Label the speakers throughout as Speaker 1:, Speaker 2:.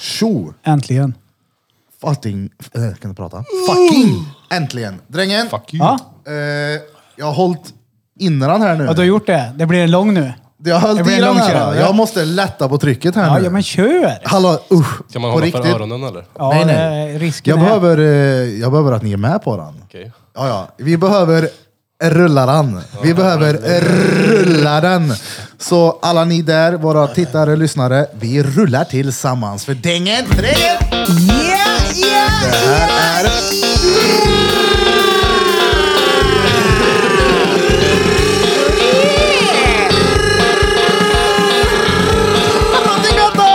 Speaker 1: Tjo!
Speaker 2: Äntligen.
Speaker 1: Fucking... Äh, kan du prata? Fucking! Äntligen! Drängen!
Speaker 3: Fuck you.
Speaker 2: Ja,
Speaker 1: Eh, jag har hållit inne den här nu.
Speaker 2: ja, du har gjort det. Det blir en lång nu.
Speaker 1: jag har
Speaker 2: det
Speaker 1: hållit
Speaker 2: blir
Speaker 1: i den
Speaker 2: lång
Speaker 1: här.
Speaker 2: kör, ja.
Speaker 1: Jag måste lätta på trycket här
Speaker 2: Ja,
Speaker 1: nu.
Speaker 2: ja men kör!
Speaker 1: Hallå, usch!
Speaker 3: Ska man
Speaker 1: på
Speaker 3: hålla
Speaker 1: riktigt.
Speaker 3: för öronen eller?
Speaker 2: Ja,
Speaker 1: nej, nej.
Speaker 2: det är risken
Speaker 1: Jag
Speaker 2: är-
Speaker 1: behöver, eh, jag behöver att ni är med på den.
Speaker 3: Okej.
Speaker 1: Ja, ja. Vi behöver rulla den. Vi behöver rulla den. Så alla ni där, våra tittare, lyssnare, vi rullar tillsammans för dängen tre!
Speaker 2: Yeah, yeah!
Speaker 1: Det här är... Drottninggatan Podcast!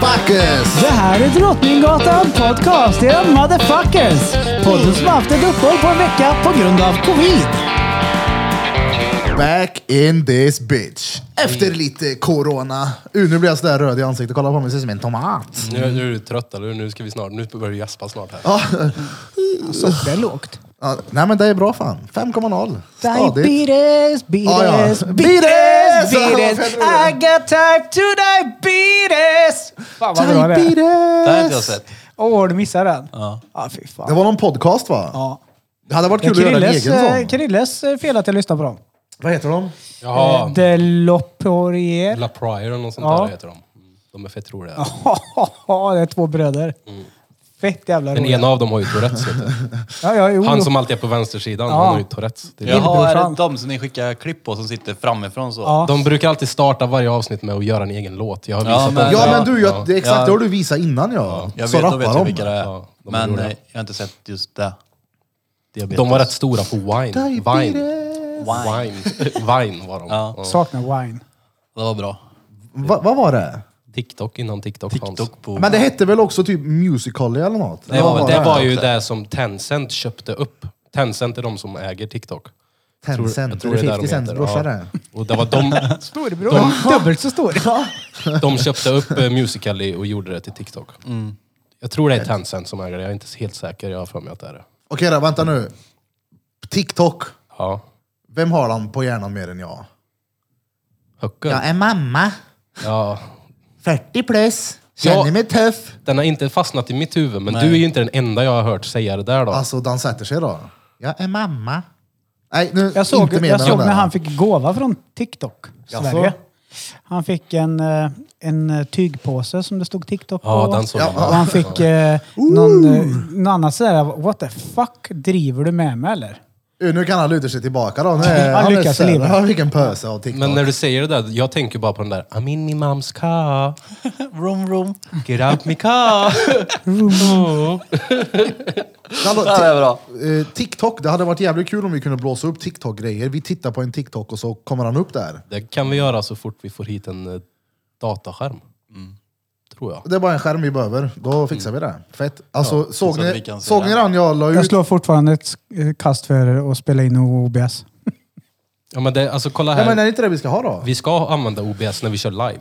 Speaker 1: Motherfuckers!
Speaker 2: Det här är Drottninggatan Podcast, era motherfuckers! Podden som haft ett uppehåll på en vecka på grund av covid.
Speaker 1: Back in this bitch. Efter lite corona. Uh, nu blir jag sådär röd i ansiktet. Kolla på mig, ser ut som en tomat.
Speaker 3: Nu, nu är du trött eller? Nu ska vi snart, nu börjar du gäspa snart här.
Speaker 1: Ja,
Speaker 2: Så det är lågt.
Speaker 1: ja, nej men det är bra fan. 5,0. Stadigt.
Speaker 2: Diabetes,
Speaker 1: Ja, ja.
Speaker 2: beates,
Speaker 1: Beates!
Speaker 2: beates, beates. I got type 2 diabetes. Fan vad bra det är.
Speaker 3: Det här har inte jag sett.
Speaker 2: Åh, du missade den. Ja. Ja, fy
Speaker 1: Det
Speaker 2: fan.
Speaker 1: var någon podcast va?
Speaker 2: Ja.
Speaker 1: Det hade varit
Speaker 2: Det är
Speaker 1: kul att göra en egen
Speaker 2: Krilles, eh,
Speaker 1: sån.
Speaker 2: Krilles eh, fel att jag lyssnar på dem. Eh,
Speaker 1: Vad heter de? Eh,
Speaker 3: Jaha,
Speaker 2: De Loporier.
Speaker 3: La Prior eller något sånt
Speaker 2: Ja.
Speaker 3: där heter de. Mm, De är fett roliga.
Speaker 2: det är två bröder. Fett jävla
Speaker 3: Den
Speaker 2: roligt.
Speaker 3: ena av dem har ju Tourettes. vet du.
Speaker 2: Ja, ja, jo,
Speaker 3: Han
Speaker 2: jo.
Speaker 3: som alltid är på vänstersidan,
Speaker 2: Ja.
Speaker 3: han har ju Tourettes. Det är
Speaker 4: Jaha, är
Speaker 2: Lillbrorsan.
Speaker 4: det de som ni skickar klipp på som sitter framifrån så?
Speaker 2: Ja.
Speaker 3: De brukar alltid starta varje avsnitt med att göra en egen låt. Jag har
Speaker 4: Ja,
Speaker 3: visat
Speaker 4: men-
Speaker 3: dem.
Speaker 1: Ja men du, jag,
Speaker 3: Ja.
Speaker 1: det är exakt
Speaker 4: Ja.
Speaker 1: det har du visat innan ja.
Speaker 4: Jag
Speaker 1: Så
Speaker 4: vet, då
Speaker 1: rappar
Speaker 4: vet jag vilka det
Speaker 1: de.
Speaker 4: är.
Speaker 3: Ja, de är
Speaker 4: men
Speaker 3: roliga.
Speaker 4: eh, jag har inte sett just det. Diabetes.
Speaker 3: De var rätt stora på Wine. Vine.
Speaker 1: Diabetes.
Speaker 3: Wine. Vine var de.
Speaker 4: Ja.
Speaker 3: Ja.
Speaker 2: Saknar wine.
Speaker 4: Det var bra.
Speaker 1: Va, vad var det?
Speaker 3: TikTok innan TikTok, fanns.
Speaker 4: TikTok på...
Speaker 1: Men det hette väl också typ Musical.ly eller något?
Speaker 4: Det var
Speaker 1: Vad
Speaker 4: väl-
Speaker 3: Det var ju
Speaker 4: också.
Speaker 3: det som Tencent köpte upp. Tencent är de som äger TikTok.
Speaker 1: Tencent, det är
Speaker 3: där
Speaker 1: 50
Speaker 3: de
Speaker 1: Cents
Speaker 3: heter,
Speaker 1: brorsa
Speaker 3: ja.
Speaker 1: det.
Speaker 3: Och det var de,
Speaker 2: Storebror. Dubbelt så stor.
Speaker 3: de köpte upp eh, Musical.ly och gjorde det till TikTok. Jag tror det är Tencent som äger det, jag är inte helt säker. Jag har för mig att det är det.
Speaker 1: Okej då, vänta nu. TikTok.
Speaker 3: Ja.
Speaker 1: Vem har den på hjärnan mer än jag?
Speaker 3: Höcken.
Speaker 1: är mamma.
Speaker 3: Ja.
Speaker 1: 40 plus.
Speaker 3: Ja.
Speaker 1: mig tuff.
Speaker 3: Den har inte fastnat i mitt huvud, men du är ju inte den enda jag har hört säga det där då.
Speaker 1: Alltså, den sätter sig då. Jag är mamma. Nej, nu
Speaker 2: Jag såg,
Speaker 1: inte mer
Speaker 2: jag
Speaker 1: med den
Speaker 2: såg när
Speaker 1: där.
Speaker 2: han fick gåva från TikTok,
Speaker 1: Jaså?
Speaker 2: Sverige. Han fick en, eh, en eh, tygpåse som det stod TikTok på.
Speaker 3: ja, den såg
Speaker 1: Ja.
Speaker 3: jag.
Speaker 2: och han fick eh, någon, eh, någon annan sådär, what the fuck driver du med mig eller?
Speaker 1: Uh, Nu kan han luta sig tillbaka då. Nu är,
Speaker 2: Han lyckas i
Speaker 1: så här,
Speaker 2: livet.
Speaker 1: "Ja, Vilken pöse av TikTok.
Speaker 4: eh,
Speaker 3: Men när du säger det där, jag tänker bara på den där I'm in my mom's car,
Speaker 4: Vroom, vroom.
Speaker 3: get out my car.
Speaker 1: Hallå,
Speaker 4: Ja, det är bra.
Speaker 1: ti- eh, TikTok, det hade varit jävligt kul om vi kunde blåsa upp TikTok-grejer. Vi tittar på en TikTok och så kommer han upp där.
Speaker 3: Det kan vi göra så fort vi får hit en eh, dataskärm. Tror jag.
Speaker 1: Det är bara en skärm vi behöver. Då fixar vi det. Fett. Alltså, såg,
Speaker 4: så att vi
Speaker 1: ni,
Speaker 4: kan se
Speaker 1: såg ni
Speaker 4: den.
Speaker 1: den jag la
Speaker 2: Jag
Speaker 1: ut?
Speaker 2: slår fortfarande ett eh, kast för er och spela in OBS.
Speaker 3: Ja, men det, alltså, kolla
Speaker 1: Nej,
Speaker 3: här.
Speaker 1: men är det inte det vi ska ha då?
Speaker 3: Vi ska använda OBS när vi kör live.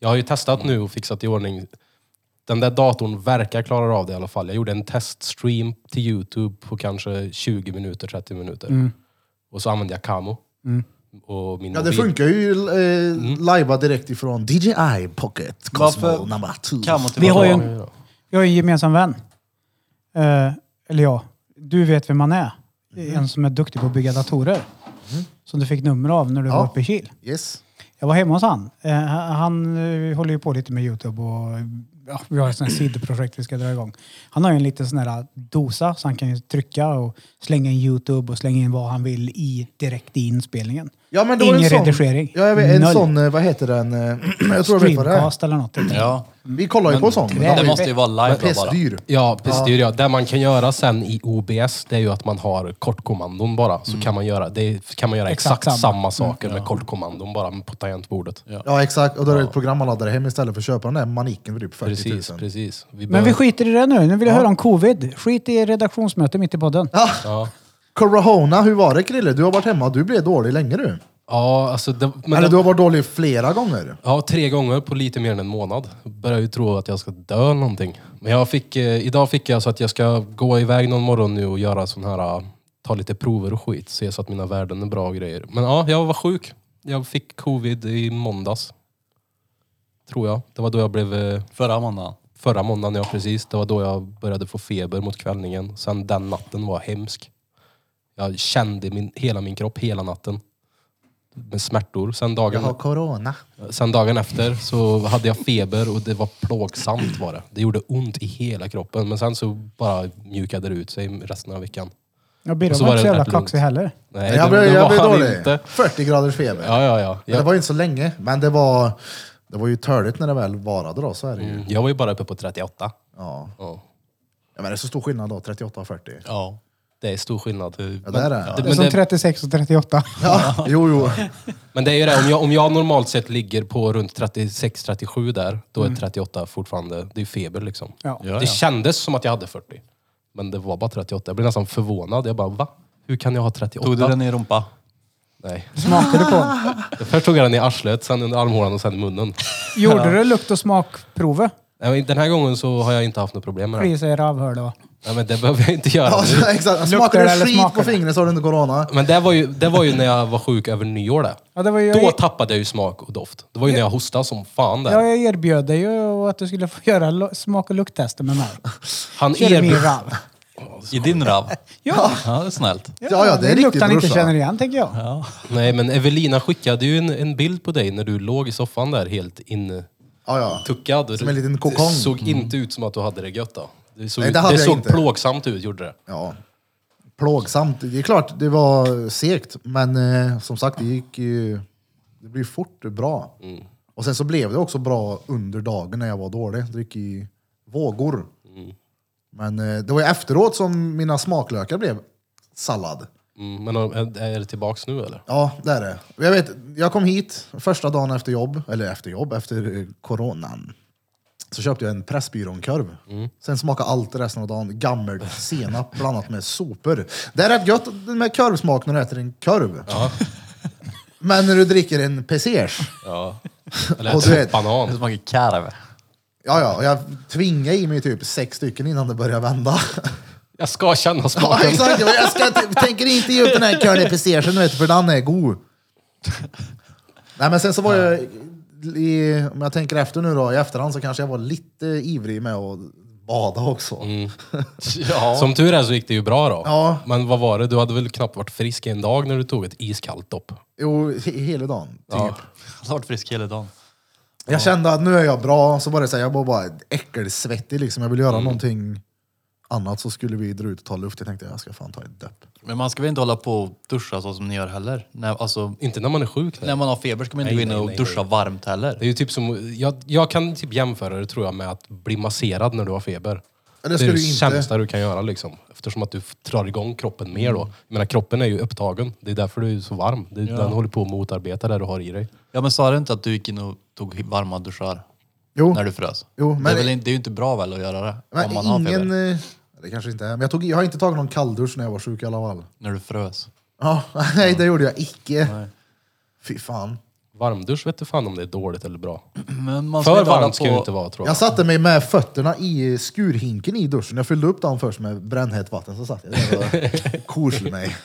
Speaker 3: Jag har ju testat nu och fixat i ordning. Den där datorn verkar klara av det i alla fall. Jag gjorde en teststream till Youtube på kanske 20 minuter, 30 minuter. Och så använde jag Camo. Och min
Speaker 1: Ja, det
Speaker 3: mobil.
Speaker 1: funkar ju eh,
Speaker 3: Mm.
Speaker 1: lajva direkt ifrån DJI Pocket Cosmo
Speaker 4: Varför-
Speaker 1: number two.
Speaker 4: Kan man
Speaker 2: Vi har ju
Speaker 4: tillbaka.
Speaker 2: en, vi har ju en gemensam vän. Eh, eller ja, du vet vem han är.
Speaker 1: Mhm.
Speaker 2: Det är En som är duktig på att bygga datorer. Som du fick nummer av när du var uppe i Kil.
Speaker 1: Yes.
Speaker 2: Jag var hemma hos han. Eh, han eh, håller ju på lite med Youtube och ja, vi har ett sånt här sidoprojekt vi ska dra igång. Han har ju en liten sån här dosa så han kan ju trycka och slänga in Youtube och slänga in vad han vill i direkt i inspelningen.
Speaker 1: Ja, men det var
Speaker 2: Ingen
Speaker 1: en sån,
Speaker 2: redigering.
Speaker 1: Ja, jag vet, en
Speaker 2: Noll.
Speaker 1: sån, eh, vad heter den? eh, jag tror jag vet vad det är.
Speaker 2: Streamcast eller något.
Speaker 4: Ja.
Speaker 1: Vi kollar ju på sån.
Speaker 4: Det,
Speaker 2: är-
Speaker 1: Den
Speaker 4: måste ju vara live
Speaker 1: var
Speaker 4: då bara.
Speaker 1: pestdyr.
Speaker 3: Ja, precis. Det, är det. det man kan göra sen i OBS, det är ju att man har kortkommandon bara. Så kan man göra, det är- kan man göra
Speaker 2: Exakt
Speaker 3: Mm. exakt,
Speaker 2: samma.
Speaker 3: samma. Mm. saker med kortkommandon bara på tangentbordet.
Speaker 1: Ja, exakt. Och då är det ett program man laddar hem istället för att köpa den där maniken för typ 40
Speaker 3: Precis,
Speaker 1: 000.
Speaker 3: precis. Vi
Speaker 2: Men vi
Speaker 3: behöver-
Speaker 2: skiter i det nu. Nu vill jag höra om covid. Skit i redaktionsmöte mitt i podden.
Speaker 1: Ah,
Speaker 3: ja.
Speaker 1: corona, hur var det Krille? Du har varit hemma, du blev dålig länge du.
Speaker 3: ja, alltså det, men
Speaker 1: Eller
Speaker 3: det-
Speaker 1: du har varit dålig flera gånger.
Speaker 3: Ja, tre gånger på lite mer än en månad. Börjar ju tro att jag ska dö någonting. Men jag fick, eh, idag fick jag så att jag ska gå iväg någon morgon nu och göra sån här, eh, ta lite prover och skit. Se så att mina värden är bra och grejer. Men ja, jag var sjuk. Jag fick covid i måndags. Tror jag. Det var då jag blev... eh,
Speaker 4: Förra måndagen.
Speaker 3: Förra måndagen, ja precis. Det var då jag började få feber mot kvällningen. Sen den natten var hemsk. Jag kände min, hela min kropp hela natten. Med smärtor. Sen
Speaker 1: Jag
Speaker 3: dagen,
Speaker 1: har corona.
Speaker 3: sen dagen efter så hade jag feber och det var plågsamt var det. Det gjorde ont i hela kroppen. Men sen så bara mjukade det ut sig resten av veckan.
Speaker 2: Ja, Birro
Speaker 3: Och så
Speaker 2: var
Speaker 3: var
Speaker 2: inte så
Speaker 3: det
Speaker 2: jävla
Speaker 3: rätt lugnt.
Speaker 2: kaxig heller.
Speaker 3: Nej,
Speaker 1: Jag
Speaker 3: det,
Speaker 1: blev,
Speaker 3: det
Speaker 1: jag
Speaker 3: var
Speaker 1: blev
Speaker 3: han
Speaker 1: dålig.
Speaker 3: inte.
Speaker 1: 40 graders feber.
Speaker 3: Ja, ja, ja.
Speaker 1: Men det
Speaker 3: Jag,
Speaker 1: var ju inte så länge, men det var, det var ju törligt när det väl varade då, så är det ju.
Speaker 3: mm, jag var ju bara uppe på 38.
Speaker 1: Ja.
Speaker 3: Ja.
Speaker 1: Ja, men det är så stor skillnad då, 38 och 40.
Speaker 4: Ja.
Speaker 3: Det är stor skillnad.
Speaker 1: Ja, det är det.
Speaker 2: Det är
Speaker 3: men
Speaker 2: som
Speaker 3: det-
Speaker 2: 36 och 38.
Speaker 1: Ja, jo, jo.
Speaker 3: Men det är ju det, om jag, om jag normalt sett ligger på runt 36-37 där, då är 38 fortfarande, det är feber liksom.
Speaker 2: Ja.
Speaker 4: Mm. Ja, ja.
Speaker 3: Det kändes som att jag hade 40. Men det var bara 38. Jag blev nästan förvånad. Jag bara, va? Hur kan jag ha 38?
Speaker 4: Tog du den i rumpa?
Speaker 3: Nej.
Speaker 2: Smakade du på den?
Speaker 3: Först tog jag den i arslet, sen under armhålan och sen i munnen.
Speaker 2: Gjorde du lukt och smakprovet?
Speaker 3: Nej, men Den här gången så har jag inte haft något problem med det.
Speaker 2: Kliar sig i rövhålet va?
Speaker 3: Nej, men det behöver jag inte göra.
Speaker 1: Ja,
Speaker 3: nu.
Speaker 1: exakt.
Speaker 2: Luktar
Speaker 1: Smakar
Speaker 2: det
Speaker 1: det
Speaker 2: eller
Speaker 1: skit
Speaker 2: smakar
Speaker 1: på
Speaker 2: det?
Speaker 1: fingret så har du inte corona.
Speaker 3: Men det var, ju, det var ju när jag var sjuk över nyår det.
Speaker 2: Ja, det var ju,
Speaker 3: Då
Speaker 2: jag,
Speaker 3: tappade jag ju smak och doft. Det var ju när jag hostade som fan där.
Speaker 2: jag erbjöd dig ju att du skulle få göra lo- smak och lukttester med mig.
Speaker 3: Han
Speaker 2: Körde min
Speaker 3: erbjöd...
Speaker 2: rav.
Speaker 4: I din rav?
Speaker 2: Ja.
Speaker 4: Ja, det är snällt.
Speaker 1: Ja, ja, det är riktigt,
Speaker 2: lukt han inte
Speaker 1: brorsa.
Speaker 2: känner igen tänker jag.
Speaker 4: Ja.
Speaker 3: Nej, men Evelina skickade ju en, en bild på dig när du låg i soffan där helt
Speaker 1: Ja, ja.
Speaker 3: intuckad.
Speaker 1: Som en liten kokong.
Speaker 3: Det såg inte ut som att du hade det gött då. Det såg,
Speaker 1: Nej, det
Speaker 3: det
Speaker 1: hade jag
Speaker 3: såg
Speaker 1: inte.
Speaker 3: plågsamt ut, gjorde det.
Speaker 1: ja. Plågsamt. Det är klart, det var segt, men eh, som sagt, det gick ju... Det blev fort bra.
Speaker 2: Mm.
Speaker 1: Och sen så blev det också bra under dagen när jag var dålig. Det gick i vågor.
Speaker 2: Mm.
Speaker 1: Men eh, det var ju efteråt som mina smaklökar blev sallad.
Speaker 3: Mm, men är, är det tillbaks nu eller?
Speaker 1: Ja, det är det. Jag, vet, jag kom hit första dagen efter jobb, eller efter jobb, efter eh, coronan. Så köpte jag en Pressbyrån-korv. Sen smakade allt resten av dagen gammel senap blandat med sopor. Det är rätt gött med korvsmak när du äter en korv. Men när du dricker en pesers,
Speaker 3: Ja.
Speaker 1: Och du
Speaker 3: Eller
Speaker 1: vet-
Speaker 3: en banan.
Speaker 4: Det smakar karv.
Speaker 1: ja ja, och jag tvingade i mig typ sex stycken innan det började vända.
Speaker 3: Jag ska känna
Speaker 1: Ja,
Speaker 3: smaken.
Speaker 1: exakt. Jag ska, jag tänker inte ge upp den här curly pestersen, vet du, för den är god. Nej, men sen så var jag, i, om jag tänker efter nu då, i efterhand så kanske jag var lite ivrig med att bada också.
Speaker 4: Ja.
Speaker 3: Som tur är så gick det ju bra då.
Speaker 1: Ja.
Speaker 3: Men vad var det? Du hade väl knappt varit frisk i en dag när du tog ett iskallt dopp?
Speaker 1: Jo, he, hela dagen. Typ.
Speaker 3: Ja.
Speaker 4: Jag har varit frisk hela dagen.
Speaker 1: Jag kände att nu är jag bra, så var det så här, jag var bara äckelsvettig liksom. Jag ville göra någonting annat så skulle vi dra ut och ta luft. Jag tänkte jag ska fan ta ett döpp.
Speaker 4: Men man ska väl inte hålla på och duscha så som ni gör heller? Nej, alltså,
Speaker 3: Inte när man är sjuk. Nej.
Speaker 4: när man har feber ska man inte
Speaker 3: Nej,
Speaker 4: gå in
Speaker 3: nej,
Speaker 4: och
Speaker 3: nej,
Speaker 4: duscha varmt
Speaker 3: Det
Speaker 4: heller.
Speaker 3: är ju typ som, jag, jag kan typ jämföra det tror jag med att bli masserad när du har feber.
Speaker 1: Ja, det
Speaker 3: det
Speaker 1: ska
Speaker 3: är det
Speaker 1: du inte.
Speaker 3: sämsta du kan göra liksom. Eftersom att du f- drar igång kroppen mer
Speaker 1: Mm.
Speaker 3: då. Jag menar kroppen är ju upptagen. Det är därför du är så varm. Det, Den håller på att motarbeta det du har i dig.
Speaker 4: Ja men sa du inte att du gick in och tog varma duschar
Speaker 1: Jo,
Speaker 4: när du frös?
Speaker 1: Jo,
Speaker 4: det,
Speaker 1: men-
Speaker 4: är väl, in- det är ju inte bra väl att göra det?
Speaker 1: men
Speaker 4: om man har
Speaker 1: ingen...
Speaker 4: feber.
Speaker 1: eh, Det kanske inte är, men jag, tog, jag har inte tagit någon kalldusch när jag var sjuk i alla fall.
Speaker 4: När du frös.
Speaker 1: Ja, nej det gjorde jag icke.
Speaker 4: Nej.
Speaker 1: Fy fan.
Speaker 3: Varmdusch vet du fan om det är dåligt eller bra.
Speaker 4: Men man ska
Speaker 3: För
Speaker 4: inte hålla
Speaker 3: varmt ska det
Speaker 4: på-
Speaker 3: ju inte vara tror jag.
Speaker 1: Jag satte mig med fötterna i skurhinken i duschen. Jag fyllde upp den först med brännhett vatten, så satt jag där och korsade mig.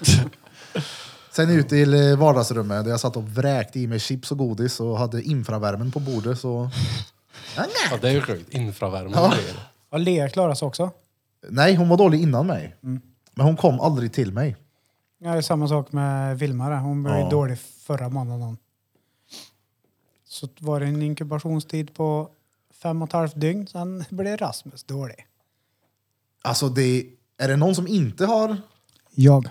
Speaker 1: Sen ut till eh, vardagsrummet där jag satt och vräkte i mig chips och godis och hade infravärmen på bordet. Så... Ja,
Speaker 3: Ja,
Speaker 1: nej.
Speaker 3: det är ju sjukt. Infravärme.
Speaker 1: Ja.
Speaker 3: det är det.
Speaker 2: Och Lea klarade sig också.
Speaker 1: nej, hon var dålig innan mig. Men hon kom aldrig till mig.
Speaker 2: Ja, det är samma sak med Vilma där. Hon var ju
Speaker 1: Ja.
Speaker 2: dålig förra månaden. Så var det en inkubationstid på fem och ett halvt dygn. Sen blev Rasmus dålig.
Speaker 1: Alltså, det... är det någon som inte har...
Speaker 2: Jag.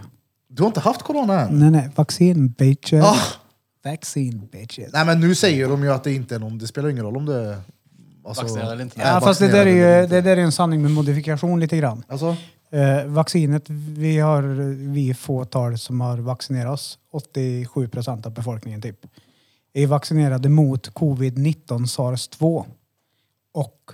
Speaker 1: Du har inte haft corona än?
Speaker 2: Nej, nej. Vaccin bitches.
Speaker 1: Ah.
Speaker 2: Vaccin bitches.
Speaker 1: Nej, men nu säger de ju att det inte är någon... Det spelar ingen roll om du är... alltså-
Speaker 4: Vaccinerad eller inte.
Speaker 1: Nej,
Speaker 2: Ja, fast det där
Speaker 1: vaccinerad
Speaker 2: är
Speaker 1: eller
Speaker 2: ju
Speaker 1: inte.
Speaker 2: det där är en sanning med modifikation lite grann.
Speaker 1: Alltså?
Speaker 2: Eh, vaccinet, vi har vi är fåtal som har vaccinerat oss. 87 procent av befolkningen typ. Är vaccinerade mot covid-19, sars-2 och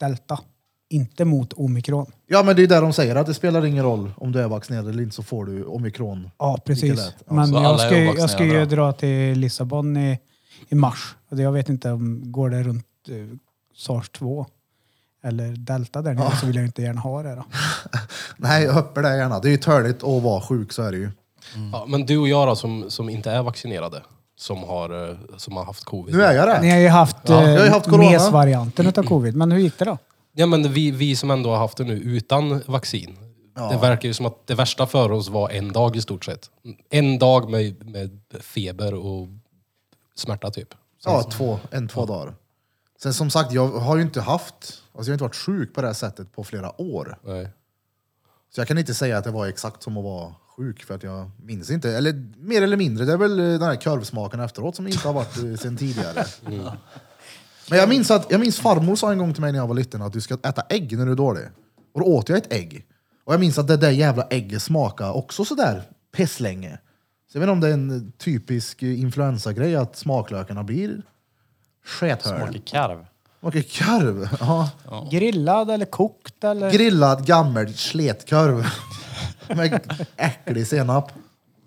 Speaker 2: delta. Inte mot omikron.
Speaker 1: Ja, men det är där de säger att det spelar ingen roll om du är vaccinerad eller inte så får du omikron.
Speaker 2: Ja, precis.
Speaker 1: lätt. Ja,
Speaker 2: Men
Speaker 4: så
Speaker 2: jag
Speaker 4: alla är
Speaker 2: ska, ju- jag ska
Speaker 4: ovaccinerade
Speaker 2: ju
Speaker 4: då?
Speaker 2: dra till Lissabon i, i mars. Och det- Jag vet inte om går det runt eh, sars-2 eller delta där nere så vill jag inte gärna ha det. Då.
Speaker 1: Nej, jag hoppar det gärna. Det är ju törligt att vara sjuk, så är det ju.
Speaker 3: Ja, men du och jag då som, som inte är vaccinerade. som har, eh, som har haft covid.
Speaker 1: Nu är jag
Speaker 2: Ni
Speaker 1: det.
Speaker 2: har ju haft, eh,
Speaker 1: Ja, jag har ju haft corona.
Speaker 2: mesvarianten utav covid, men hur gick det då?
Speaker 3: Ja, men vi, vi som ändå har haft det nu utan vaccin. Det verkar ju som att det värsta för oss var en dag i stort sett. En dag med, med feber och smärta typ.
Speaker 1: Ja, två, en, två dagar. Sen som sagt, jag har ju inte haft, alltså jag har inte varit sjuk på det här sättet på flera år.
Speaker 3: Nej.
Speaker 1: Så jag kan inte säga att det var exakt som att vara sjuk för att jag minns inte. Eller mer eller mindre, det är väl eh, den här korvsmaken efteråt som inte har varit eh, sen tidigare. Men jag minns, att, jag minns farmor sa en gång till mig när jag var liten att du ska äta ägg när du är dålig. Och då åt jag ett ägg. Och jag minns att det där jävla ägget smakade också sådär pisslänge. Så jag vet inte om det är en typisk eh, influensagrej att smaklökarna blir skethörn.
Speaker 4: Smakar karv.
Speaker 1: Smakar karv. Ja.
Speaker 2: Grillad eller kokt eller?
Speaker 1: Grillad gammal sletkorv. Med äcklig senap.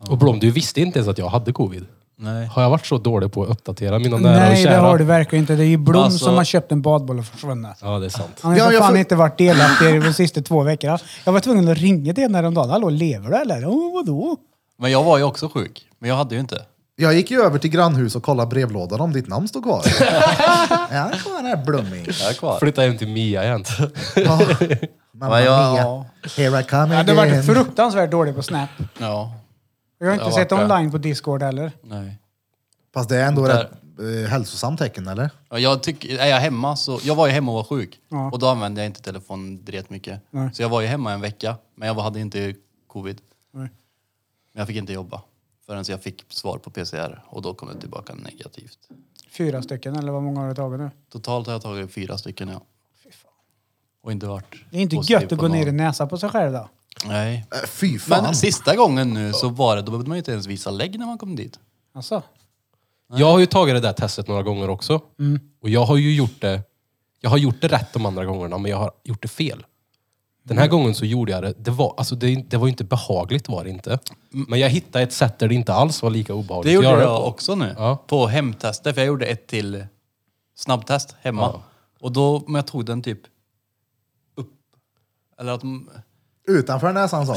Speaker 3: Och Blom, du visste inte ens att jag hade covid.
Speaker 4: Nej.
Speaker 3: Har jag varit så dålig på att uppdatera mina nära och
Speaker 2: Nej,
Speaker 3: kära?
Speaker 2: det har du verkligen inte. Det är ju Blom
Speaker 4: Alltså-
Speaker 2: som har köpt en badboll och försvunnit.
Speaker 3: Ja, det är sant.
Speaker 2: Han har
Speaker 1: Ja,
Speaker 2: för
Speaker 1: jag
Speaker 2: fan
Speaker 1: får-
Speaker 2: inte varit delaktig i de sista två veckorna. Jag var tvungen att ringa till henne häromdagen. Hallå, lever du eller? Oh, vadå?
Speaker 4: Men jag var ju också sjuk. Men jag hade ju inte.
Speaker 1: Jag gick ju över till grannhus och kollade brevlådan om ditt namn stod kvar. ja, kvar här Blomming.
Speaker 4: Jag är kvar.
Speaker 3: Flytta hem till Mia igen.
Speaker 1: Ja. Mamma
Speaker 4: Ja, ja.
Speaker 1: mia, here I come
Speaker 2: Jag hade
Speaker 1: again.
Speaker 2: varit Eh, fruktansvärt dålig på Snap.
Speaker 4: Ja.
Speaker 2: Jag har inte
Speaker 4: Jag har
Speaker 2: sett
Speaker 4: varit det.
Speaker 2: online på Discord heller.
Speaker 4: Nej.
Speaker 1: Fast det är ändå
Speaker 4: Där.
Speaker 1: rätt eh, hälsosamt tecken, eller?
Speaker 4: Ja, Jag tycker, är jag hemma så, jag var ju hemma och var sjuk.
Speaker 2: Ja.
Speaker 4: Och då använde jag inte telefonen direkt mycket.
Speaker 2: Nej.
Speaker 4: Så jag var ju hemma en vecka. Men jag hade inte covid.
Speaker 2: Nej.
Speaker 4: Men jag fick inte jobba. Förrän jag fick svar på PCR. Och då kom det tillbaka negativt.
Speaker 2: Fyra stycken eller vad många har du tagit nu?
Speaker 4: Totalt har jag tagit fyra stycken ja. Och inte varit
Speaker 2: Det är inte
Speaker 4: positiv
Speaker 2: gött att
Speaker 4: på
Speaker 2: gå
Speaker 4: någon.
Speaker 2: ner i näsan på sig själv då.
Speaker 4: Nej.
Speaker 1: Eh, Fy fan.
Speaker 4: Men sista gången nu så var det, då behövde man ju inte ens visa lägg när man kom dit.
Speaker 2: Alltså,
Speaker 3: Jag har ju tagit det där testet några gånger också.
Speaker 4: Mm.
Speaker 3: Och jag har ju gjort det, jag har gjort det rätt de andra gångerna, men jag har gjort det fel. Den
Speaker 4: Mm.
Speaker 3: här gången så gjorde jag det. Det var, alltså det, det var ju inte behagligt var det inte. Men jag hittade ett sätt där det inte alls var lika obehagligt.
Speaker 4: Mm. Det gjorde
Speaker 3: att
Speaker 4: jag,
Speaker 3: göra
Speaker 4: också nu.
Speaker 3: Ja.
Speaker 4: På hemtester, för jag gjorde ett till snabbtest hemma. Och då, men jag tog den typ upp, eller att
Speaker 1: Utanför näsan sa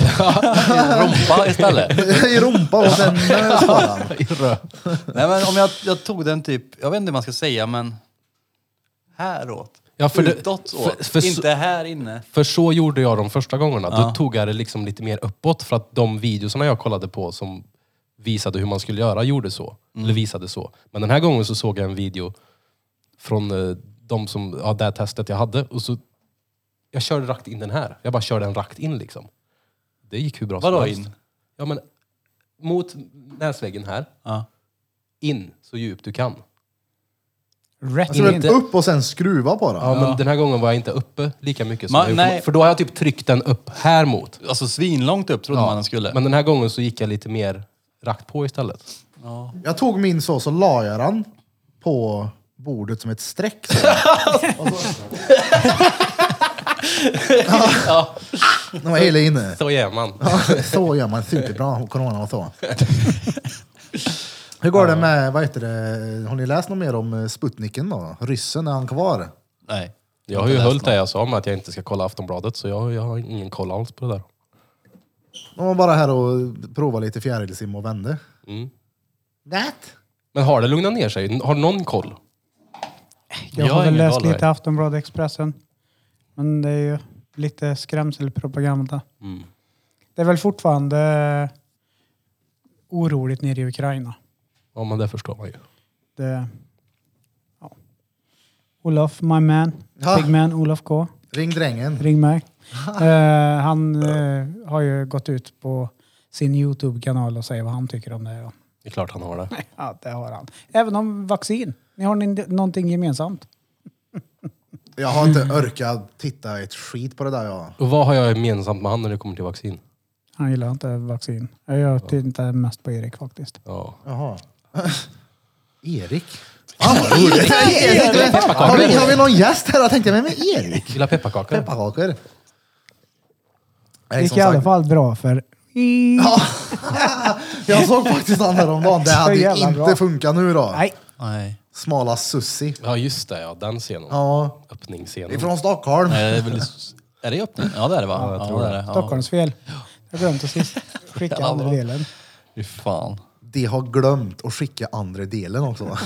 Speaker 4: rumpa istället.
Speaker 1: I rumpa och sen eh, skadan.
Speaker 3: I rö.
Speaker 4: Nej men om jag, jag tog den typ, jag vet inte hur man ska säga men häråt.
Speaker 3: Ja, för det-
Speaker 4: Utåt
Speaker 3: för-
Speaker 4: åt.
Speaker 3: för så-
Speaker 4: inte här inne.
Speaker 3: För så gjorde jag de första gångerna. Då tog jag det liksom lite mer uppåt för att de videorna jag kollade på som visade hur man skulle göra gjorde så.
Speaker 4: Mm.
Speaker 3: Eller visade så. Men den här gången så såg jag en video från eh, de som, ja, det här testet jag hade och så jag körde rakt in den här. Jag bara körde den rakt in liksom. Det gick hur bra
Speaker 4: Vadå
Speaker 3: som helst.
Speaker 4: in?
Speaker 3: Ja men mot näsväggen här,
Speaker 4: Ja.
Speaker 3: in så djupt du kan.
Speaker 2: rätt
Speaker 1: Alltså,
Speaker 2: in.
Speaker 1: men upp och sen skruva på det.
Speaker 3: Ja, men den här gången var jag inte uppe lika mycket som
Speaker 4: Ma-
Speaker 3: jag gjort.
Speaker 4: nej.
Speaker 3: För då har jag typ tryckt den upp här mot.
Speaker 4: Alltså svinlångt upp trodde man den skulle.
Speaker 3: Men den här gången så gick jag lite mer rakt på istället.
Speaker 4: Ja.
Speaker 1: Jag tog min så, så la jag den på bordet som ett streck. Så. Och så- ja. Den var hela inne.
Speaker 3: Så är man.
Speaker 1: Så gör man superbra, corona och så. Hur går det med, vad heter det, har ni läst något mer om eh, Sputniken då? Ryssen, är han kvar?
Speaker 4: Nej.
Speaker 3: Jag har ju
Speaker 4: Inte läst
Speaker 3: höll det jag sa om att jag inte ska kolla Aftonbladet, så jag, jag har ingen koll alls på det där.
Speaker 1: De var bara här och provade lite fjärilsim och vände.
Speaker 3: Mm.
Speaker 1: That?
Speaker 3: Men har det lugnat ner sig? Har någon koll?
Speaker 2: Jag har
Speaker 4: Jag har
Speaker 2: väl
Speaker 4: ingen
Speaker 2: läst
Speaker 4: koll, nej.
Speaker 2: lite Aftonbladet Expressen. Men det är ju lite skrämselpropaganda.
Speaker 3: Mm.
Speaker 2: Det är väl fortfarande eh, oroligt nere i Ukraina.
Speaker 3: Ja, men det förstår man ju.
Speaker 2: Det, ja. Olof, my man.
Speaker 1: Ja.
Speaker 2: Big man, Olof K.
Speaker 1: Ring drängen.
Speaker 2: Ring mig. Eh, han eh, har ju gått ut på sin Youtube-kanal och säger vad han tycker om det. här.
Speaker 3: Det är klart han har det.
Speaker 2: Ja, det har han. Även om vaccin. Ni har ni- någonting gemensamt.
Speaker 1: Jag har inte orkat titta ett skit på det där jag.
Speaker 3: Och vad har jag gemensamt med han när det kommer till vaccin?
Speaker 2: Han gillar inte vaccin. Jag tittar mest på Erik faktiskt.
Speaker 3: Ja.
Speaker 1: Jaha. Erik? Fan vad roligt! Erik! Har vi, har vi någon gäst här? Jag tänkte, vem är Erik?
Speaker 3: Gillar pepparkakor?
Speaker 1: Pepparkakor.
Speaker 2: Det
Speaker 1: Nej,
Speaker 2: gick
Speaker 1: som
Speaker 2: i alla
Speaker 1: sagt,
Speaker 2: fall bra för...
Speaker 1: Jag såg faktiskt han häromdagen. Det hade ju
Speaker 2: jävla
Speaker 1: inte
Speaker 2: bra.
Speaker 1: funkat nu då.
Speaker 2: Nej,
Speaker 4: Nej.
Speaker 1: Smala Sussi.
Speaker 3: Ja, just det. Ja, den scenen.
Speaker 1: Ja,
Speaker 3: Öppningsscenen.
Speaker 1: ifrån Stockholm.
Speaker 4: Nej, det är, väl, är det öppning? Ja det är det va? Ja, jag tror det. är det. Ja.
Speaker 2: Stockholms fel. Jag glömde sist skicka andra delen.
Speaker 4: Fy fan.
Speaker 1: de har glömt att skicka andra delen också.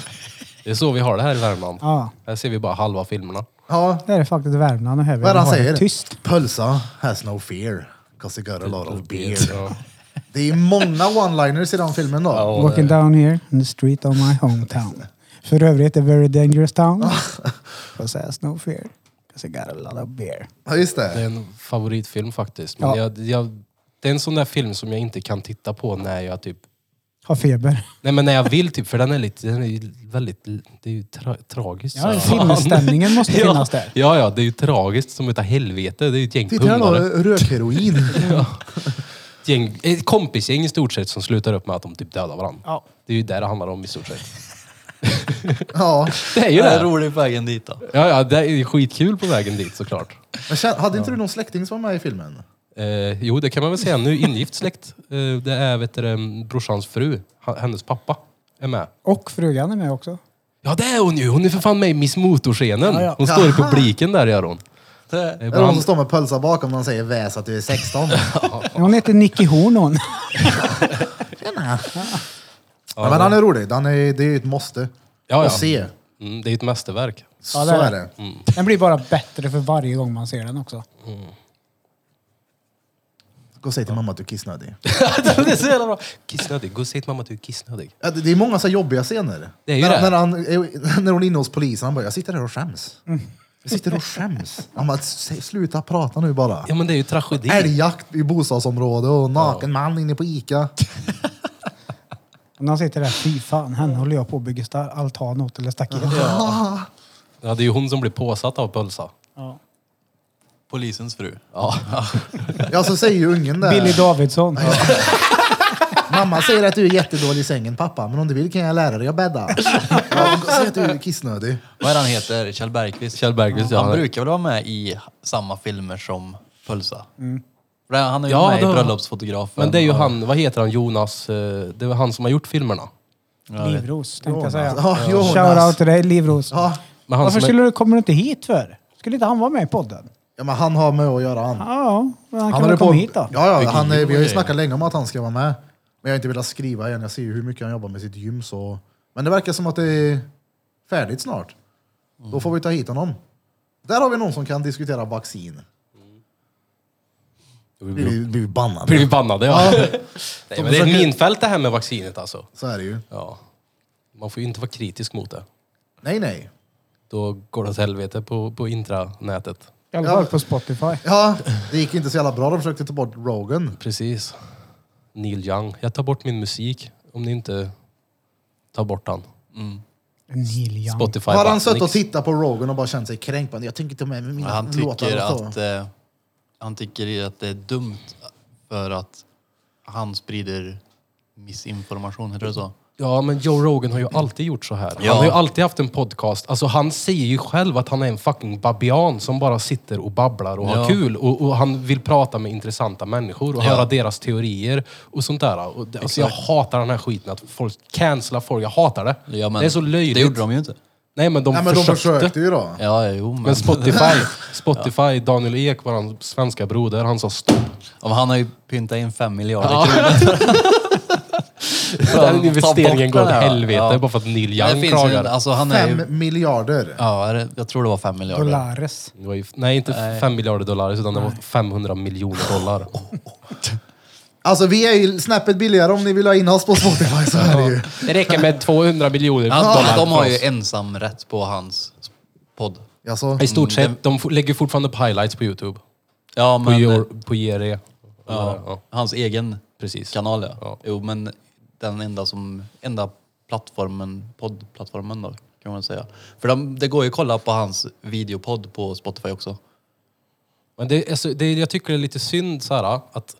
Speaker 3: Det är så vi har det här i Värmland.
Speaker 2: Ja.
Speaker 3: Här ser vi bara halva filmerna.
Speaker 1: ja,
Speaker 2: Det är faktiskt Värmland och här.
Speaker 1: vad är det han
Speaker 2: Vi har
Speaker 1: säger?
Speaker 2: det Tyst.
Speaker 1: Pölsa has no fear, cause he got a lot of beer.
Speaker 3: Alltså, Ja.
Speaker 1: Det är många one-liners i den filmen då.
Speaker 3: Ja,
Speaker 2: Walking down here in the street of my hometown. För övrigt, a very dangerous town. Possess no fear. Cause I got a lot of beer.
Speaker 1: Ja, just
Speaker 3: Det är
Speaker 1: det.
Speaker 3: en favoritfilm faktiskt. Men
Speaker 2: Ja.
Speaker 3: jag, jag, det är en sån där film som jag inte kan titta på när jag typ...
Speaker 2: Har feber.
Speaker 3: Nej men när jag vill typ, för den är lite, den är ju väldigt... Det är ju tra, tragiskt.
Speaker 2: Ja,
Speaker 3: så.
Speaker 2: sinnesstämningen måste
Speaker 3: Ja.
Speaker 2: finnas där.
Speaker 3: Ja, ja, det är ju tragiskt som utav helvete. Det är ju ett gäng
Speaker 1: Titta här då,
Speaker 3: pundare.
Speaker 1: rökheroin.
Speaker 3: Ett, gäng, ett kompisgäng i stort sett som slutar upp med att de typ dödar varandra.
Speaker 2: Ja.
Speaker 3: Det är ju det det handlar om i stort sett.
Speaker 1: Ja.
Speaker 3: Det är
Speaker 4: Det
Speaker 3: ju
Speaker 4: är
Speaker 3: det.
Speaker 4: roligt på vägen dit då.
Speaker 3: Ja, ja, det är ju skitkul på vägen dit såklart.
Speaker 1: Men kän- hade inte du någon släkting som var med i filmen?
Speaker 3: Eh, jo, det kan man väl säga. Nu ingift släkt. Eh, det är vet du, det, brorsans fru, ha- hennes pappa, är med.
Speaker 2: Och frugan är med också.
Speaker 3: Ja, det är hon ju! Hon är för fan med i Miss Motorscenen.
Speaker 2: Ja, ja.
Speaker 3: Hon står i
Speaker 1: Jaha.
Speaker 3: publiken där, gör hon. Det är
Speaker 1: Är det någon
Speaker 3: bland...
Speaker 1: som står med pölsa bakom och säger väs att du är 16?
Speaker 2: Hon heter Nicky Horn hon.
Speaker 1: Tjena. Ja, men han är rolig. Han är, det är ju ett måste.
Speaker 3: Ja, ja.
Speaker 1: Att se.
Speaker 3: mm, det Mm. är ju ett mästerverk.
Speaker 1: Så
Speaker 2: Ja, det är
Speaker 1: är
Speaker 2: det.
Speaker 1: det.
Speaker 2: Den blir bara bättre för varje gång man ser den också.
Speaker 1: Gå och säg till mamma att du är kissnödig.
Speaker 3: det är så jävla bra. Kissnödig. Gå och säg till mamma att du är kissnödig.
Speaker 1: Ja, det det är många så här jobbiga scener.
Speaker 3: Det är ju
Speaker 1: när,
Speaker 3: det.
Speaker 1: När, han, är- när hon är inne hos polisen, han bara “jag sitter här och skäms”.
Speaker 3: Mm.
Speaker 1: Jag sitter och skäms. Han bara "S- “sluta prata nu bara”.
Speaker 3: Ja, men det är ju tragedi.
Speaker 1: Älgjakt i bostadsområde och naken man inne på Ica.
Speaker 2: Och när han sitter där, fy fan, henne håller jag på att bygga sta- altan åt eller staket.
Speaker 3: Ja, det är ju hon som blir påsatt av Pölsa.
Speaker 2: Ja.
Speaker 4: Polisens fru.
Speaker 3: Ja.
Speaker 1: Ja, så säger ju ungen
Speaker 2: Billy
Speaker 1: där.
Speaker 2: Davidsson.
Speaker 1: Mamma säger att du är jättedålig i sängen pappa, men om du vill kan jag lära dig att bädda. Ja, och säg att du är kissnödig.
Speaker 4: Vad är han heter? Kjell Bergqvist?
Speaker 3: Kjell Bergqvist, ja.
Speaker 4: Han brukar väl vara med i samma filmer som Pölsa?
Speaker 1: Mm.
Speaker 4: För Han är ju
Speaker 3: Ja,
Speaker 4: med i
Speaker 3: det har-
Speaker 4: Bröllopsfotografen.
Speaker 3: Men det är ju
Speaker 4: och-
Speaker 3: han, vad heter han, Jonas? eh, Det var han som har gjort filmerna.
Speaker 4: Ja, jag vet.
Speaker 2: Livros tänkte jag säga.
Speaker 1: Ja, Jonas.
Speaker 2: Shout out till dig Livros.
Speaker 1: Ja,
Speaker 3: Men han
Speaker 2: Varför
Speaker 3: som är-
Speaker 2: skulle du, kommer du inte hit för? Skulle inte han vara med i podden?
Speaker 1: ja, men han har med att göra han.
Speaker 2: Ja, men han kan
Speaker 1: håller
Speaker 2: väl komma
Speaker 1: på-
Speaker 2: hit då?
Speaker 1: Ja, ja
Speaker 3: Vilken
Speaker 1: han, eh, vi har ju
Speaker 3: grej.
Speaker 1: snackat länge om att han ska vara med. Men jag har inte velat skriva igen. Jag ser ju hur mycket han jobbar med sitt gym. Så... Men det verkar som att det är färdigt snart. Då får vi ta hit honom. Där har vi någon som kan diskutera vaccin. Blir vi, blir vi
Speaker 3: Blir vi
Speaker 1: bannade?
Speaker 3: bannade ja. Nej,
Speaker 1: De
Speaker 3: men det är ett
Speaker 1: försöker-
Speaker 3: minfält det här med vaccinet alltså.
Speaker 1: Så är det ju.
Speaker 3: Ja. Man får ju inte vara kritisk mot det.
Speaker 1: Nej, nej.
Speaker 3: Då går det åt helvete på, på intranätet.
Speaker 2: I alla fall
Speaker 1: Ja.
Speaker 2: på Spotify.
Speaker 1: Ja, det gick inte så jävla bra. De försökte ta bort Rogan.
Speaker 3: Precis. Neil Young. Jag tar bort min musik om ni inte tar bort han.
Speaker 2: Neil Young.
Speaker 3: Spotify.
Speaker 1: Har
Speaker 3: bara,
Speaker 1: han suttit och
Speaker 3: nix.
Speaker 1: tittat på Rogan och bara känt sig kränkt? Jag tänker ta med mig mina
Speaker 4: Han
Speaker 1: låtar
Speaker 4: tycker
Speaker 1: och så.
Speaker 4: att... Eh, han tycker att det är dumt för att han sprider missinformation, heter det så?
Speaker 3: Ja, men Joe Rogan har ju alltid gjort så här.
Speaker 4: Ja.
Speaker 3: Han har ju alltid haft en podcast. Alltså han säger ju själv att han är en fucking babian som bara sitter och babblar och har
Speaker 4: Ja.
Speaker 3: kul. Och, och han vill prata med intressanta människor och
Speaker 4: Ja.
Speaker 3: höra deras teorier och sånt där. Och det, alltså jag hatar den här skiten att folk cancelar folk. Jag hatar det.
Speaker 4: Ja, men
Speaker 3: det är så löjligt.
Speaker 4: Det gjorde de ju inte.
Speaker 3: Nej, men de
Speaker 1: Nej, men de
Speaker 3: försökte.
Speaker 1: försökte ju då.
Speaker 4: Ja, jo, men...
Speaker 3: Men Spotify, Spotify Daniel Ek, vår svenska broder, han sa stopp.
Speaker 4: Ja, men han har ju pyntat in fem miljarder
Speaker 3: Ja.
Speaker 4: kronor.
Speaker 3: Den investeringen
Speaker 4: bort
Speaker 3: går åt
Speaker 4: den här.
Speaker 3: helvete
Speaker 4: Ja.
Speaker 3: bara för att Neil
Speaker 4: Det
Speaker 3: Young
Speaker 4: finns ju en,
Speaker 3: klagar.
Speaker 4: alltså han är ju,
Speaker 1: Fem miljarder.
Speaker 4: ja, är det- jag tror det var fem miljarder.
Speaker 2: Dolares.
Speaker 3: Det var ju- Nej, inte fem miljarder dollar, utan det var 500 miljoner dollar.
Speaker 4: Oh.
Speaker 1: Alltså vi är ju snäppet billigare om ni vill ha in oss på Spotify så är det ju.
Speaker 3: Det räcker med 200 miljoner
Speaker 4: Han,
Speaker 3: dollar.
Speaker 4: de, de har
Speaker 3: för
Speaker 4: ju
Speaker 3: oss.
Speaker 4: ensamrätt på hans podd.
Speaker 1: Alltså,
Speaker 3: I stort sett, de f- lägger fortfarande upp highlights på Youtube.
Speaker 4: Ja,
Speaker 3: På,
Speaker 4: Mm. men
Speaker 3: your, på JRE.
Speaker 4: ja,
Speaker 3: Ja.
Speaker 4: hans egen
Speaker 3: Precis.
Speaker 4: kanal ja.
Speaker 3: Ja.
Speaker 4: Jo, men den enda som, enda plattformen, poddplattformen då, kan man säga. För de, det går ju att kolla på hans videopodd på Spotify också.
Speaker 3: Men det, är så- det, är- jag tycker det är lite synd så här, att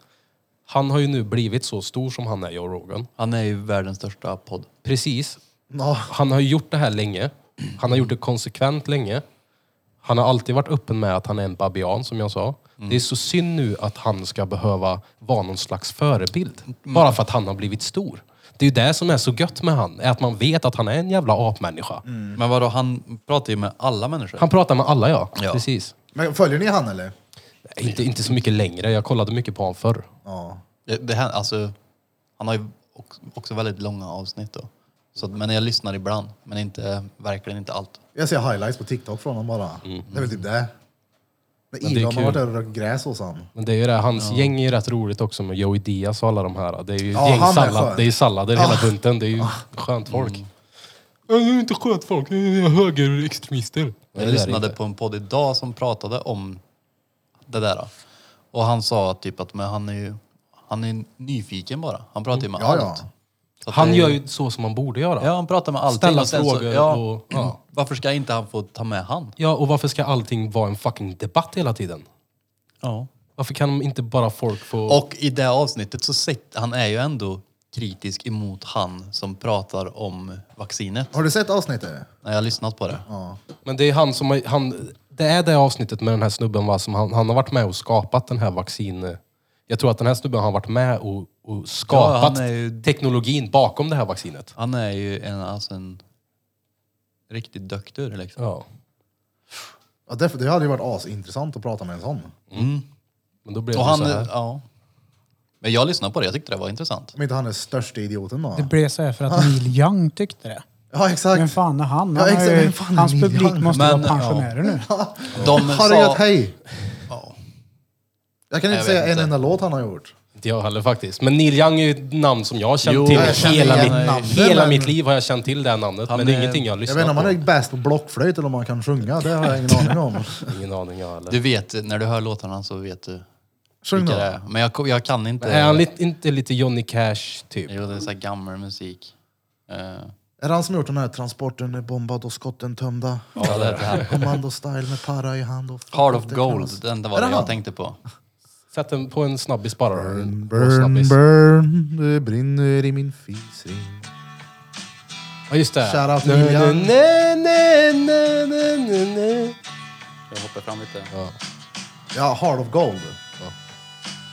Speaker 3: han har ju nu blivit så stor som han är, Joe Rogan.
Speaker 4: Han är ju världens största podd.
Speaker 3: Precis.
Speaker 1: ja,
Speaker 3: Han har ju gjort det här länge. Han har gjort det konsekvent länge. Han har alltid varit öppen med att han är en babian, som jag sa. Det är så synd nu att han ska behöva vara någon slags förebild. Bara för att han har blivit stor. Det är ju det som är så gött med han, är att man vet att han är en jävla apmänniska.
Speaker 4: Men vadå, han pratar ju med alla människor.
Speaker 3: Han pratar med alla, ja.
Speaker 4: Ja.
Speaker 3: Precis.
Speaker 1: men följer ni han eller?
Speaker 3: Inte, inte så mycket längre, jag kollade mycket på honom förr.
Speaker 1: Ja.
Speaker 4: Det, det, här- alltså, han har ju ox- också väldigt långa avsnitt. Då. Så, att- men jag lyssnar ibland, men inte, verkligen inte allt.
Speaker 1: Jag ser highlights på TikTok från honom bara. Det är väl typ det.
Speaker 3: det är
Speaker 1: När Elon har
Speaker 3: kul.
Speaker 1: varit där och rökt gräs hos honom.
Speaker 3: Men det är ju det, hans gäng är ju rätt roligt också med Joey Diaz och alla de här. Det är ju ett
Speaker 1: Ja,
Speaker 3: gäng
Speaker 1: han är
Speaker 3: sallad,
Speaker 1: skön.
Speaker 3: det är ju sallader
Speaker 1: Ah. Mm.
Speaker 3: hela bunten. Det är ju skönt folk. Jag är inte skönt folk, jag är högerextremister.
Speaker 4: Jag lyssnade på en podd idag som pratade om det där. då. Och han sa typ att men han är ju han är nyfiken bara. Han pratar ju med
Speaker 1: Ja, ja.
Speaker 4: allt. Så att
Speaker 3: Han
Speaker 4: det är-
Speaker 3: gör ju så som man borde göra.
Speaker 4: Ja,
Speaker 3: Ja,
Speaker 4: han pratar med allting.
Speaker 3: Ställa
Speaker 4: och sen
Speaker 3: frågor
Speaker 4: Så, ja,
Speaker 3: och- ja.
Speaker 4: Varför ska inte han få ta med han?
Speaker 3: och varför ska allting vara en fucking debatt hela tiden? Varför kan de inte bara folk få...
Speaker 4: Och i det avsnittet så sitter han är ju ändå kritisk emot han som pratar om vaccinet.
Speaker 1: Har du sett avsnittet?
Speaker 4: När jag har lyssnat på det.
Speaker 1: Ja.
Speaker 3: Men det är han som har- han, Det är det avsnittet med den här snubben va, som han, han har varit med och skapat den här vaccin... Jag tror att den här snubben har varit med och, och skapat
Speaker 4: han är ju-
Speaker 3: teknologin bakom det här vaccinet.
Speaker 4: Han är ju en, alltså en riktigt duktig liksom.
Speaker 3: Ja.
Speaker 1: Ja, det, det hade ju varit asintressant att prata med en sån.
Speaker 3: Men då blev
Speaker 4: Och
Speaker 3: det
Speaker 4: han,
Speaker 3: så här.
Speaker 4: ja. Men jag lyssnade på det, jag tyckte det var intressant.
Speaker 1: Om inte han är största idioten då.
Speaker 2: Det blev så här för att Neil Young tyckte det.
Speaker 1: Ja exakt.
Speaker 2: Vem fan är han?
Speaker 1: Ja,
Speaker 2: han har
Speaker 1: exakt.
Speaker 2: ju,
Speaker 1: Vem fan är
Speaker 2: hans
Speaker 1: Neil
Speaker 2: publik
Speaker 1: Young?
Speaker 2: måste
Speaker 4: Men,
Speaker 2: vara pensionärer nu.
Speaker 4: De
Speaker 1: Har du
Speaker 4: sa-
Speaker 1: gjort hej?
Speaker 4: Ja.
Speaker 1: Jag kan inte
Speaker 4: Jag vet
Speaker 1: säga en
Speaker 4: inte.
Speaker 1: enda låt han har gjort.
Speaker 3: Inte jag heller faktiskt. Men Neil Young är ju ett namn som jag har känt
Speaker 4: Jo,
Speaker 3: till.
Speaker 4: jag känner
Speaker 3: Hela,
Speaker 4: igen
Speaker 3: mitt,
Speaker 1: namnet,
Speaker 3: hela
Speaker 1: men-
Speaker 3: mitt liv har jag känt till det här namnet.
Speaker 4: Han
Speaker 3: men det är
Speaker 4: är-
Speaker 3: ingenting jag har
Speaker 1: Jag
Speaker 3: lyssnat
Speaker 1: vet inte om han är
Speaker 3: på.
Speaker 1: bäst på blockflöjt eller om han kan sjunga. Det har jag ingen aning om.
Speaker 3: Ingen aning jag heller.
Speaker 4: Du vet, när du hör låtarna så vet du
Speaker 1: Sjung
Speaker 4: vilka det
Speaker 1: då.
Speaker 4: är. Men jag, jag kan inte.
Speaker 3: Är han lite, inte lite Johnny Cash typ?
Speaker 4: Jo, det är så här gammal musik. Eh,
Speaker 1: Är det han som har gjort den här transporten är bombad och skotten tömda?
Speaker 4: ja, det är det här.
Speaker 1: Commando style med para i hand och...
Speaker 4: Heart of Gold, den var
Speaker 1: Är
Speaker 4: det
Speaker 1: det
Speaker 4: jag
Speaker 1: han?
Speaker 4: tänkte på.
Speaker 3: Sätt den på en snabbis bara. Burn,
Speaker 1: Burn, burn, det brinner i min fisring.
Speaker 3: Ja just det.
Speaker 1: Shout out
Speaker 3: Nö,
Speaker 1: Neil
Speaker 3: nö,
Speaker 1: Young.
Speaker 3: nö, nö, nö, nö, nö, nö.
Speaker 4: Jag hoppar fram lite.
Speaker 3: Ja,
Speaker 1: Ja, Heart of Gold.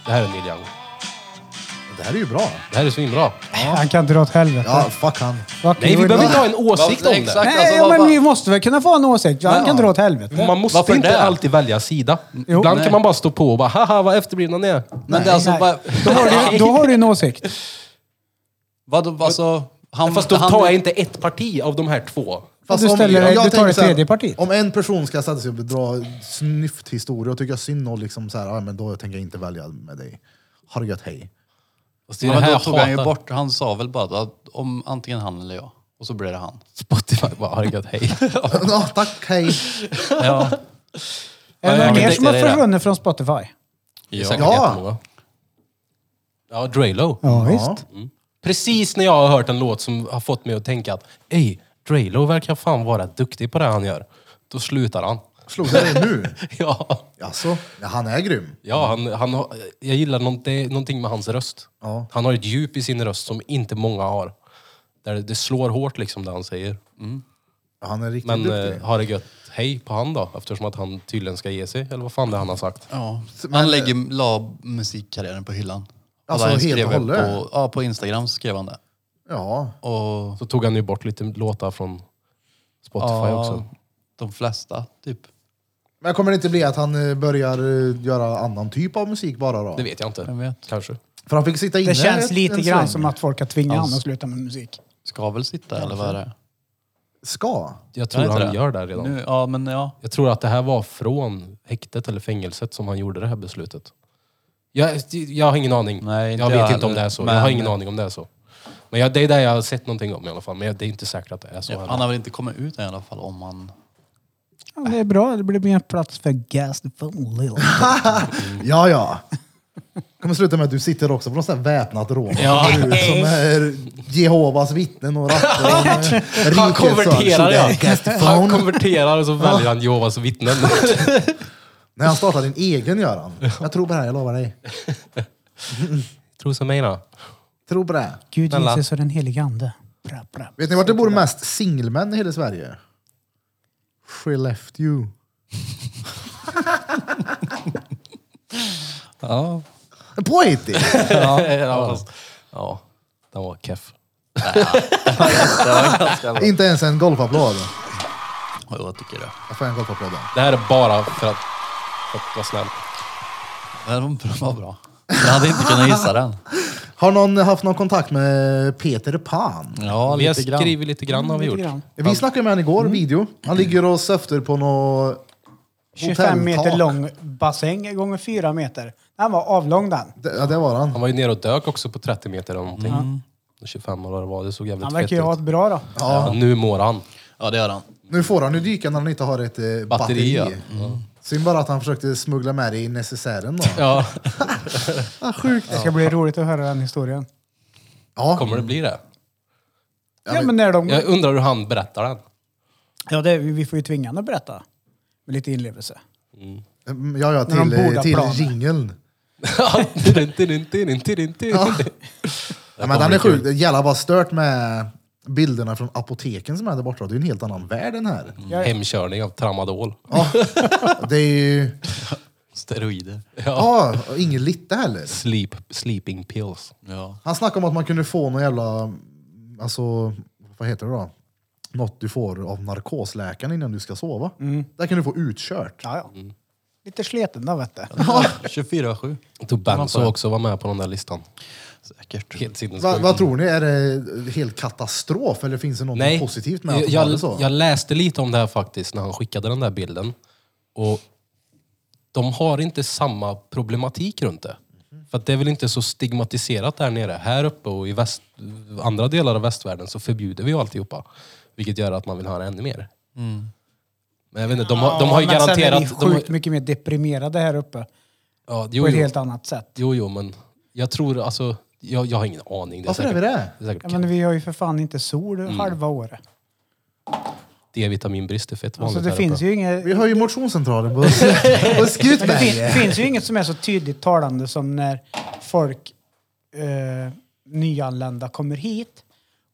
Speaker 3: det här är Neil Young.
Speaker 1: Det här är ju bra.
Speaker 3: Det här är svinbra.
Speaker 2: Han kan dra åt helvete.
Speaker 1: Ja, fuck han.
Speaker 2: Fuck
Speaker 3: Nej
Speaker 2: you.
Speaker 3: vi behöver inte ha en åsikt om
Speaker 4: Exakt.
Speaker 3: det.
Speaker 2: Nej,
Speaker 4: Alltså,
Speaker 2: ja,
Speaker 4: vad
Speaker 2: men
Speaker 4: fan-
Speaker 2: vi måste väl kunna få en åsikt. Han kan dra åt helvete.
Speaker 3: Man måste
Speaker 4: Varför
Speaker 3: inte
Speaker 4: det?
Speaker 3: alltid välja sida.
Speaker 2: Jo.
Speaker 3: Ibland
Speaker 4: Nej.
Speaker 3: kan man bara stå på och bara haha vad efterblivna ni är.
Speaker 4: Men det är alltså
Speaker 2: Nej.
Speaker 4: bara...
Speaker 2: Då har, du, då har du en åsikt.
Speaker 4: Vad, alltså, han,
Speaker 3: Fast då
Speaker 4: han,
Speaker 3: tar jag inte ett parti av de här två.
Speaker 1: Fast
Speaker 2: Du ställer dig-
Speaker 1: jag
Speaker 2: du tar
Speaker 1: tänker
Speaker 2: det
Speaker 1: så här,
Speaker 2: tredje partiet.
Speaker 1: Om en person ska sätta sig och dra snyfthistorier och tycka synd och liksom så här, ah, men då tänker jag inte välja med dig. Har det gött, hej.
Speaker 3: Fast det är
Speaker 4: Ja,
Speaker 3: det
Speaker 4: men
Speaker 3: här
Speaker 4: då
Speaker 3: jag
Speaker 4: tog han ju
Speaker 3: hatar.
Speaker 4: bort, han sa väl bara att om antingen han eller jag. Och så blev det han.
Speaker 3: Spotify bara, har det gött, hej.
Speaker 1: Ja, tack, hej.
Speaker 4: Ja.
Speaker 2: Är
Speaker 3: Ja,
Speaker 2: det någon
Speaker 3: men
Speaker 2: mer
Speaker 3: det-
Speaker 2: som
Speaker 3: det
Speaker 2: har
Speaker 3: är det.
Speaker 2: försvunnit från Spotify?
Speaker 3: Det är
Speaker 4: ja.
Speaker 3: säkert
Speaker 1: Ja.
Speaker 3: jättemånga. Ja, Draylo.
Speaker 2: Ja,
Speaker 1: Ja.
Speaker 2: visst.
Speaker 3: Precis när jag har hört en låt som har fått mig att tänka att ey, Draylo verkar fan vara duktig på det han gör. Då slutar han.
Speaker 1: Slog det dig nu?
Speaker 3: Ja,
Speaker 1: Jaså? Alltså, Ja, han är grym.
Speaker 3: ja han, han, har- jag gillar nånt- det är någonting med hans röst.
Speaker 1: Ja.
Speaker 3: Han har ett djup i sin röst som inte många har. Där det- det slår hårt liksom det han säger.
Speaker 1: Ja, Han är riktigt
Speaker 3: Men
Speaker 1: duktig.
Speaker 3: eh, har det gött hej på han då? Eftersom att han tydligen ska ge sig, eller vad fan det är han har sagt.
Speaker 4: Ja. Han lägger, la musikkarriären på hyllan. Och
Speaker 1: Alltså,
Speaker 4: han
Speaker 1: helt
Speaker 4: skrev
Speaker 1: och
Speaker 4: det
Speaker 1: hållet?
Speaker 4: På, ja, på Instagram skrev han det.
Speaker 1: Ja.
Speaker 4: Och
Speaker 3: Så tog han ju bort lite låtar från Spotify
Speaker 4: ja,
Speaker 3: också.
Speaker 4: de flesta, typ.
Speaker 1: Men kommer det inte bli att han eh, börjar eh, göra annan typ av musik bara då?
Speaker 3: Det vet jag inte.
Speaker 4: Vem vet?
Speaker 3: Kanske.
Speaker 1: För han fick sitta inne
Speaker 2: Det känns
Speaker 1: ett-
Speaker 2: lite
Speaker 1: en
Speaker 2: grann
Speaker 1: sväng.
Speaker 2: som att folk har tvingat
Speaker 4: Ja.
Speaker 2: honom att sluta med musik.
Speaker 4: Ska väl sitta eller vad är det?
Speaker 1: Ska?
Speaker 3: Jag tror
Speaker 4: Är det
Speaker 3: han
Speaker 4: inte
Speaker 3: gör det redan.
Speaker 4: Nu, ja, men ja.
Speaker 3: Jag tror att det här var från häktet eller fängelset som han gjorde det här beslutet. Jag, jag har ingen aning.
Speaker 4: Nej, inte
Speaker 3: jag vet
Speaker 4: jag
Speaker 3: inte om det är
Speaker 4: heller,
Speaker 3: så. Jag
Speaker 4: men-
Speaker 3: har ingen aning om det är så. Men jag, det är det jag har sett någonting om i alla fall. Men jag, det är inte säkert att det är så.
Speaker 4: Ja,
Speaker 3: heller.
Speaker 4: han har väl inte kommit ut än i alla fall om han...
Speaker 2: Ja, det är bra, det blir mer plats för Gas the Phone Lil.
Speaker 1: Ja, ja. kommer sluta med att du sitter också på något sånt här väpnat rån.
Speaker 3: Ja.
Speaker 1: Kommer ut Som är Jehovas vittnen och rattar.
Speaker 3: Han konverterar ja. Han
Speaker 1: ja.
Speaker 3: konverterar och så väljer han Jehovas vittnen.
Speaker 1: När han startar din egen gör han. Jag tror på det här, jag lovar dig.
Speaker 3: Tro som mig då.
Speaker 1: Tror på det. här.
Speaker 2: Gud,
Speaker 3: Snälla.
Speaker 2: Jesus och den helige ande. Bra, bra.
Speaker 1: Vet ni vart det bor mest singelmän i hela Sverige? Skellefteå.
Speaker 4: Ja.
Speaker 1: Poetiskt!
Speaker 3: Ja, fast- ja, den var keff.
Speaker 1: Inte ens en golfapplåd.
Speaker 4: Jag tycker det.
Speaker 1: Jag får en golfapplåd. då.
Speaker 3: Det här är bara för att, för att vara snäll.
Speaker 4: Men de var bra. Jag hade inte kunnat gissa den.
Speaker 1: Har någon eh, haft någon kontakt med Peter Pan?
Speaker 4: Ja,
Speaker 3: vi har
Speaker 4: lite grann. Mm,
Speaker 3: skrivit lite grann har vi gjort.
Speaker 2: Lite grann.
Speaker 1: Vi snackade med honom igår,
Speaker 2: Mm.
Speaker 1: video. Han ligger och söfter på något
Speaker 2: 25 meter
Speaker 1: hotelltak.
Speaker 2: lång bassäng gånger 4 meter. Den var avlång den.
Speaker 1: Det, ja, det var han.
Speaker 3: Han var ju nere och dök också på 30 meter eller någonting. 25 eller vad det var. Det såg jävligt
Speaker 2: Han
Speaker 3: fett
Speaker 2: verkar ju ha
Speaker 3: ut.
Speaker 2: ett bra då.
Speaker 3: Ja, nu mår han.
Speaker 4: Ja, det gör han.
Speaker 1: Nu får han ju dyka när han inte har ett eh, batteri. Mm.
Speaker 3: Batteri, ja.
Speaker 1: Synd bara att han försökte smuggla med det i necessären då.
Speaker 3: Ja,
Speaker 1: Ah, sjukt.
Speaker 2: Det ska bli roligt att höra den historien.
Speaker 1: Ja,
Speaker 3: kommer det bli det?
Speaker 2: Ja, men när de...
Speaker 3: Jag undrar hur han berättar den.
Speaker 2: Ja, det, vi får ju tvinga honom att berätta. Med lite inlevelse.
Speaker 1: Mm, ja, ja
Speaker 2: När de
Speaker 1: till, eh,
Speaker 2: bordar
Speaker 1: till
Speaker 2: planen.
Speaker 1: jingeln.
Speaker 3: Ja, tidin, tidin, tidin, tidin, tidin.
Speaker 1: Ja, men den är sjuk. Det är jävla bara stört med bilderna från apoteken som är där borta. Det är ju en helt annan värld än här.
Speaker 3: Hemkörning av tramadol.
Speaker 1: Ja, det är ju...
Speaker 4: Steroider.
Speaker 1: Ja, och ingen litte heller.
Speaker 3: Sleep, sleeping pills.
Speaker 4: Ja.
Speaker 1: Han snackade om att man kunde få någon jävla, alltså, vad heter det då? Något du får av narkosläkaren innan du ska sova. Där kan du få utkört.
Speaker 2: Ja, ja.
Speaker 3: Mm.
Speaker 2: Lite sleten då, vet du.
Speaker 4: 24-7.
Speaker 3: Tog Benzo också var med på den där listan.
Speaker 4: Säkert.
Speaker 3: Helt sinnessjukt.
Speaker 1: Va, vad tror ni? Är det helt katastrof eller finns det något
Speaker 3: Nej,
Speaker 1: positivt med att de har
Speaker 3: jag,
Speaker 1: det så?
Speaker 3: jag läste lite om det här faktiskt när han skickade den där bilden. Och de har inte samma problematik runt det. För att det är väl inte så stigmatiserat där nere. Här uppe och i väst, andra delar av västvärlden så förbjuder vi ju alltihopa. Vilket gör att man vill höra ännu mer.
Speaker 1: Mm.
Speaker 3: Men jag vet inte, de, har- de har ju
Speaker 2: Ja, men
Speaker 3: garanterat...
Speaker 2: Sen är vi
Speaker 3: de har,
Speaker 2: sjukt mycket mer deprimerade här uppe.
Speaker 3: ja, jo,
Speaker 2: på ett
Speaker 3: jo,
Speaker 2: helt annat sätt.
Speaker 3: jo, jo, men jag tror alltså... Jag, jag har ingen aning. Det är
Speaker 1: Varför
Speaker 3: säkert,
Speaker 1: är vi det?
Speaker 3: det är säkert
Speaker 2: Ja, men vi har ju för fan inte sol
Speaker 3: Mm.
Speaker 2: halva året.
Speaker 3: D-vitaminbrist är fett vanligt
Speaker 2: Alltså, det
Speaker 3: här
Speaker 2: finns
Speaker 3: uppe.
Speaker 2: ju inget...
Speaker 1: Vi har ju motionscentralen på, på
Speaker 2: Men det fin,
Speaker 1: Skutberget.
Speaker 2: finns ju inget som är så tydligt talande som när folk eh, nyanlända kommer hit.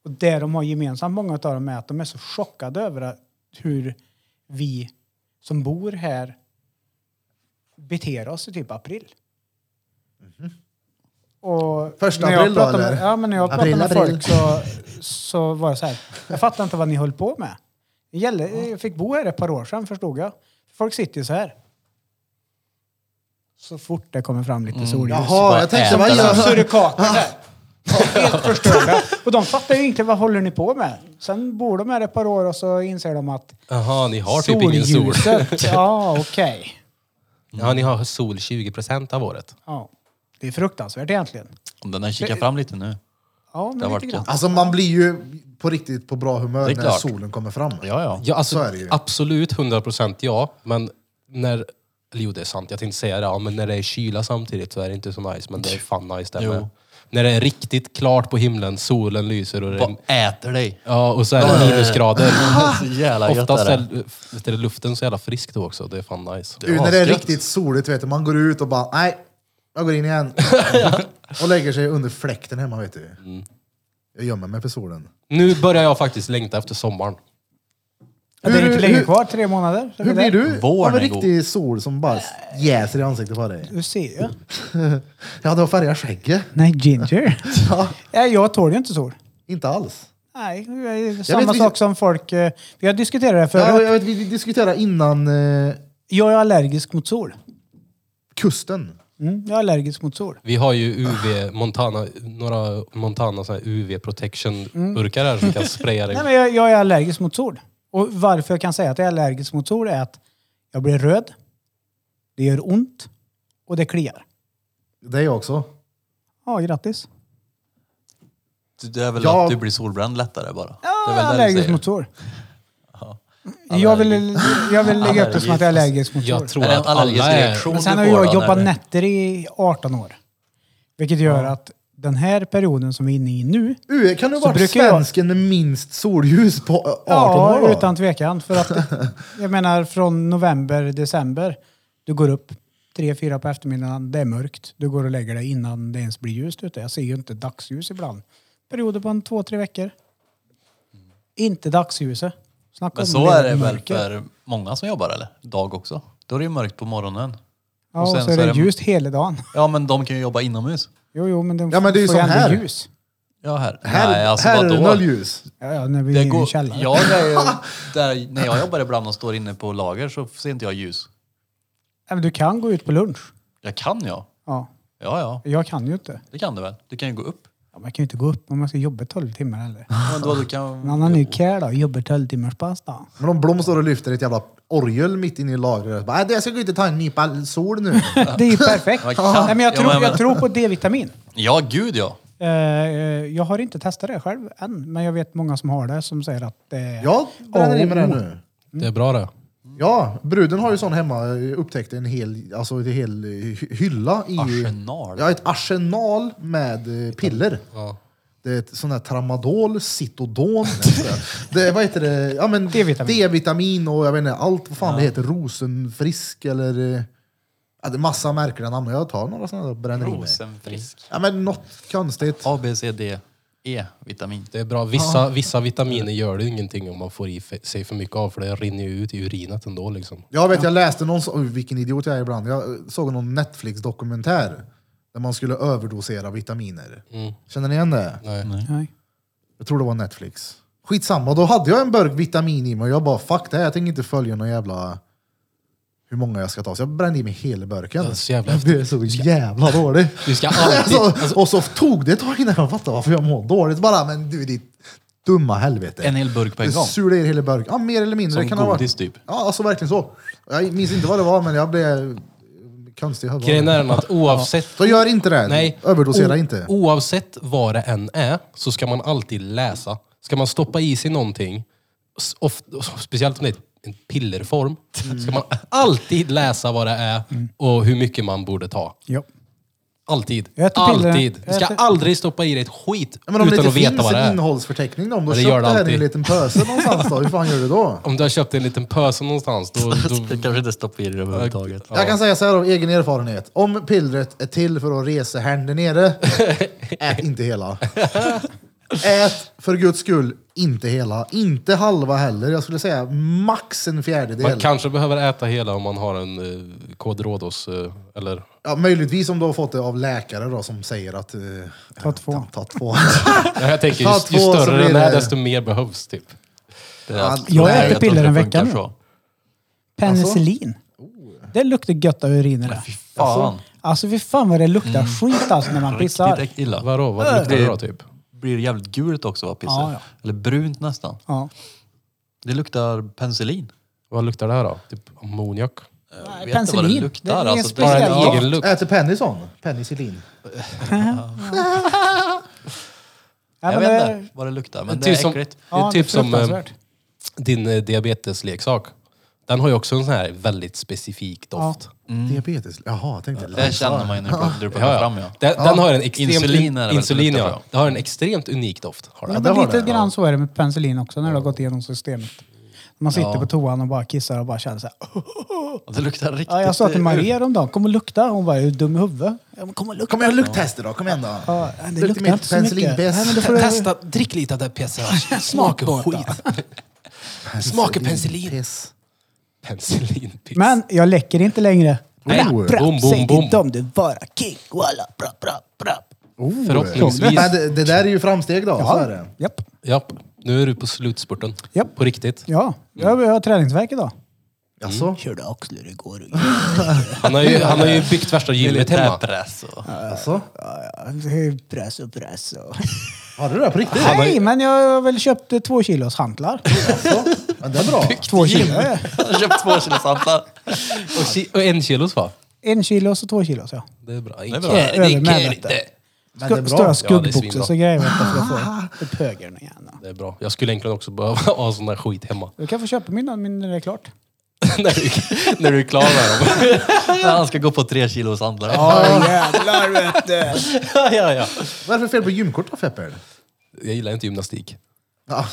Speaker 2: Och det de har gemensamt, många av dem, är att de är så chockade över att, hur vi som bor här beter oss i typ april. Och
Speaker 1: Mhm. Första
Speaker 2: när jag
Speaker 1: april då,
Speaker 2: pratar med,
Speaker 1: eller?
Speaker 2: Ja, men när jag pratar
Speaker 1: April,
Speaker 2: med
Speaker 1: april.
Speaker 2: folk så, så var det så här. Jag fattar inte vad ni höll på med. Det gällde, jag fick bo här ett par år sedan förstod jag. Folk sitter ju så här. Så fort det kommer fram lite solljus.
Speaker 1: Jaha, jag tänkte
Speaker 4: äta
Speaker 1: vad
Speaker 4: den.
Speaker 1: gör
Speaker 2: Surikater där. Helt förstörda. Och de fattar ju inte vad håller ni på med. Sen bor de här ett par år och så inser de att
Speaker 3: Jaha, ni har typ ingen sol.
Speaker 2: solljuset- Ja, okej.
Speaker 3: Ja, ni har sol 20 av året.
Speaker 2: Ja. Det är fruktansvärt egentligen.
Speaker 4: Om den här kikar fram lite nu.
Speaker 2: Ja, men
Speaker 4: Det har
Speaker 2: lite
Speaker 4: varit
Speaker 2: grann.
Speaker 4: gott.
Speaker 1: Alltså man blir ju på riktigt på bra humör
Speaker 4: Det är
Speaker 1: när
Speaker 4: klart.
Speaker 1: solen kommer fram.
Speaker 4: Ja, ja.
Speaker 3: Ja,
Speaker 1: Så
Speaker 3: alltså,
Speaker 1: är det ju.
Speaker 3: absolut 100 procent ja, men när... Eller jo, det är sant. Jag tänkte säga det. Ja, men när det är kyla samtidigt så är det inte så nice, men det är fan nice det
Speaker 4: Jo.
Speaker 3: med. När det är riktigt klart på himlen, solen lyser och det
Speaker 4: Vad
Speaker 3: är,
Speaker 4: äter dig?
Speaker 3: ja, och så är det minusgrader.
Speaker 4: Så jävla gött
Speaker 3: Oftast
Speaker 4: är det.
Speaker 3: är, vet du, luften så jävla frisk då också. Det är fan nice.
Speaker 1: Du, när det är
Speaker 4: asgött.
Speaker 1: riktigt soligt, vet du, man går ut och bara nej, jag går in igen. och lägger sig under fläkten hemma, vet du.
Speaker 4: Mm.
Speaker 1: Jag gömmer mig för solen.
Speaker 3: Nu börjar jag faktiskt längta efter sommaren.
Speaker 2: Ja, det är
Speaker 1: Hur-
Speaker 2: inte länge
Speaker 1: hur-
Speaker 2: kvar, tre månader. Så
Speaker 1: Hur
Speaker 2: det
Speaker 1: blir
Speaker 2: där-
Speaker 1: du
Speaker 4: Våren
Speaker 1: av en
Speaker 4: är god.
Speaker 1: riktig sol som bara jäser i ansiktet på dig?
Speaker 2: Du ser ju.
Speaker 1: Ja, du har färgat skägget.
Speaker 2: Nej, ginger. ja. Jag tål ju inte sol.
Speaker 1: Inte alls.
Speaker 2: Nej, det är samma
Speaker 1: vet, vi-
Speaker 2: sak som folk... eh, Vi har diskuterat det här
Speaker 1: Ja,
Speaker 2: förut.
Speaker 1: jag vet, vi diskuterade innan eh,
Speaker 2: Jag är allergisk mot sol.
Speaker 1: kusten.
Speaker 2: Mm, jag är allergisk mot sol.
Speaker 3: Vi har ju UV, Montana, några Montana såna här UV protection burkar här som kan spraya
Speaker 2: Nej,
Speaker 3: dig.
Speaker 2: men jag, jag är allergisk mot sol. Och varför jag kan säga att jag är allergisk mot sol är att jag blir röd, det gör ont och det kliar.
Speaker 1: Det är jag också.
Speaker 2: Ja, grattis.
Speaker 4: Det är väl
Speaker 1: Ja.
Speaker 4: att du blir solbränd lättare bara. det
Speaker 2: Jag
Speaker 4: är
Speaker 2: är
Speaker 4: väl det du
Speaker 2: allergisk
Speaker 4: säger.
Speaker 2: mot sol. Jag vill, jag vill lägga upp det som att jag är allergisk mot sol.
Speaker 3: Jag tror
Speaker 4: Är det en
Speaker 3: att
Speaker 4: allergisk
Speaker 3: alla är...
Speaker 4: reaktion
Speaker 2: Men sen
Speaker 4: du
Speaker 2: har
Speaker 4: får
Speaker 2: jag
Speaker 4: då,
Speaker 2: jobbat
Speaker 4: eller?
Speaker 2: nätter i 18 år. Vilket gör att den här perioden som vi är inne i nu,
Speaker 1: U, kan du
Speaker 2: Så
Speaker 1: vara
Speaker 2: brukar jag-
Speaker 1: svensken med minst solljus på eh, 18 år?
Speaker 2: ja,
Speaker 1: då?
Speaker 2: utan tvekan. För att, jag menar från november, december, du går upp tre, fyra på eftermiddagen, det är mörkt. Du går och lägger dig innan det ens blir ljust ute. Jag ser ju inte dagsljus ibland. Perioder på en två, tre veckor. Inte dagsljuset. Snacka
Speaker 4: Men
Speaker 2: om
Speaker 4: så är det väl
Speaker 2: mörker.
Speaker 4: för många som jobbar eller? Dag också. Då är det ju mörkt på morgonen.
Speaker 2: Ja, och så är det ljust hela dagen.
Speaker 4: Ja, men de kan ju jobba inomhus.
Speaker 2: Jo, jo, men de
Speaker 1: Ja, men det är ju
Speaker 2: får ju
Speaker 1: som
Speaker 2: ändå
Speaker 1: här.
Speaker 2: ljus.
Speaker 4: Ja, här.
Speaker 1: Här,
Speaker 4: Nej, alltså
Speaker 1: här är
Speaker 4: vadå?
Speaker 1: det noll ljus.
Speaker 2: Ja, ja, när vi är
Speaker 4: Det
Speaker 2: inne i
Speaker 4: går,
Speaker 2: källaren.
Speaker 4: ja, det är ju, där, när jag jobbar ibland och står inne på lager så ser inte jag ljus.
Speaker 2: Ja, men du kan gå ut på lunch.
Speaker 4: Jag kan ja.
Speaker 2: Ja.
Speaker 4: Ja, ja,
Speaker 2: Jag kan ju inte.
Speaker 4: det kan du väl? Du kan ju gå upp.
Speaker 2: Ja, man kan ju inte gå upp om man ska jobba 12 timmar heller.
Speaker 4: Men då, du
Speaker 2: En
Speaker 4: kan...
Speaker 2: annan är ju care då, jobbar 12 timmars pass då.
Speaker 1: Men om Blom står och lyfter ett jävla orgel mitt inne i lagret. Bara, "Äh, jag ska gå ut och ta en nypa sol nu.
Speaker 2: Det är ju perfekt.
Speaker 4: Ja,
Speaker 2: Nej, men jag,
Speaker 4: ja,
Speaker 2: tror,
Speaker 4: men-
Speaker 2: jag tror på D-vitamin.
Speaker 4: Ja, gud ja.
Speaker 2: Eh, eh, jag har inte testat det själv än, men jag vet många som har det som säger att det är...
Speaker 1: Jag bränner i mig det nu.
Speaker 3: Det är bra det.
Speaker 1: Ja, bruden har ju sån hemma. Jag Upptäckte en hel, alltså en hel eh, hy- hylla i...
Speaker 4: Arsenal.
Speaker 1: Ja, ett arsenal med eh, piller. Det är ett sån där tramadol, citodon. det, vad heter det? Ja, men
Speaker 2: D-vitamin.
Speaker 1: D-vitamin och jag vet inte allt vad fan det heter. Rosenfrisk eller... eh, Ja, det är massa märkliga namn. Jag tar några såna där och bränner i mig.
Speaker 4: Rosenfrisk.
Speaker 1: Ja, men något konstigt.
Speaker 4: A, B, C, D, E, E-vitamin.
Speaker 3: Det är bra. Vissa, vissa vitaminer gör det ju ingenting om man får i f- sig för mycket av för det rinner ju ut i urinet ändå liksom.
Speaker 1: Jag vet, jag läste någon, oj, vilken idiot jag är ibland. Jag eh, såg någon Netflix-dokumentär där man skulle överdosera vitaminer.
Speaker 3: Mm.
Speaker 1: Känner ni igen det?
Speaker 3: Nej.
Speaker 2: Nej.
Speaker 1: Jag tror det var Netflix. Skitsamma, då hade jag en burk vitamin i mig och jag bara fuck det här, jag tänker inte följa någon jävla hur många jag ska ta. Så jag brände i mig hela burken.
Speaker 3: Det är så jävla
Speaker 1: det är så jävla dåligt.
Speaker 3: Du ska alltid-
Speaker 1: alltså, och så tog det ett tag innan jag fattade varför jag mår dåligt. Bara, men du ditt dumma helvete.
Speaker 4: En hel burk på en
Speaker 1: Det
Speaker 4: gång.
Speaker 1: Sula i hela burken. Ja, mer eller mindre.
Speaker 4: Som
Speaker 1: det kan ha varit.
Speaker 4: godis, typ.
Speaker 1: Ja, alltså verkligen så. Jag minns inte vad det var, men jag blev konstig i huvudet.
Speaker 3: Grejen är den att oavsett...
Speaker 1: Så gör inte det.
Speaker 3: Nej.
Speaker 1: Överdosera
Speaker 3: O-
Speaker 1: inte.
Speaker 3: Oavsett vad det än är så ska man alltid läsa. Ska man stoppa i sig någonting, s- ofta, speciellt om det är en pillerform,
Speaker 1: Mm.
Speaker 3: ska man alltid läsa vad det är och hur mycket man borde ta.
Speaker 2: Jo.
Speaker 4: Alltså-
Speaker 3: Alltid.
Speaker 2: Jag äter piller.
Speaker 3: Alltid. Du
Speaker 2: Jag
Speaker 3: ska
Speaker 2: äter-
Speaker 3: aldrig stoppa i dig ett skit
Speaker 1: Ja, Men om
Speaker 3: utan
Speaker 1: det
Speaker 3: att
Speaker 1: inte
Speaker 3: veta
Speaker 1: finns
Speaker 3: vad det
Speaker 1: en
Speaker 3: är.
Speaker 1: innehållsförteckning då, om du
Speaker 3: Ja, det
Speaker 1: har
Speaker 3: gör
Speaker 1: köpt det
Speaker 3: det
Speaker 1: här i
Speaker 3: alltid.
Speaker 1: en liten pöse någonstans då, hur fan gör du då?
Speaker 3: Om du har köpt en liten pöse någonstans, då...
Speaker 4: Jag
Speaker 3: då
Speaker 4: kanske inte stoppa i det överhuvudtaget.
Speaker 1: Jag kan säga så här av egen erfarenhet. Om pillret är till för att resa här nere, ät inte hela. Ät för guds skull inte hela. Inte halva heller. Jag skulle säga max en
Speaker 3: man
Speaker 1: fjärdedel.
Speaker 3: kanske behöver äta hela om man har en eh, kod Rhodos, eh, eller...
Speaker 1: Ja, möjligtvis om du har fått det av läkare då, som säger att... eh,
Speaker 2: Ta två.
Speaker 1: Ta, ta två.
Speaker 3: Ja, Jag tänker, ju,
Speaker 1: Ta
Speaker 3: ju
Speaker 1: två så
Speaker 3: större
Speaker 1: blir
Speaker 3: den är,
Speaker 1: det-
Speaker 3: desto mer behövs typ.
Speaker 1: Jag
Speaker 4: tror
Speaker 2: äter
Speaker 4: inte
Speaker 2: piller
Speaker 4: det
Speaker 2: en vecka
Speaker 4: funkar
Speaker 2: nu.
Speaker 4: så.
Speaker 2: Penicillin.
Speaker 4: Oh.
Speaker 2: Det luktar gött av urin i det.
Speaker 4: Fan,
Speaker 2: Alltså fy fan vad det luktar skit alltså när man pissar.
Speaker 4: Mm. riktigt illa.
Speaker 3: Vadå, vad luktar det då typ?
Speaker 4: Blir jävligt gult också va, pisset?
Speaker 2: Ja, ja.
Speaker 4: Eller brunt nästan.
Speaker 2: Ja.
Speaker 4: Det luktar penicillin.
Speaker 3: Vad luktar det här då? Typ ammoniak?
Speaker 4: Jag vet inte vad det
Speaker 2: Penicillin. Det
Speaker 4: luktar.
Speaker 2: är en
Speaker 4: alltså, det är
Speaker 2: speciell
Speaker 3: Bara en
Speaker 2: doft.
Speaker 3: egen lukt.
Speaker 1: Äter Pennison? Penicillin?
Speaker 2: Ja,
Speaker 4: jag
Speaker 2: men
Speaker 4: vet
Speaker 2: det-
Speaker 4: inte vad det luktar, men
Speaker 3: Men
Speaker 4: det
Speaker 3: typ
Speaker 4: är
Speaker 3: som,
Speaker 4: äckligt.
Speaker 3: det är
Speaker 2: Ja,
Speaker 3: typ som eh,
Speaker 2: fruktansvärt.
Speaker 3: din eh, diabetesleksak. Den har ju också en sån här väldigt specifik doft.
Speaker 1: Diabetes? Jaha, jag tänkte...
Speaker 4: Det känner man ju när du plockar- du
Speaker 3: Ja,
Speaker 4: plockar
Speaker 3: ja.
Speaker 4: fram ja.
Speaker 3: Den, den har en extremt,
Speaker 4: Insulin är det väl
Speaker 3: insulin,
Speaker 4: som
Speaker 3: ja.
Speaker 4: luktar
Speaker 3: Den har en extremt unik doft. Har
Speaker 2: Ja,
Speaker 3: den.
Speaker 1: det
Speaker 2: men
Speaker 1: har
Speaker 2: lite
Speaker 1: det,
Speaker 2: grann så är det med penicillin också när det har gått igenom systemet. Man sitter
Speaker 4: Ja.
Speaker 2: på toan och bara kissar och bara känner så här.
Speaker 4: Och Det luktar riktigt...
Speaker 2: Ja, jag sa till
Speaker 4: eh, ur.
Speaker 2: Maria häromdagen, kommer lukta. Hon bara, är du dum i huvudet? Ja, men kommer lukta.
Speaker 1: Kom igen, lukttest då. Kom igen då.
Speaker 2: Ja, det
Speaker 1: Lukta
Speaker 2: luktar
Speaker 1: mitt
Speaker 2: inte så mycket.
Speaker 1: penicillinpiss.
Speaker 2: Nej, men då får du-
Speaker 3: drick lite av det PCH. Smaka skit. Smaka penicillin.
Speaker 1: Piss.
Speaker 3: Penicillinpiss.
Speaker 2: Men jag läcker inte längre.
Speaker 3: Nej,
Speaker 2: Bra,
Speaker 3: boom,
Speaker 2: bra,
Speaker 3: boom,
Speaker 2: Säg
Speaker 3: boom.
Speaker 2: inte om det bara king. Walla, bra, bra, bra.
Speaker 1: Oh.
Speaker 3: Förhoppningsvis.
Speaker 1: Men det, det där är ju framsteg då. Så är det.
Speaker 2: Japp.
Speaker 3: Japp, nu är du på slutspurten.
Speaker 2: Japp.
Speaker 3: På riktigt.
Speaker 2: Ja, jag, jag har träningsvärk idag.
Speaker 1: Jaså?
Speaker 2: Körde axlar igår.
Speaker 3: Han har ju, han har ju byggt värsta gymmet hemma.
Speaker 4: press och...
Speaker 1: Jaså?
Speaker 2: press och press och...
Speaker 1: Har du det på riktigt?
Speaker 2: Nej, men jag har väl köpt eh, två kilos hantlar.
Speaker 1: Jaså? Men det är bra.
Speaker 2: Två kilo. eh,
Speaker 4: Jag har köpt två kilo santlar.
Speaker 3: Och, ki- och en kilos va?
Speaker 2: En kilos och två kilos, ja.
Speaker 3: Det är bra.
Speaker 4: är bra.
Speaker 3: Icke-
Speaker 2: Över
Speaker 3: icke-
Speaker 2: medvete.
Speaker 3: det-
Speaker 1: Men det är
Speaker 2: Stora
Speaker 1: bra.
Speaker 2: skuggboxar
Speaker 3: svinbra.
Speaker 2: så grejer vet jag för att få upp högern igen.
Speaker 3: Det är bra. Jag skulle egentligen också behöva ha sån där skit hemma.
Speaker 2: Du kan få köpa min när min är klart.
Speaker 3: när, du, när du är klar med dem.
Speaker 4: När han ska gå på tre kilo sandlar.
Speaker 2: Ja jävlar vet du!
Speaker 3: ja, ja, ja.
Speaker 1: Ah. Vad är det för fel på gymkort då Feppel?
Speaker 3: Jag gillar inte gymnastik.
Speaker 1: Ja.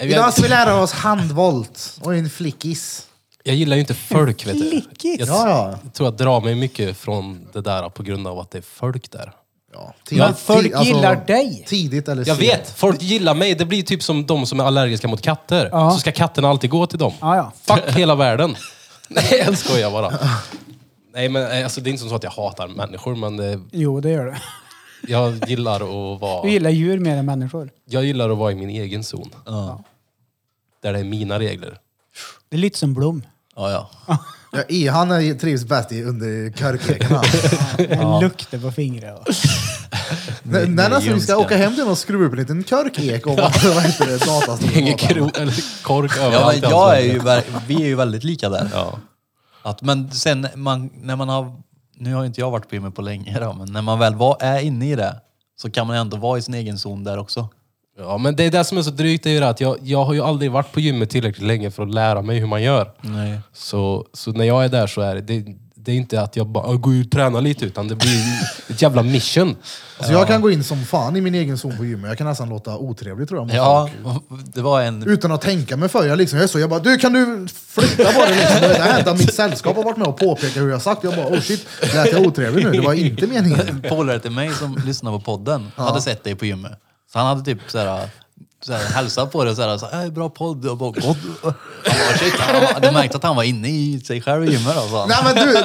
Speaker 1: Idag
Speaker 3: Jag,
Speaker 1: ska vi lära oss handvolt och en flickis.
Speaker 3: jag gillar ju inte folk vet du.
Speaker 2: Klickigt.
Speaker 3: Jag,
Speaker 1: Ja, ja.
Speaker 3: jag tror jag drar mig mycket från det där på grund av att det är folk där.
Speaker 1: ja. alltså,
Speaker 2: Men folk gillar dig.
Speaker 1: Tidigt eller
Speaker 3: Jag
Speaker 1: sent.
Speaker 3: vet, folk gillar mig. Det blir typ som de som är allergiska mot katter.
Speaker 2: Ja.
Speaker 3: Så ska katterna alltid gå till dem.
Speaker 2: Ja, ja.
Speaker 3: Fuck hela världen. Nej, jag skojar bara. Nej, men eh, alltså, det är inte som så att jag hatar människor, men eh,
Speaker 2: Jo, det gör du.
Speaker 3: jag gillar att
Speaker 2: Du
Speaker 3: vara...
Speaker 2: gillar djur mer än människor.
Speaker 3: Jag gillar att vara i min egen zon.
Speaker 4: Ja.
Speaker 3: Där det är mina regler.
Speaker 2: Det är lite som Blom.
Speaker 4: Ja, ja.
Speaker 1: Ja, i, han är- trivs bäst i under körkekarna.
Speaker 2: En lukter på fingret. och-
Speaker 1: Det det är nästan alltså, vi ska
Speaker 4: ljumsken.
Speaker 1: åka hem till honom och skruva upp en liten körkek om vad vad heter det,
Speaker 3: Det hänger
Speaker 1: datastolen.
Speaker 3: kro- eller kork
Speaker 4: ja
Speaker 3: överallt. i
Speaker 4: men
Speaker 3: hans
Speaker 4: jag är
Speaker 3: lägenhet.
Speaker 4: ju, ver- vi är ju väldigt lika där.
Speaker 3: Ja.
Speaker 4: Att, men sen man, när man har, nu har ju inte jag varit på gymmet på länge då, men när man väl var, är inne i det så kan man ändå vara i sin egen zon där också.
Speaker 3: Ja, men det är det som är så drygt, det är ju det att jag, jag har ju aldrig varit på gymmet tillräckligt länge för att lära mig hur man gör.
Speaker 4: Nej.
Speaker 3: Så, så när jag är där så är det, det, det är inte att jag bara "Ah, går ut och tränar lite, utan det blir ju ett jävla mission.
Speaker 1: Så Alltså, jag kan gå in som fan i min egen zon på gymmet. Jag kan nästan låta otrevlig tror jag. mot
Speaker 4: Ja,
Speaker 1: folk.
Speaker 4: det var en...
Speaker 1: Utan att tänka mig för. Jag, liksom, jag är så, jag bara, du kan du flytta på dig liksom? Det här händer, mitt sällskap har varit med och påpekat hur jag sagt. Jag bara, oh shit, lät jag otrevlig nu? Det var inte meningen.
Speaker 4: En polare till mig som lyssnade på podden hade sett dig på gymmet. Så han hade typ såhär, såhär hälsat på dig och såhär, så, äh, bra podd. Och bara, "God." han bara, shit, han, du märkte att han var inne i sig själv i gymmet då, sa han.
Speaker 1: Nej men du,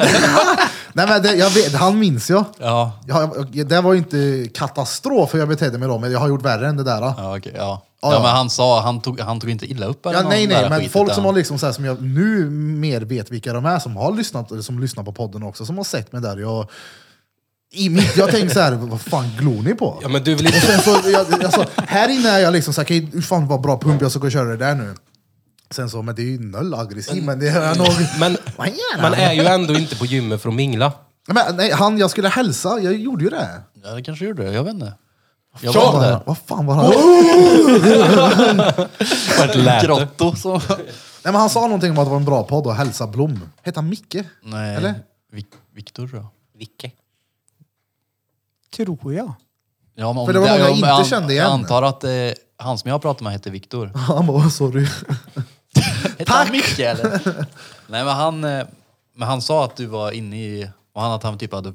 Speaker 1: Nej, men det, jag vet, han minns jag.
Speaker 4: Ja,
Speaker 1: Ja, jag- det var ju inte katastrof hur jag betedde mig då, men jag har gjort värre än det där. då.
Speaker 4: ja okej, ja.
Speaker 1: Ja,
Speaker 4: Ja,
Speaker 1: ja.
Speaker 4: men han sa, han tog, han tog inte illa upp eller
Speaker 1: Ja,
Speaker 4: någon
Speaker 1: nej,
Speaker 4: där
Speaker 1: nej, men
Speaker 4: skit,
Speaker 1: folk
Speaker 4: utan-
Speaker 1: som har liksom så här, som jag nu mer vet vilka de är, som har lyssnat, eller som lyssnar på podden också, som har sett mig där. Jag, i mitt, jag tänker så här, vad fan glor ni på?
Speaker 3: Ja, men du vill
Speaker 1: Och
Speaker 3: inte...
Speaker 1: sen så, jag, alltså, här inne är jag liksom såhär, okej, hur fan vad bra pump, jag ska gå och köra det där nu. Sen så, men det är ju noll aggressiv, men det är jag nog...
Speaker 3: Men
Speaker 1: Vad gör han?
Speaker 3: man är ju ändå inte på gymmet för att mingla.
Speaker 1: Men, nej, han, jag skulle hälsa, jag gjorde ju det.
Speaker 4: Ja, det kanske gjorde det. Jag vet inte. Jag
Speaker 1: Fan,
Speaker 4: var
Speaker 1: vad-
Speaker 4: där.
Speaker 1: Vad fan var han?
Speaker 3: För ett läte.
Speaker 4: Grotto som...
Speaker 1: Nej, men han sa någonting om att det var en bra podd och hälsa Blom. Hette han Micke?
Speaker 4: Nej.
Speaker 1: Eller?
Speaker 4: Vik- Viktor tror jag.
Speaker 2: Tror jag.
Speaker 4: Ja, men om
Speaker 1: För det var någon jag
Speaker 4: om-
Speaker 1: inte
Speaker 4: an-
Speaker 1: kände igen.
Speaker 4: Jag antar att eh, han som jag pratade med hette Viktor.
Speaker 1: Han bara, "Åh, sorry.
Speaker 4: Hette han Micke eller? Nej men han, eh, men han sa att du var inne i... Och han att han typ hade...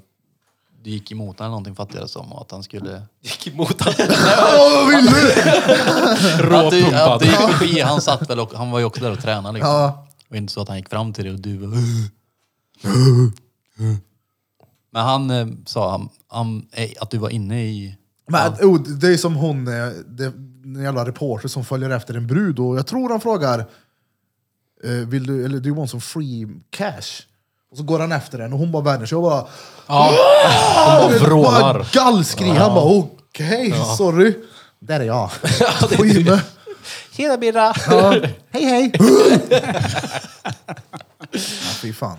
Speaker 4: Du gick emot eller någonting fattade jag det som. Och att han skulle...
Speaker 3: Gick emot att
Speaker 1: Åh, vad vill du?
Speaker 4: Att du, att
Speaker 3: råpumpad.
Speaker 4: du gick förbi. Han satt väl och... Han var ju också där och tränade liksom.
Speaker 1: Ja.
Speaker 4: Och inte så att han gick fram till dig och du bara... Men han eh, sa han, han, eh, att du var inne i...
Speaker 1: Men, oh, det är som hon, eh, det, den jävla reporter som följer efter en brud och jag tror han frågar eh, vill du, eller do you want some free cash? Och så går han efter den och hon bara vänder sig och bara,
Speaker 3: Ja,
Speaker 1: "Ah!"
Speaker 3: de bara vrålar.
Speaker 1: gallskri. Han bara okej, sorry. Där är jag. På gymmet.
Speaker 3: Tjena Birra!
Speaker 1: Ja. Hej hej! ja, fy fan.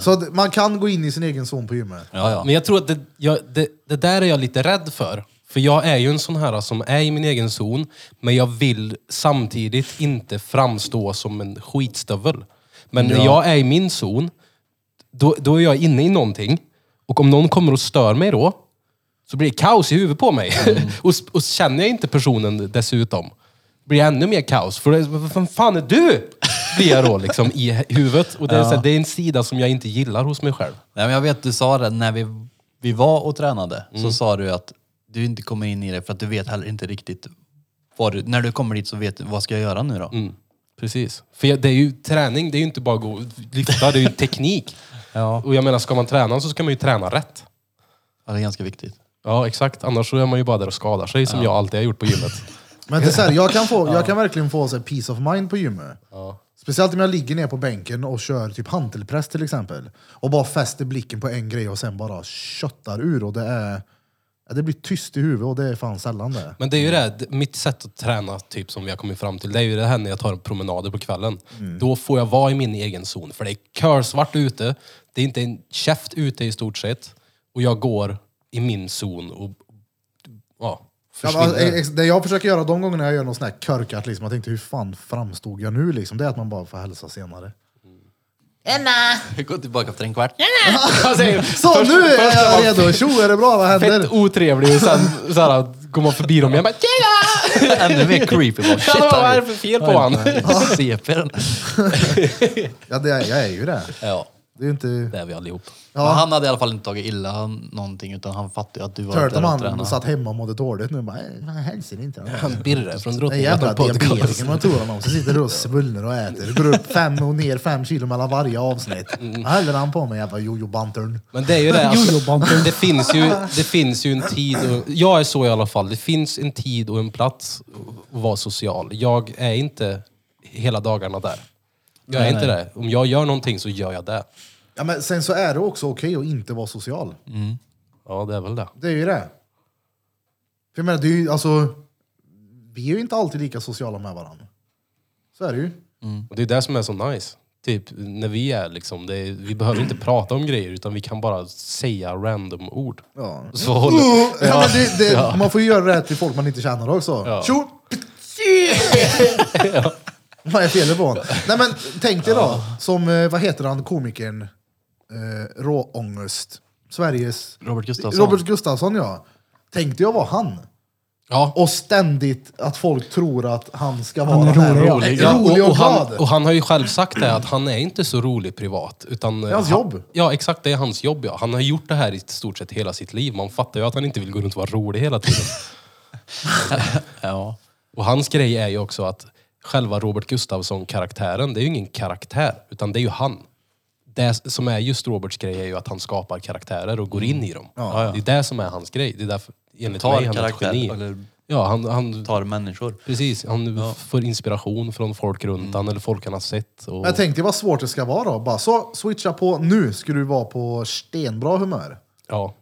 Speaker 1: Så att man kan gå in i sin egen zon på gymmet.
Speaker 4: Ja, ja.
Speaker 3: Men jag tror att det, jag, det, det där är jag lite rädd för. För jag är ju en sån här som är i min egen zon, men jag vill samtidigt inte framstå som en skitstövel. Men när jag är i min zon, då, då är jag inne i någonting. Och om någon kommer och stör mig då, så blir det kaos i huvudet på mig.
Speaker 4: Mm.
Speaker 3: och, s- och känner jag inte personen dessutom, blir det ännu mer kaos. För det, vad fan- fan är du? Blir jag då liksom i huvudet. Och det, är så här, det är en sida som jag inte gillar hos mig själv.
Speaker 4: Nej, men jag vet, du sa det när vi, vi var och tränade. Så sa du att du inte kommer in i det för att du vet heller inte riktigt vad du, När du kommer dit så vet du, vad ska jag göra nu då?
Speaker 3: Mm, precis. För jag- det är ju träning, det är ju inte bara gå och lyfta, det är ju teknik.
Speaker 4: Ja.
Speaker 3: Och jag menar, ska man träna så ska man ju träna rätt.
Speaker 4: ja, det är ganska viktigt.
Speaker 3: Ja, exakt. Annars så är man ju bara där och skadar sig, som jag alltid har gjort på gymmet.
Speaker 1: Men det är så här, jag, kan få, jag kan verkligen få så här, peace of mind på gymmet.
Speaker 3: Ja.
Speaker 1: Speciellt om jag ligger ner på bänken och kör typ hantelpress till exempel. Och bara fäster blicken på en grej och sen bara köttar ur. Och det, är, ja, det blir tyst i huvudet och det är fan sällan det.
Speaker 3: Men det är ju det, här, d- mitt sätt att träna, typ som vi har kommit fram till, det är ju det här när jag tar promenader på kvällen. Då får jag vara i min egen zon, för det är körsvart ute, det är inte en käft ute i stort sett, och jag går i min zon och ja,
Speaker 1: Ja,
Speaker 3: försvinner.
Speaker 1: men, alltså, ex- det jag försöker göra de gångerna jag gör något sånt här körkat, liksom, jag tänkte hur fan framstod jag nu? Liksom, det är att man bara får hälsa senare.
Speaker 4: Vi går tillbaka efter en kvart.
Speaker 1: Så nu är jag redo! Tjo, är det bra? Vad händer?
Speaker 3: fett otrevlig och sen så här, går man förbi dem och jag bara tjena!
Speaker 4: Ännu mer creepy. Bara, shit,
Speaker 3: Vad är det för fel på han?
Speaker 4: CP'n.
Speaker 1: Ja, det, är- jag är ju det.
Speaker 4: Ja,
Speaker 1: Det är ju inte...
Speaker 3: Det är vi allihop.
Speaker 1: Ja.
Speaker 4: Men han hade i alla fall inte tagit illa någonting utan han fattade ju att du var där och
Speaker 1: Turtleman
Speaker 4: tränade.
Speaker 1: och satt hemma och mådde dåligt nu. Bara, "Nej, Han hälsar inte. Han.
Speaker 3: Han Birre från
Speaker 1: Den jävla
Speaker 3: Drottninggatan podcast.
Speaker 1: diabetikern man tror honom. Så sitter du och svullnar och äter. Går upp fem och ner fem kilo mellan varje avsnitt. Vad häller han på med jävla jojo-bantern?
Speaker 3: Men det är ju det,
Speaker 2: Jojo-bomben.
Speaker 3: alltså, det, finns ju, det finns ju en tid, och, jag är så i alla fall, det finns en tid och en plats att vara social. Jag är inte hela dagarna där. Jag är inte det. Om jag gör någonting så gör jag det.
Speaker 1: Ja, men sen så är det också okej att inte vara social.
Speaker 3: Ja, det är väl det.
Speaker 1: Det är ju det. För jag menar, det är ju, alltså, vi är ju inte alltid lika sociala med varandra. Så är det ju.
Speaker 3: Och det är det som är så nice. Typ när vi är liksom, det är, vi behöver inte prata om grejer utan vi kan bara säga random ord.
Speaker 1: Ja.
Speaker 3: Så håller,
Speaker 1: Ja, men det, det, Man får ju göra det till folk man inte känner också.
Speaker 3: Ja.
Speaker 1: Tjo! Vad är felet på honom? Nej men tänk dig då, som, eh, vad heter han, komikern, eh, Råångest, Sveriges...
Speaker 4: Robert Gustafsson.
Speaker 1: Robert Gustafsson ja. Tänk dig att vara han.
Speaker 3: Ja.
Speaker 1: Och ständigt att folk tror att han ska vara
Speaker 2: är
Speaker 1: den här
Speaker 2: rolig, ja.
Speaker 1: rolig,
Speaker 3: Ja,
Speaker 1: rolig och,
Speaker 3: och, och, han,
Speaker 1: glad.
Speaker 3: och han har ju själv sagt det att han är inte så rolig privat. Utan, det
Speaker 1: är hans jobb.
Speaker 3: Ja, exakt. Det är hans jobb. Ja. Han har gjort det här i stort sett hela sitt liv. Man fattar ju att han inte vill gå runt och vara rolig hela tiden.
Speaker 4: Ja.
Speaker 3: och hans grej är ju också att själva Robert Gustafsson-karaktären, det är ju ingen karaktär, utan det är ju han. Det som är just Roberts grej är ju att han skapar karaktärer och går in i dem.
Speaker 1: Mm. Ja,
Speaker 3: Det är det som är hans grej. Det är därför, enligt
Speaker 4: Tar
Speaker 3: mig, han är ett
Speaker 4: karaktär,
Speaker 3: geni.
Speaker 4: eller-
Speaker 3: Ja, han, han,
Speaker 4: Tar människor.
Speaker 3: precis, han får inspiration från folk runt
Speaker 1: Mm.
Speaker 3: han eller folk han har sett. Och,
Speaker 1: Men tänk dig vad svårt det ska vara då. Bara så, switcha på, nu ska du vara på stenbra humör.
Speaker 3: ja.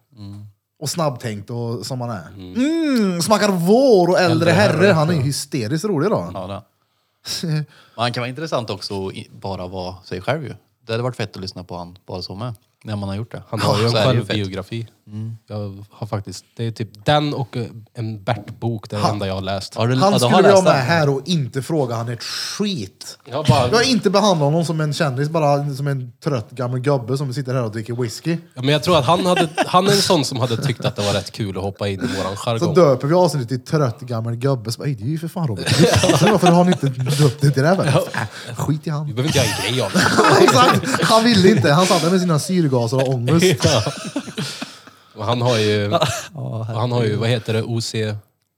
Speaker 1: och snabbtänkt och som han är. Mm, smakar vår och äldre, herre. Han är ju hysteriskt rolig då.
Speaker 4: Ja, det. Man kan vara intressant också att i- bara vara sig själv ju. Det hade varit fett att lyssna på han bara så med. När man har gjort det.
Speaker 3: Han har ju en
Speaker 4: Så är det fett.
Speaker 3: självbiografi. Jag har faktiskt, det är typ den och eh, en Bert-bok, det är det enda jag har läst.
Speaker 4: Har du, ja,
Speaker 1: Han
Speaker 4: du har
Speaker 1: skulle jag
Speaker 4: läst
Speaker 1: med
Speaker 4: den?
Speaker 1: här och inte fråga han ett skit.
Speaker 3: Jag bara,
Speaker 1: Jag har inte behandlat honom som en kändis, bara som en trött gammal gubbe som sitter här och dricker whisky.
Speaker 3: Ja, men jag tror att han, hade, han är en sån som hade tyckt att det var rätt kul att hoppa in i våran
Speaker 1: Så
Speaker 3: jargong.
Speaker 1: döper vi avsnittet till trött gammal gubbe. Så bara, "Ey, det är ju för fan Robert Gustafsson. Varför har ni inte döpt det till det? här? Bara, "Äh, Skit i
Speaker 3: Vi
Speaker 1: han.
Speaker 3: behöver inte göra en grej av det.
Speaker 1: Exakt. Han ville inte. Han satt där med sina syrgaser och ångest.
Speaker 3: Och Han har ju, och han har ju vad heter det, OC,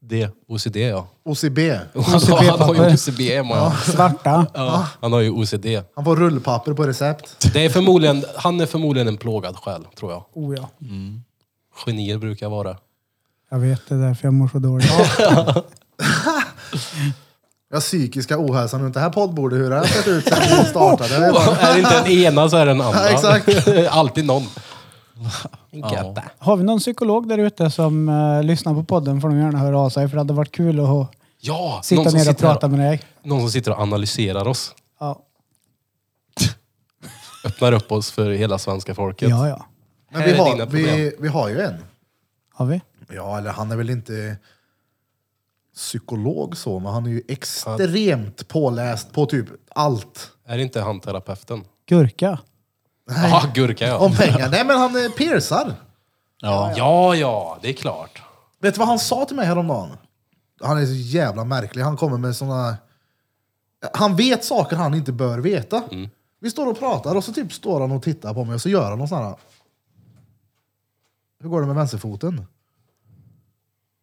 Speaker 4: Det.
Speaker 3: OCD ja.
Speaker 1: OCB.
Speaker 3: Han, han har ju
Speaker 2: papper.
Speaker 3: OCD ja.
Speaker 2: Svarta.
Speaker 3: ja. Han har ju OCD.
Speaker 1: Han får rullpapper på recept.
Speaker 3: Det är förmodligen, han är förmodligen en plågad själ, tror jag.
Speaker 2: Oh ja.
Speaker 3: Genier brukar vara
Speaker 2: Jag vet, det är därför jag mår så dåligt.
Speaker 1: Ja, psykiska ohälsan runt det här poddbordet, hur det har sett ut sen vi startade. Det är bara-
Speaker 3: Är det inte den ena så är det den andra.
Speaker 1: Ja, exakt.
Speaker 3: Alltid någon.
Speaker 4: Ja.
Speaker 3: Götta.
Speaker 2: Har vi någon psykolog där ute som eh, lyssnar på podden får de gärna höra av sig för det hade varit kul att
Speaker 3: Ja,
Speaker 2: sitta
Speaker 3: någon som,
Speaker 2: ner och
Speaker 3: sitter
Speaker 2: prata
Speaker 3: här,
Speaker 2: med dig.
Speaker 3: någon som sitter och analyserar oss.
Speaker 2: Ja,
Speaker 3: Öppnar upp oss för hela svenska folket.
Speaker 2: ja. ja.
Speaker 1: Men
Speaker 3: Här
Speaker 1: vi
Speaker 3: är
Speaker 1: har,
Speaker 3: dina
Speaker 1: vi,
Speaker 3: problem.
Speaker 1: vi har ju en.
Speaker 2: Har vi?
Speaker 1: Ja, eller han är väl inte psykolog så, men han är ju extremt påläst på typ allt.
Speaker 3: Är det inte han terapeuten?
Speaker 2: Gurka.
Speaker 3: Ja, gurka ja.
Speaker 1: Om pengar. Nej, men han eh, piercar.
Speaker 4: Ja.
Speaker 3: Ja, ja, det är klart.
Speaker 1: Vet du vad han sa till mig häromdagen? Han är så jävla märklig. Han kommer med såna... Han vet saker han inte bör veta. Vi står och pratar och så typ står han och tittar på mig och så gör han någon sån här... Hur går det med vänsterfoten?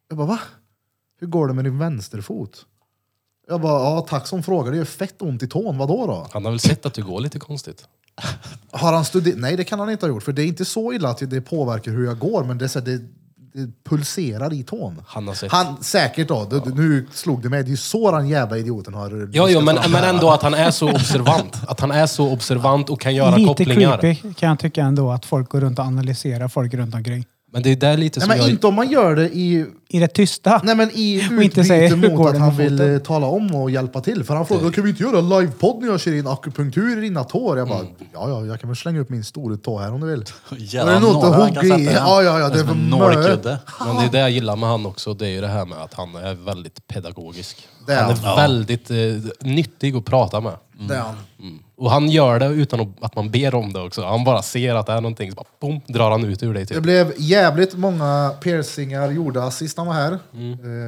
Speaker 1: Jag bara, va? Hur går det med din vänsterfot? Jag bara, ja tack som frågar. Det gör fett ont i tån. Vadå då?
Speaker 3: Han har väl sett att du går lite konstigt?
Speaker 1: Har han studerat? Nej, det kan han inte ha gjort. För det är inte så illa att det påverkar hur jag går, men det, är så här, det, det pulserar i tån.
Speaker 3: Han har sett.
Speaker 1: Han, säkert då. Du, Nu slog det mig. Det är ju så den jävla idioten har...
Speaker 3: Ja, ja men, men ändå att han är så observant. Att han är så observant och kan göra
Speaker 2: Lite
Speaker 3: kopplingar.
Speaker 2: creepy kan jag tycka ändå att folk går runt och analyserar folk runt omkring.
Speaker 3: Men det är där lite
Speaker 1: Nej,
Speaker 3: som
Speaker 1: men
Speaker 3: jag...
Speaker 1: inte om man gör det i...
Speaker 2: I det tysta.
Speaker 1: Nej men i
Speaker 2: Och inte
Speaker 1: utbyte
Speaker 2: säger, "Hur
Speaker 1: mot
Speaker 2: går
Speaker 1: att
Speaker 2: det
Speaker 1: han
Speaker 2: med
Speaker 1: vill
Speaker 2: foten?"
Speaker 1: eh, tala om och hjälpa till. För han frågade, kan vi inte göra en livepodd när jag kör in akupunktur i dina tår? Jag bara, ja ja, jag kan väl slänga upp min stora tå här om du vill.
Speaker 4: Jävlar,
Speaker 1: Men det är nog inte
Speaker 4: några han kan
Speaker 1: hugg i.
Speaker 4: sätta den.
Speaker 1: Ja, ja, ja, det är
Speaker 4: Som
Speaker 1: för
Speaker 4: en
Speaker 1: mö.
Speaker 4: nålkudde.
Speaker 3: Men det är det jag gillar med han också, det är ju det här med att han är väldigt pedagogisk.
Speaker 1: Det är
Speaker 3: han är
Speaker 1: han. Ja.
Speaker 3: väldigt eh, nyttig att prata med. Mm.
Speaker 1: Det är han.
Speaker 3: Och han gör det utan att- att man ber om det också. Han bara ser att det är någonting, så bara boom, drar han ut ur dig
Speaker 1: Det
Speaker 3: typ.
Speaker 1: blev jävligt många piercingar gjorda sist han var här. Eh,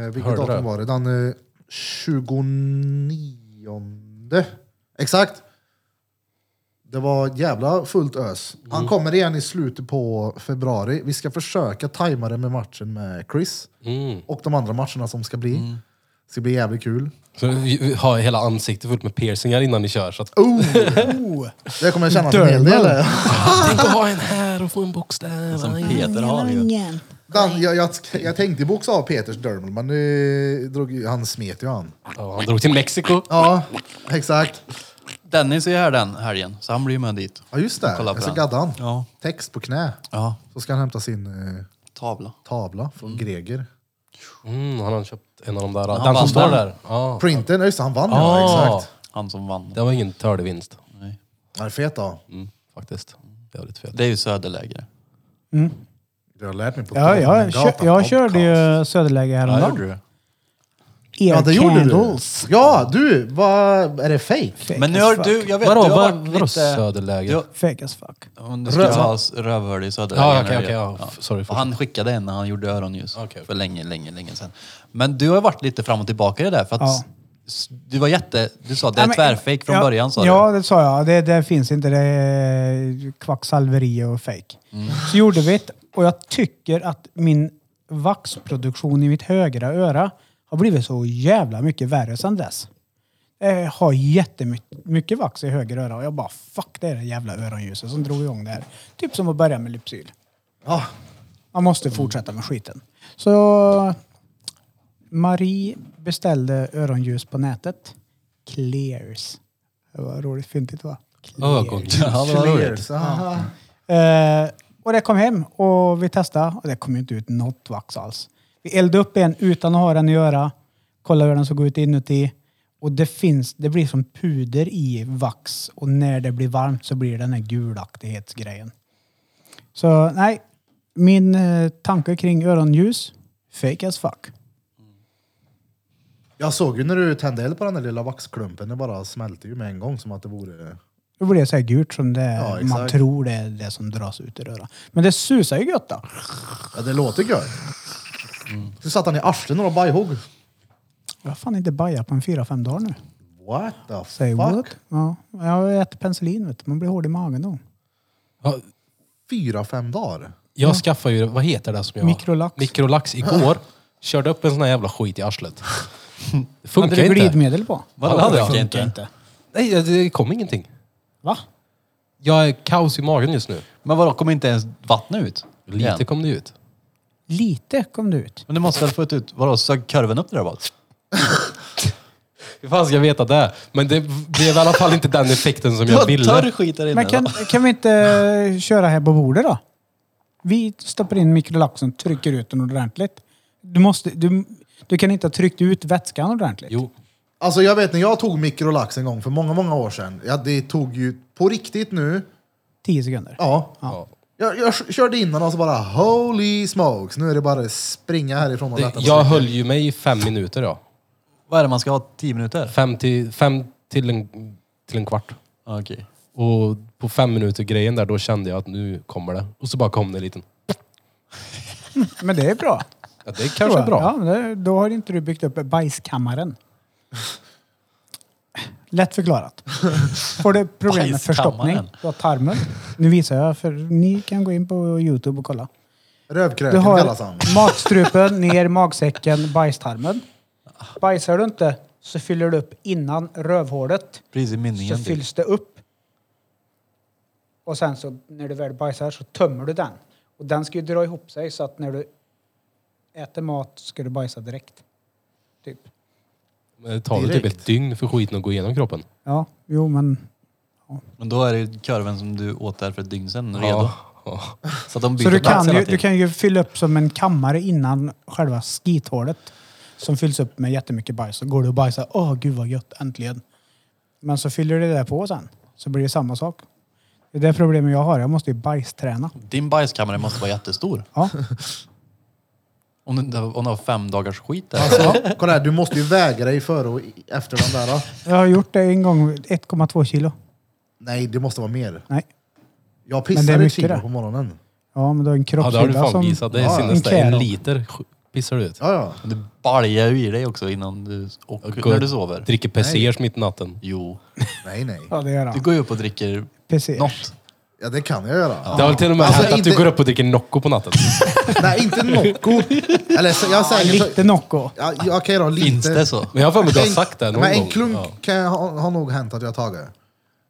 Speaker 1: vilket
Speaker 3: Mm. Hörde
Speaker 1: datum
Speaker 3: det.
Speaker 1: var det? Den eh, 29. Exakt. Det var jävla fullt ös.
Speaker 3: Mm.
Speaker 1: Han kommer igen i slutet på februari. Vi ska försöka tajma det med matchen med Chris.
Speaker 3: Mm.
Speaker 1: Och de andra matcherna som ska bli. Det ska bli jävligt kul.
Speaker 3: Så vi har hela ansiktet fullt med piercingar innan ni kör. Så att,
Speaker 1: Oh! Det kommer jag känna en hel
Speaker 2: Dermal.
Speaker 1: del.
Speaker 4: Ah!
Speaker 3: Tänk att ha en här och få en bokstav.
Speaker 4: Som Peter har ju.
Speaker 1: Dan, jag, jag, jag tänkte boxa av Peters dermal, men eh, drog, ju- han smet ju han.
Speaker 3: Ja, han drog till Mexiko.
Speaker 1: Ja, exakt.
Speaker 4: Dennis är här den helgen, så han blir ju med dit.
Speaker 1: Ja just det,
Speaker 4: Kolla på
Speaker 1: jag ska
Speaker 4: den.
Speaker 1: gadda han.
Speaker 4: Ja.
Speaker 1: Text på knä.
Speaker 4: Ja,
Speaker 1: Så ska han hämta sin eh,
Speaker 4: tavla.
Speaker 1: tavla från Greger.
Speaker 3: Mm, han har köpt en av de där.
Speaker 4: han
Speaker 3: den
Speaker 4: vann
Speaker 3: som står
Speaker 4: den.
Speaker 3: där. Ja.
Speaker 1: Printen, ja, just det, han vann
Speaker 3: Ah.
Speaker 1: ja. Exakt.
Speaker 4: Han som vann.
Speaker 3: Det var ingen tördevinst.
Speaker 4: Nej.
Speaker 1: Han är fet då.
Speaker 3: Mm, faktiskt. Jävligt fet.
Speaker 4: Det är ju söderläge.
Speaker 1: Du har lärt mig på
Speaker 2: Ja, jag,
Speaker 1: Drottninggatan
Speaker 2: kö- jag
Speaker 1: podcast.
Speaker 2: körde ju Söderläge
Speaker 4: Ja, gjorde
Speaker 2: häromdagen.
Speaker 4: du.
Speaker 2: Air
Speaker 1: Ja, det gjorde du.
Speaker 2: Candles.
Speaker 1: Ja, du, vad är det fake?
Speaker 2: Fake
Speaker 4: Men nu
Speaker 2: as
Speaker 4: har
Speaker 2: fuck.
Speaker 4: du, jag vet,
Speaker 3: Vadå,
Speaker 4: du har
Speaker 3: vad-
Speaker 4: varit
Speaker 3: vadå
Speaker 4: lite...
Speaker 3: söderläge?
Speaker 4: Du, har-
Speaker 2: Fake as fuck.
Speaker 4: om du ska
Speaker 1: Röv-
Speaker 4: ha s- rövhål i söderläge.
Speaker 3: Ja,
Speaker 4: när
Speaker 3: okej,
Speaker 4: du-
Speaker 3: okej, ja. F- sorry,
Speaker 4: Och han skickade en när han gjorde öronljus
Speaker 3: Okej.
Speaker 4: för länge, länge, länge sedan. Men du har ju varit lite fram och tillbaka i det där för att
Speaker 2: Ja.
Speaker 4: s- du var jätte... Du sa det är
Speaker 2: Nej, men-
Speaker 4: tvärfejk från
Speaker 2: ja,
Speaker 4: början sa
Speaker 2: Ja,
Speaker 4: du.
Speaker 2: det sa jag. Det, det finns inte. Det är kvacksalveri och fake.
Speaker 4: Mm.
Speaker 2: Så gjorde vi det. Och jag tycker att min vaxproduktion i mitt högra öra har blivit så jävla mycket värre sedan dess. Jag har jättemycket vax i höger öra och jag bara fuck det är det jävla öronljuset som drog igång det här. Typ som att börja med Lypsyl.
Speaker 1: Ja,
Speaker 2: Man måste fortsätta med skiten. Så Marie beställde öronljus på nätet. Clears. Det var roligt fyndigt va? Clears.
Speaker 3: Ögon.
Speaker 4: Ja, det var roligt.
Speaker 1: cheers. Ah.
Speaker 2: Eh, och det kom hem och vi testade och det kom ju inte ut något vax alls. Vi eldade upp en utan att ha den i öra. Kollade hur den såg ut inuti. Och det finns, det blir som puder i vax och när det blir varmt så blir det den här gulaktighetsgrejen. Så nej, min eh, tanke kring öronljus, fake as fuck.
Speaker 1: Jag såg ju när du tände eld på den där lilla vaxklumpen, det bara smälte ju med en gång som att det vore...
Speaker 2: Då blir det så här gult som det,
Speaker 1: Ja, exakt.
Speaker 2: man tror det är det som dras ut ur örat. Men det susar ju gött då.
Speaker 1: Ja, det låter gött.
Speaker 4: Mm.
Speaker 1: Du satt han i arslet några bajhugg.
Speaker 2: Jag har fan inte bajat på en fyra, fem dagar nu.
Speaker 1: What the
Speaker 2: Say
Speaker 1: fuck?
Speaker 2: what? Ja, jag äter penicillin vet du. Man blir hård i magen då.
Speaker 3: Ja,
Speaker 1: Fyra, fem dagar?
Speaker 3: Jag skaffade ju, vad heter det som jag...
Speaker 2: Mikrolax.
Speaker 3: Mikrolax igår. Körde upp en sån här jävla skit i arslet. Det
Speaker 2: Hade
Speaker 3: funkar
Speaker 2: du
Speaker 3: inte.
Speaker 2: glidmedel på?
Speaker 4: Vadå,
Speaker 3: Ja, det hade jag.
Speaker 4: funkar
Speaker 2: Funkar
Speaker 4: inte.
Speaker 3: Nej, det kom ingenting.
Speaker 2: Va?
Speaker 3: Jag är kaos i magen just nu.
Speaker 4: Men vadå, kom inte ens vattnet ut?
Speaker 3: Lite
Speaker 4: igen?
Speaker 3: kom det ut.
Speaker 2: Lite kom det ut.
Speaker 4: Men du måste väl få ett ut... Vadå, sög korven upp det där bara?
Speaker 3: Hur fan ska jag veta det? Men det blev i alla fall inte den effekten som
Speaker 4: Du
Speaker 3: jag
Speaker 4: har torr
Speaker 3: ville.
Speaker 4: skit där inne.
Speaker 2: Men kan,
Speaker 4: va?
Speaker 2: kan vi inte eh, köra här på bordet då? Vi stoppar in mikrolaxen, trycker ut den ordentligt. Du, måste, du, du kan inte ha tryckt ut vätskan ordentligt.
Speaker 3: Jo,
Speaker 1: Alltså jag vet när jag tog mikrolax en gång för många, många år sedan. Ja, det tog ju på riktigt nu.
Speaker 2: Tio sekunder.
Speaker 1: Ja.
Speaker 3: Ja.
Speaker 1: Jag, jag körde in den och så bara holy smokes. Nu är det bara springa härifrån och
Speaker 3: det,
Speaker 1: lätta på
Speaker 3: jag
Speaker 1: cykeln.
Speaker 3: höll ju mig i fem minuter ja.
Speaker 4: Vad är det man ska ha? Tio minuter?
Speaker 3: Fem till, fem till, en, till en kvart.
Speaker 4: Okej.
Speaker 3: Och på fem minuter grejen där, då kände jag att nu kommer det. Och så bara kom det en liten.
Speaker 2: Men det är bra.
Speaker 3: Ja, det kanske är bra.
Speaker 2: Ja, men det, då har inte du byggt upp bajskammaren. Lätt förklarat. Får du problem med förstoppning,
Speaker 4: Bajskammaren.
Speaker 2: du har tarmen. Nu visar jag, för ni kan gå in på Youtube och kolla. Du
Speaker 1: Rövkröken
Speaker 2: har
Speaker 1: kallas han.
Speaker 2: matstrupen, ner magsäcken, bajstarmen. Bajsar du inte så fyller du upp innan rövhålet.
Speaker 4: Precis i
Speaker 2: Så
Speaker 4: minningen. typ.
Speaker 2: fylls det upp. Och sen så när du väl bajsar så tömmer du den. Och den ska ju dra ihop sig så att när du äter mat ska du bajsa direkt. Typ.
Speaker 3: Men Det tar väl typ
Speaker 1: Direkt.
Speaker 3: ett dygn för skiten att gå igenom kroppen.
Speaker 2: Ja, jo men
Speaker 4: Men då är det ju korven som du åt där för ett dygn sedan redo.
Speaker 3: Ja, ja.
Speaker 4: Så att de byter
Speaker 2: Så du
Speaker 4: plats
Speaker 2: kan,
Speaker 4: hela
Speaker 2: ju, du
Speaker 4: tiden.
Speaker 2: kan ju fylla upp som en kammare innan själva skithålet som fylls upp med jättemycket bajs. Så går du och bajsar. Åh, gud vad gött, äntligen. Men så fyller du det där på sen, så blir det samma sak. Det är det problemet jag har. Jag måste ju bajsträna.
Speaker 4: Din bajskammare måste vara jättestor.
Speaker 2: Ja.
Speaker 4: Om du, inte- om du har fem dagars skit där.
Speaker 1: Alltså, kolla här, du måste ju väga dig före och i- efter den där. då.
Speaker 2: Jag har gjort det en gång, 1,2 kilo.
Speaker 1: Nej, det måste vara mer.
Speaker 2: Nej.
Speaker 1: Jag
Speaker 2: Men det är
Speaker 1: pissar ett
Speaker 2: mycket
Speaker 1: kilo
Speaker 2: det.
Speaker 1: på morgonen.
Speaker 2: Ja, men du har en
Speaker 3: ja, det har du
Speaker 2: kroppshydda
Speaker 3: fan
Speaker 2: som...
Speaker 3: visat. Det är
Speaker 1: Ja, ja.
Speaker 3: sinnes det. En
Speaker 2: Ikea.
Speaker 3: liter sk- pissar du ut.
Speaker 1: Ja, ja.
Speaker 4: Du baljar ju i dig också innan du, och
Speaker 3: Går-
Speaker 4: när du sover.
Speaker 3: Dricker persiers mitt i natten.
Speaker 4: Jo.
Speaker 1: Nej, nej.
Speaker 2: Ja, det gör han.
Speaker 4: Du går ju upp och dricker
Speaker 2: Precis.
Speaker 4: något.
Speaker 1: Ja, det kan jag göra.
Speaker 3: Det har väl till och med
Speaker 1: Alltså,
Speaker 3: hänt att du
Speaker 1: inte-
Speaker 3: går upp och dricker Nocco på natten.
Speaker 1: Nej, inte Nocco. Eller så- jag säger
Speaker 2: Lite Nocco.
Speaker 1: Ja, ja, okej då, lite.
Speaker 4: Finns det så?
Speaker 3: Men jag har för mig att du har
Speaker 1: En-
Speaker 3: sagt det någon
Speaker 1: Men en
Speaker 3: gång.
Speaker 1: klunk
Speaker 3: Ja.
Speaker 1: kan jag, ha- har nog hänt att jag har tagit.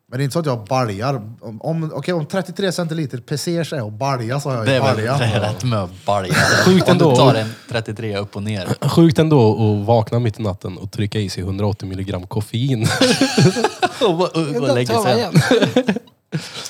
Speaker 1: Men det är inte så att jag baljar. Om, om, okej, om 33 centiliter pesers är att balja så har jag
Speaker 4: Det
Speaker 1: ju
Speaker 4: är väl det är
Speaker 1: balja.
Speaker 4: rätt med att balja.
Speaker 3: Sjukt
Speaker 4: Om du
Speaker 3: ändå.
Speaker 4: tar en 33 upp och ner.
Speaker 3: Sjukt ändå att vakna mitt i natten och trycka i sig 180 milligram koffein.
Speaker 4: Och, och, och, och lägger sig. hem.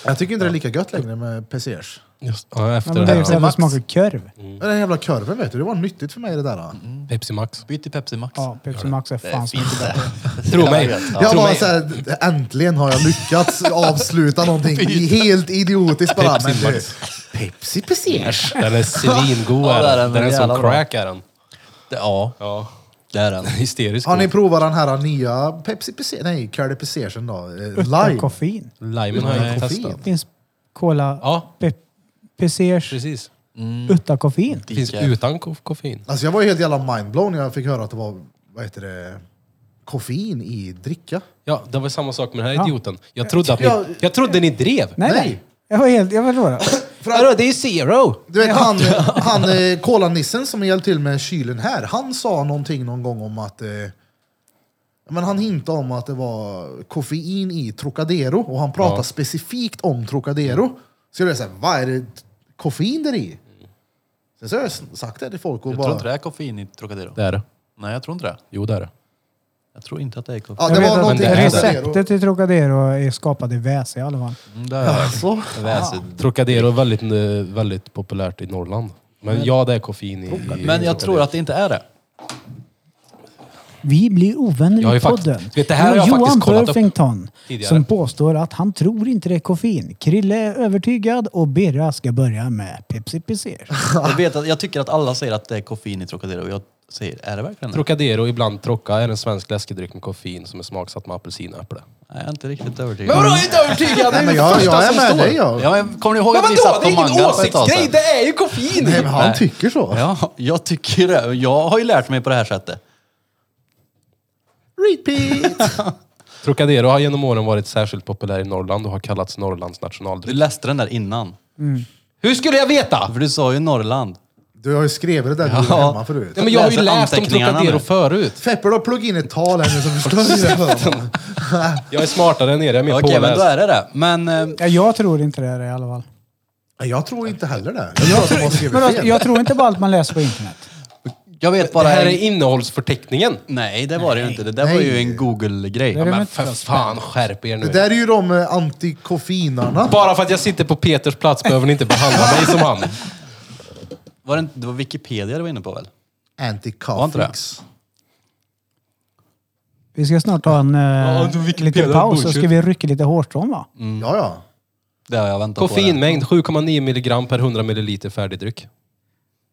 Speaker 1: Jag tycker inte det är lika gött längre med pesers.
Speaker 3: Just, ja,
Speaker 2: Ja,
Speaker 3: efter
Speaker 2: men
Speaker 3: det
Speaker 2: det är ju för
Speaker 3: här.
Speaker 2: att det
Speaker 1: Max.
Speaker 2: smakar korv.
Speaker 1: Men Den jävla kurven vet du, det var nyttigt för mig det där.
Speaker 3: Pepsi Max.
Speaker 4: Byt till Pepsi Max.
Speaker 2: Ja, Pepsi Max är
Speaker 4: Det
Speaker 2: fan så
Speaker 4: finns
Speaker 2: mycket
Speaker 4: det.
Speaker 2: bättre.
Speaker 3: Tro mig.
Speaker 1: Jag
Speaker 3: Tror
Speaker 1: bara
Speaker 3: mig.
Speaker 1: såhär, äntligen har jag lyckats avsluta någonting helt idiotiskt bara.
Speaker 3: Pepsi
Speaker 1: men du,
Speaker 3: Max.
Speaker 1: Pepsi pesers.
Speaker 3: Den är svingod
Speaker 4: Ja,
Speaker 3: är
Speaker 4: det är den.
Speaker 3: den. Den är
Speaker 4: Jävla
Speaker 3: som
Speaker 4: bra.
Speaker 3: crack är den.
Speaker 4: Det- Ja,
Speaker 3: Ja.
Speaker 4: det är den.
Speaker 3: Hysterisk.
Speaker 1: Har ni
Speaker 3: god.
Speaker 1: provat den här nya Pepsi pesers? Nej, Curly pesersen då? eh, Lime?
Speaker 2: Koffein.
Speaker 3: Limen har jag
Speaker 1: Nej.
Speaker 3: inte testat.
Speaker 2: Det finns cola,
Speaker 3: Ja, Mm.
Speaker 2: pe- pesers
Speaker 3: precis.
Speaker 2: utan koffein.
Speaker 3: Det finns
Speaker 4: Lika.
Speaker 3: utan ko- koffein.
Speaker 1: Alltså jag var ju helt jävla mindblown när jag fick höra att det var, vad heter det, koffein i dricka.
Speaker 3: Ja, det var samma sak med den här
Speaker 2: Ja.
Speaker 3: idioten. Jag trodde, att
Speaker 1: Ja.
Speaker 3: ni, jag trodde ni drev.
Speaker 2: Nej,
Speaker 1: Nej.
Speaker 2: nej. Jag var helt... Jag var då.
Speaker 3: Vadå, det är ju zero!
Speaker 1: Du vet han, han eh, kolanissen som hjälpte till med kylen här, han sa någonting någon gång om att eh, men han hintade om att det var koffein i Trocadero och han pratade
Speaker 3: Ja.
Speaker 1: specifikt om Trocadero. Så jag blev såhär, vad är det koffein där i? Sen så har jag s- sagt det till folk och
Speaker 4: Jag tror
Speaker 1: bara...
Speaker 4: inte det är koffein i Trocadero.
Speaker 3: Det är det.
Speaker 4: Nej, jag tror inte det.
Speaker 3: Jo, det är det.
Speaker 4: Jag tror inte att det är koffein.
Speaker 1: Ja,
Speaker 2: Jag
Speaker 1: det
Speaker 2: vet
Speaker 1: var
Speaker 2: att
Speaker 1: någonting i
Speaker 3: det är
Speaker 1: Trocadero.
Speaker 2: Receptet i Trocadero är skapat i väse i alla fall.
Speaker 4: Mm, det är
Speaker 1: Alltså,
Speaker 4: väsen.
Speaker 3: Trocadero är väldigt, eh, väldigt populärt i Norrland. Men ja, det är koffein i... i
Speaker 4: Men jag tror att det inte är det.
Speaker 2: Vi blir ovänner
Speaker 3: Jag har
Speaker 2: i
Speaker 3: ju fakt-
Speaker 2: podden.
Speaker 3: vet, det här har jag
Speaker 2: Johan
Speaker 3: faktiskt kollat upp
Speaker 2: Burfington
Speaker 3: tidigare.
Speaker 2: som påstår att han tror inte det är koffein. Krille är övertygad och Birra ska börja med Pepsi Pizzers.
Speaker 4: Jag, vet att, jag tycker att alla säger att det är koffein i Trocadero och jag säger, är det verkligen det?
Speaker 3: Trocadero, ibland Trocca, är en svensk läskedryck med koffein som är smaksatt med apelsin och äpple.
Speaker 4: Nej, jag är inte riktigt övertygad.
Speaker 3: Men vadå, jag är inte övertygad? Det
Speaker 1: Nej,
Speaker 3: är
Speaker 1: men
Speaker 3: ju
Speaker 1: jag,
Speaker 3: det
Speaker 1: jag
Speaker 3: första
Speaker 1: är
Speaker 3: som
Speaker 1: med
Speaker 3: står.
Speaker 1: dig jag.
Speaker 4: Ja, men, kommer ni ihåg
Speaker 3: Men
Speaker 4: att vi
Speaker 3: vadå, det
Speaker 4: satt på
Speaker 3: är ingen
Speaker 4: Mangal för ett tag
Speaker 3: åsiktsgrej,
Speaker 4: sedan?
Speaker 3: det är ju koffein!
Speaker 1: Nej, men han
Speaker 4: Nej.
Speaker 1: tycker så.
Speaker 4: Ja, jag tycker det. Jag har ju lärt mig på det här sättet.
Speaker 1: Repeat!
Speaker 3: Trocadero har genom åren varit särskilt populär i Norrland och har kallats Norrlands
Speaker 4: Du
Speaker 3: nationaldryck.
Speaker 4: läste den där innan.
Speaker 3: Hur skulle jag veta?
Speaker 4: För du sa ju Norrland.
Speaker 1: Du har ju skrivit det där ja.
Speaker 4: Ja.
Speaker 1: hemma förut.
Speaker 3: Nej, men jag har ju
Speaker 4: Läser
Speaker 3: läst om
Speaker 4: anteckningarna
Speaker 3: Trocadero
Speaker 4: nu.
Speaker 3: förut.
Speaker 1: Feppe, du har pluggat in ett tal här nu som förstör det här för mig.
Speaker 3: Jag är smartare än er, jag är mer
Speaker 4: Okej, men då
Speaker 3: påläst.
Speaker 4: är det det. Men eh,
Speaker 2: Ja, jag tror inte det är det i alla fall.
Speaker 1: Nej, Jag tror inte heller det. Jag tror att de har
Speaker 2: Men
Speaker 1: skrivit
Speaker 2: alltså,
Speaker 1: fel.
Speaker 2: jag tror inte på allt man läser på internet.
Speaker 4: jag vet
Speaker 3: Det
Speaker 4: bara...
Speaker 3: här är innehållsförteckningen.
Speaker 4: Nej, det var det ju inte. Det där var ju
Speaker 1: Nej.
Speaker 4: en Google-grej.
Speaker 2: Det är
Speaker 4: Ja,
Speaker 2: väl
Speaker 4: men-
Speaker 3: Men
Speaker 2: inte
Speaker 3: för
Speaker 2: så
Speaker 3: fan, skärp er
Speaker 1: Det
Speaker 3: nu.
Speaker 1: där är ju de eh, antikoffinarna.
Speaker 3: Bara för att jag sitter på Peters plats behöver ni inte behandla mig som han.
Speaker 4: Var det, inte, det var Wikipedia du var inne på väl? Var inte det?
Speaker 1: Antikofix.
Speaker 2: Vi ska snart ta en eh,
Speaker 3: du fick
Speaker 2: liten
Speaker 3: pilla
Speaker 2: paus och ska
Speaker 3: bullshit.
Speaker 2: vi rycka lite hårstrån va?
Speaker 1: Ja, ja.
Speaker 4: Det har jag väntat på.
Speaker 3: Koffeinmängd 7,9 milligram per 100 milliliter färdigdryck.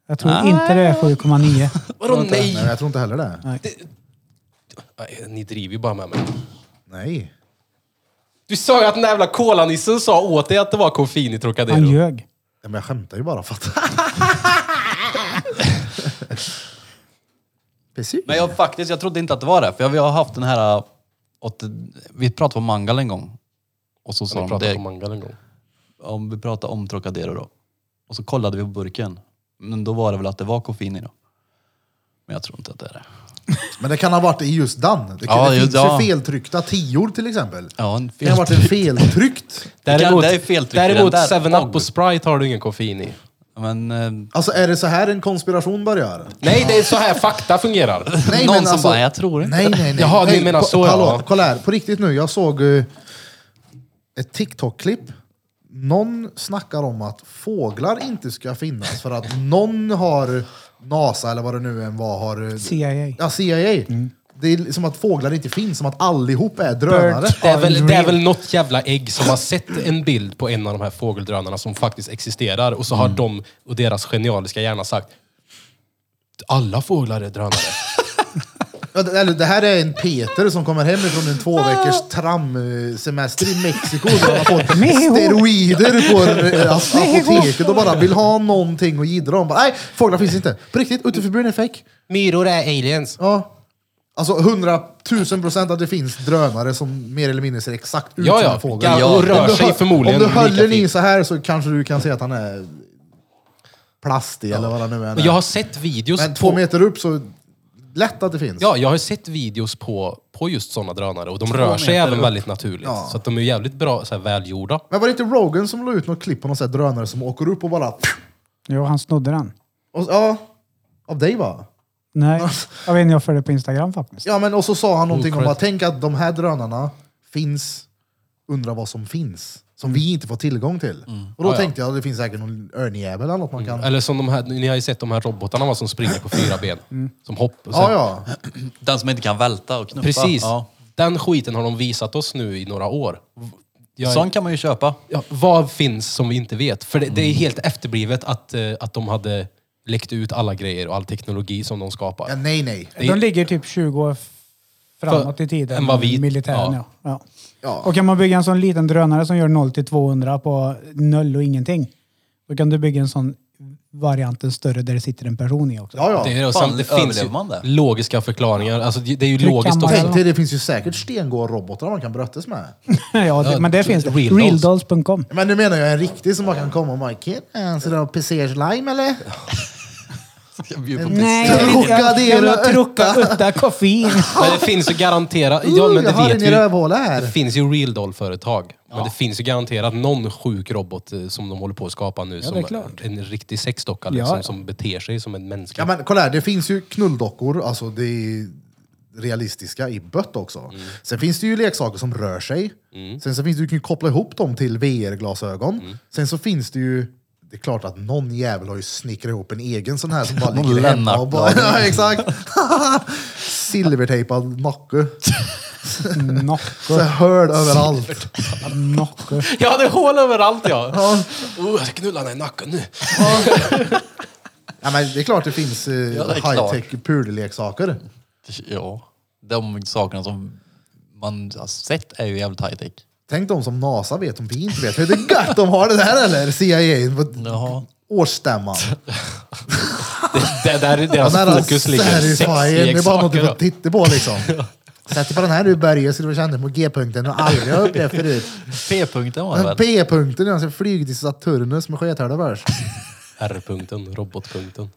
Speaker 2: Jag tror inte det är 7,9.
Speaker 3: Vadå nej?
Speaker 1: Nej, jag tror inte heller det. Nej.
Speaker 3: Nej, Ni driver ju bara med mig. Du sa ju att den där jävla kolanissen sa åt dig att det var koffein i
Speaker 2: Han
Speaker 3: Trocadero.
Speaker 2: ljög.
Speaker 1: Ja, Men jag skämtar ju bara, fatta. Precis.
Speaker 4: Men jag faktiskt, jag trodde inte att det var det. För jag- vi har haft den här... äh, Åt, vi pratade på Mangal en gång. Och så
Speaker 3: Som
Speaker 4: sa
Speaker 3: vi
Speaker 4: de,
Speaker 3: pratade
Speaker 4: det,
Speaker 3: om Mangal en gång.
Speaker 4: om vi pratade om Trocadero då. Och så kollade vi på burken. Men då var det väl att det var koffein i då. Men jag tror inte att det är det.
Speaker 1: Men det kan ha varit i just den. Det, kan,
Speaker 4: Ja,
Speaker 1: det
Speaker 4: ju-
Speaker 1: finns
Speaker 4: ja.
Speaker 1: ju feltryckta tior till exempel.
Speaker 4: Ja, en
Speaker 1: Det kan
Speaker 4: fel.
Speaker 1: ha varit en feltryckt.
Speaker 3: Däremot,
Speaker 4: det är feltryck i den
Speaker 3: däremot
Speaker 4: där.
Speaker 3: 7-Up och Sprite har du ingen koffein i.
Speaker 4: Men eh,
Speaker 1: Alltså är det så här en konspiration börjar?
Speaker 3: Nej, det är så här fakta fungerar.
Speaker 1: Nej,
Speaker 4: någon
Speaker 1: men
Speaker 4: som
Speaker 1: alltså-
Speaker 4: bara, jag tror inte.
Speaker 1: Nej, nej, nej.
Speaker 3: Jaha, ni
Speaker 1: nej,
Speaker 3: menar
Speaker 1: på-
Speaker 3: så, ja.
Speaker 1: Hallå, kolla här. På riktigt nu, jag såg eh, ett TikTok-klipp. Någon snackar om att fåglar inte ska finnas för att någon har NASA eller vad det nu än var har... eh,
Speaker 2: CIA.
Speaker 1: Ja, CIA.
Speaker 4: Mm.
Speaker 1: Det är som att fåglar inte finns, som att allihop är drönare.
Speaker 3: Det är, väl, det är väl något jävla ägg som har sett en bild på en av de här fågeldrönarna som faktiskt existerar och så har de och deras genialiska hjärna sagt alla fåglar är drönare.
Speaker 1: Ja, det- Eller, det här är en Peter som kommer hem ifrån en två veckors tramsemester i Mexiko. Där han har fått
Speaker 2: Mexico.
Speaker 1: steroider på eh, alltså,
Speaker 2: Mexico.
Speaker 1: apoteket och bara vill ha någonting att jiddra om. Bara, Nej, fåglar finns inte. På riktigt, utanför är fake.
Speaker 3: Myror är aliens.
Speaker 1: Ja. Alltså 100 procent att det finns drönare som mer eller mindre ser exakt ut
Speaker 3: Ja,
Speaker 1: som
Speaker 3: ja.
Speaker 1: en fågel.
Speaker 3: Ja, och rör
Speaker 1: Om du
Speaker 3: sig
Speaker 1: hö-
Speaker 3: förmodligen
Speaker 1: Om du höll
Speaker 3: lika
Speaker 1: den i
Speaker 3: fint.
Speaker 1: så här så kanske du kan se att han är plastig eller vad han nu än är.
Speaker 3: Men jag har sett videos
Speaker 1: Men
Speaker 3: på-
Speaker 1: två meter upp så Lätt att det finns.
Speaker 3: Ja, jag har ju sett videos på, på just sådana drönare och de
Speaker 4: Två
Speaker 3: rör sig
Speaker 4: meter
Speaker 3: även
Speaker 4: upp.
Speaker 3: väldigt naturligt.
Speaker 1: Ja.
Speaker 3: Så att de är ju jävligt bra, så här, välgjorda.
Speaker 1: Men var det inte Rogan som la ut något klipp på någon sån här drönare som åker upp och bara...
Speaker 2: Jo, han snodde den.
Speaker 1: Och, ja, av dig va?
Speaker 2: Nej, jag vet inte, jag följer på Instagram faktiskt.
Speaker 1: Ja, men och så sa han någonting om
Speaker 3: Okorrekt.
Speaker 1: att tänk att de här drönarna finns, undra vad som finns, som vi inte får tillgång till. Och då
Speaker 3: Mm. Ja, ja.
Speaker 1: tänkte jag att det finns säkert någon örnjävel eller något man kan...
Speaker 3: Eller som de här, ni har ju sett de här robotarna va, som springer på fyra ben. Som hopp. och så här-
Speaker 1: Ja, ja.
Speaker 4: Den som inte kan välta och knuffa.
Speaker 3: Precis.
Speaker 4: Ja.
Speaker 3: Den skiten har de visat oss nu i några år. Jag,
Speaker 4: Sån kan man ju köpa.
Speaker 3: ja, vad finns som vi inte vet? För det, det är helt efterblivet att, eh, att de hade läckt ut alla grejer och all teknologi som de skapar.
Speaker 1: ja. Nej, nej.
Speaker 3: Det-
Speaker 2: De ligger typ 20 år f- framåt i tiden.
Speaker 3: än vad vi-
Speaker 2: Militären,
Speaker 3: ja.
Speaker 2: ja. Ja.
Speaker 1: Ja.
Speaker 2: Och kan man bygga en sån liten drönare som gör 0 till 200 på noll och ingenting. Då kan du bygga en sån varianten större där det sitter en person i också.
Speaker 1: Ja, ja.
Speaker 3: Det, är, och
Speaker 4: Fan,
Speaker 3: sen, det finns ju
Speaker 4: överlever man det?
Speaker 3: logiska förklaringar. Alltså, det det är ju
Speaker 2: Trycka
Speaker 3: logiskt
Speaker 2: man-
Speaker 3: också.
Speaker 1: Tänk dig, det finns ju säkert stengå robotar man kan bröttes med.
Speaker 2: ja, det,
Speaker 3: Ja,
Speaker 2: men det finns det.
Speaker 3: Real Dolls.
Speaker 2: Realdolls.com.
Speaker 1: Men nu menar jag en riktig som bara kan komma och bara, "Kid, äh, så du har pesage lime eller?
Speaker 4: Jag bjuder på
Speaker 2: Nej,
Speaker 1: jag vill inte- jag-
Speaker 2: jag
Speaker 1: Trocadero jag vill ha
Speaker 2: utta koffein.
Speaker 3: Men det finns ju garanterat... Ja,
Speaker 1: Ooh,
Speaker 3: men det
Speaker 1: jag har
Speaker 3: vet
Speaker 1: den i
Speaker 3: vi ju.
Speaker 1: rövhåla här.
Speaker 3: Det finns ju real doll-företag. Men det finns ju garanterat någon sjuk robot eh, som de håller på att skapa nu.
Speaker 2: det
Speaker 3: som
Speaker 2: är klart.
Speaker 3: En riktig sexdocka
Speaker 2: Ja,
Speaker 3: liksom,
Speaker 2: ja.
Speaker 3: som beter sig som en mänsklig.
Speaker 1: Ja men kolla här, det finns ju knulldockor, alltså det är realistiska i bött också.
Speaker 4: Mm.
Speaker 1: Sen finns det ju leksaker som rör sig. Sen så finns det, du kan ju koppla ihop dem till VR-glasögon.
Speaker 4: Mm.
Speaker 1: Sen så finns det ju, det är klart att någon jävel har ju snickrat ihop en egen sån här som bara
Speaker 4: Någon
Speaker 1: ligger hemma och bara,
Speaker 4: Lennart-blad.
Speaker 1: ja, exakt. Silvertejpad nacke. Så
Speaker 2: Nockor,
Speaker 1: hörd överallt.
Speaker 2: nockor.
Speaker 3: Ja, det är hål överallt ja. oh, jag ska knulla den i nacken nu.
Speaker 1: Ja, men det är klart det finns eh,
Speaker 4: det är
Speaker 1: high-tech pudelleksaker.
Speaker 4: Ja. De sakerna som man har sett är ju jävligt high tech.
Speaker 1: Tänk de som NASA vet om vi inte vet. Hur det är gött de har det där eller? CIA. på
Speaker 4: Jaha.
Speaker 1: Årsstämman.
Speaker 3: Det det där är
Speaker 1: Den
Speaker 3: deras
Speaker 1: alltså, här
Speaker 3: Alltså, fokus ligger.
Speaker 1: satisfyern, det är bara något du
Speaker 3: Sexleksaker.
Speaker 1: får titta på liksom. Sätt dig på den här du Börje så du känner på G-punkten. Du har aldrig har upplevt förut.
Speaker 4: P-punkten var det
Speaker 1: Den
Speaker 4: väl?
Speaker 1: P-punkten, alltså flyg till Saturnus med skethörda bärs.
Speaker 3: R-punkten, robotpunkten.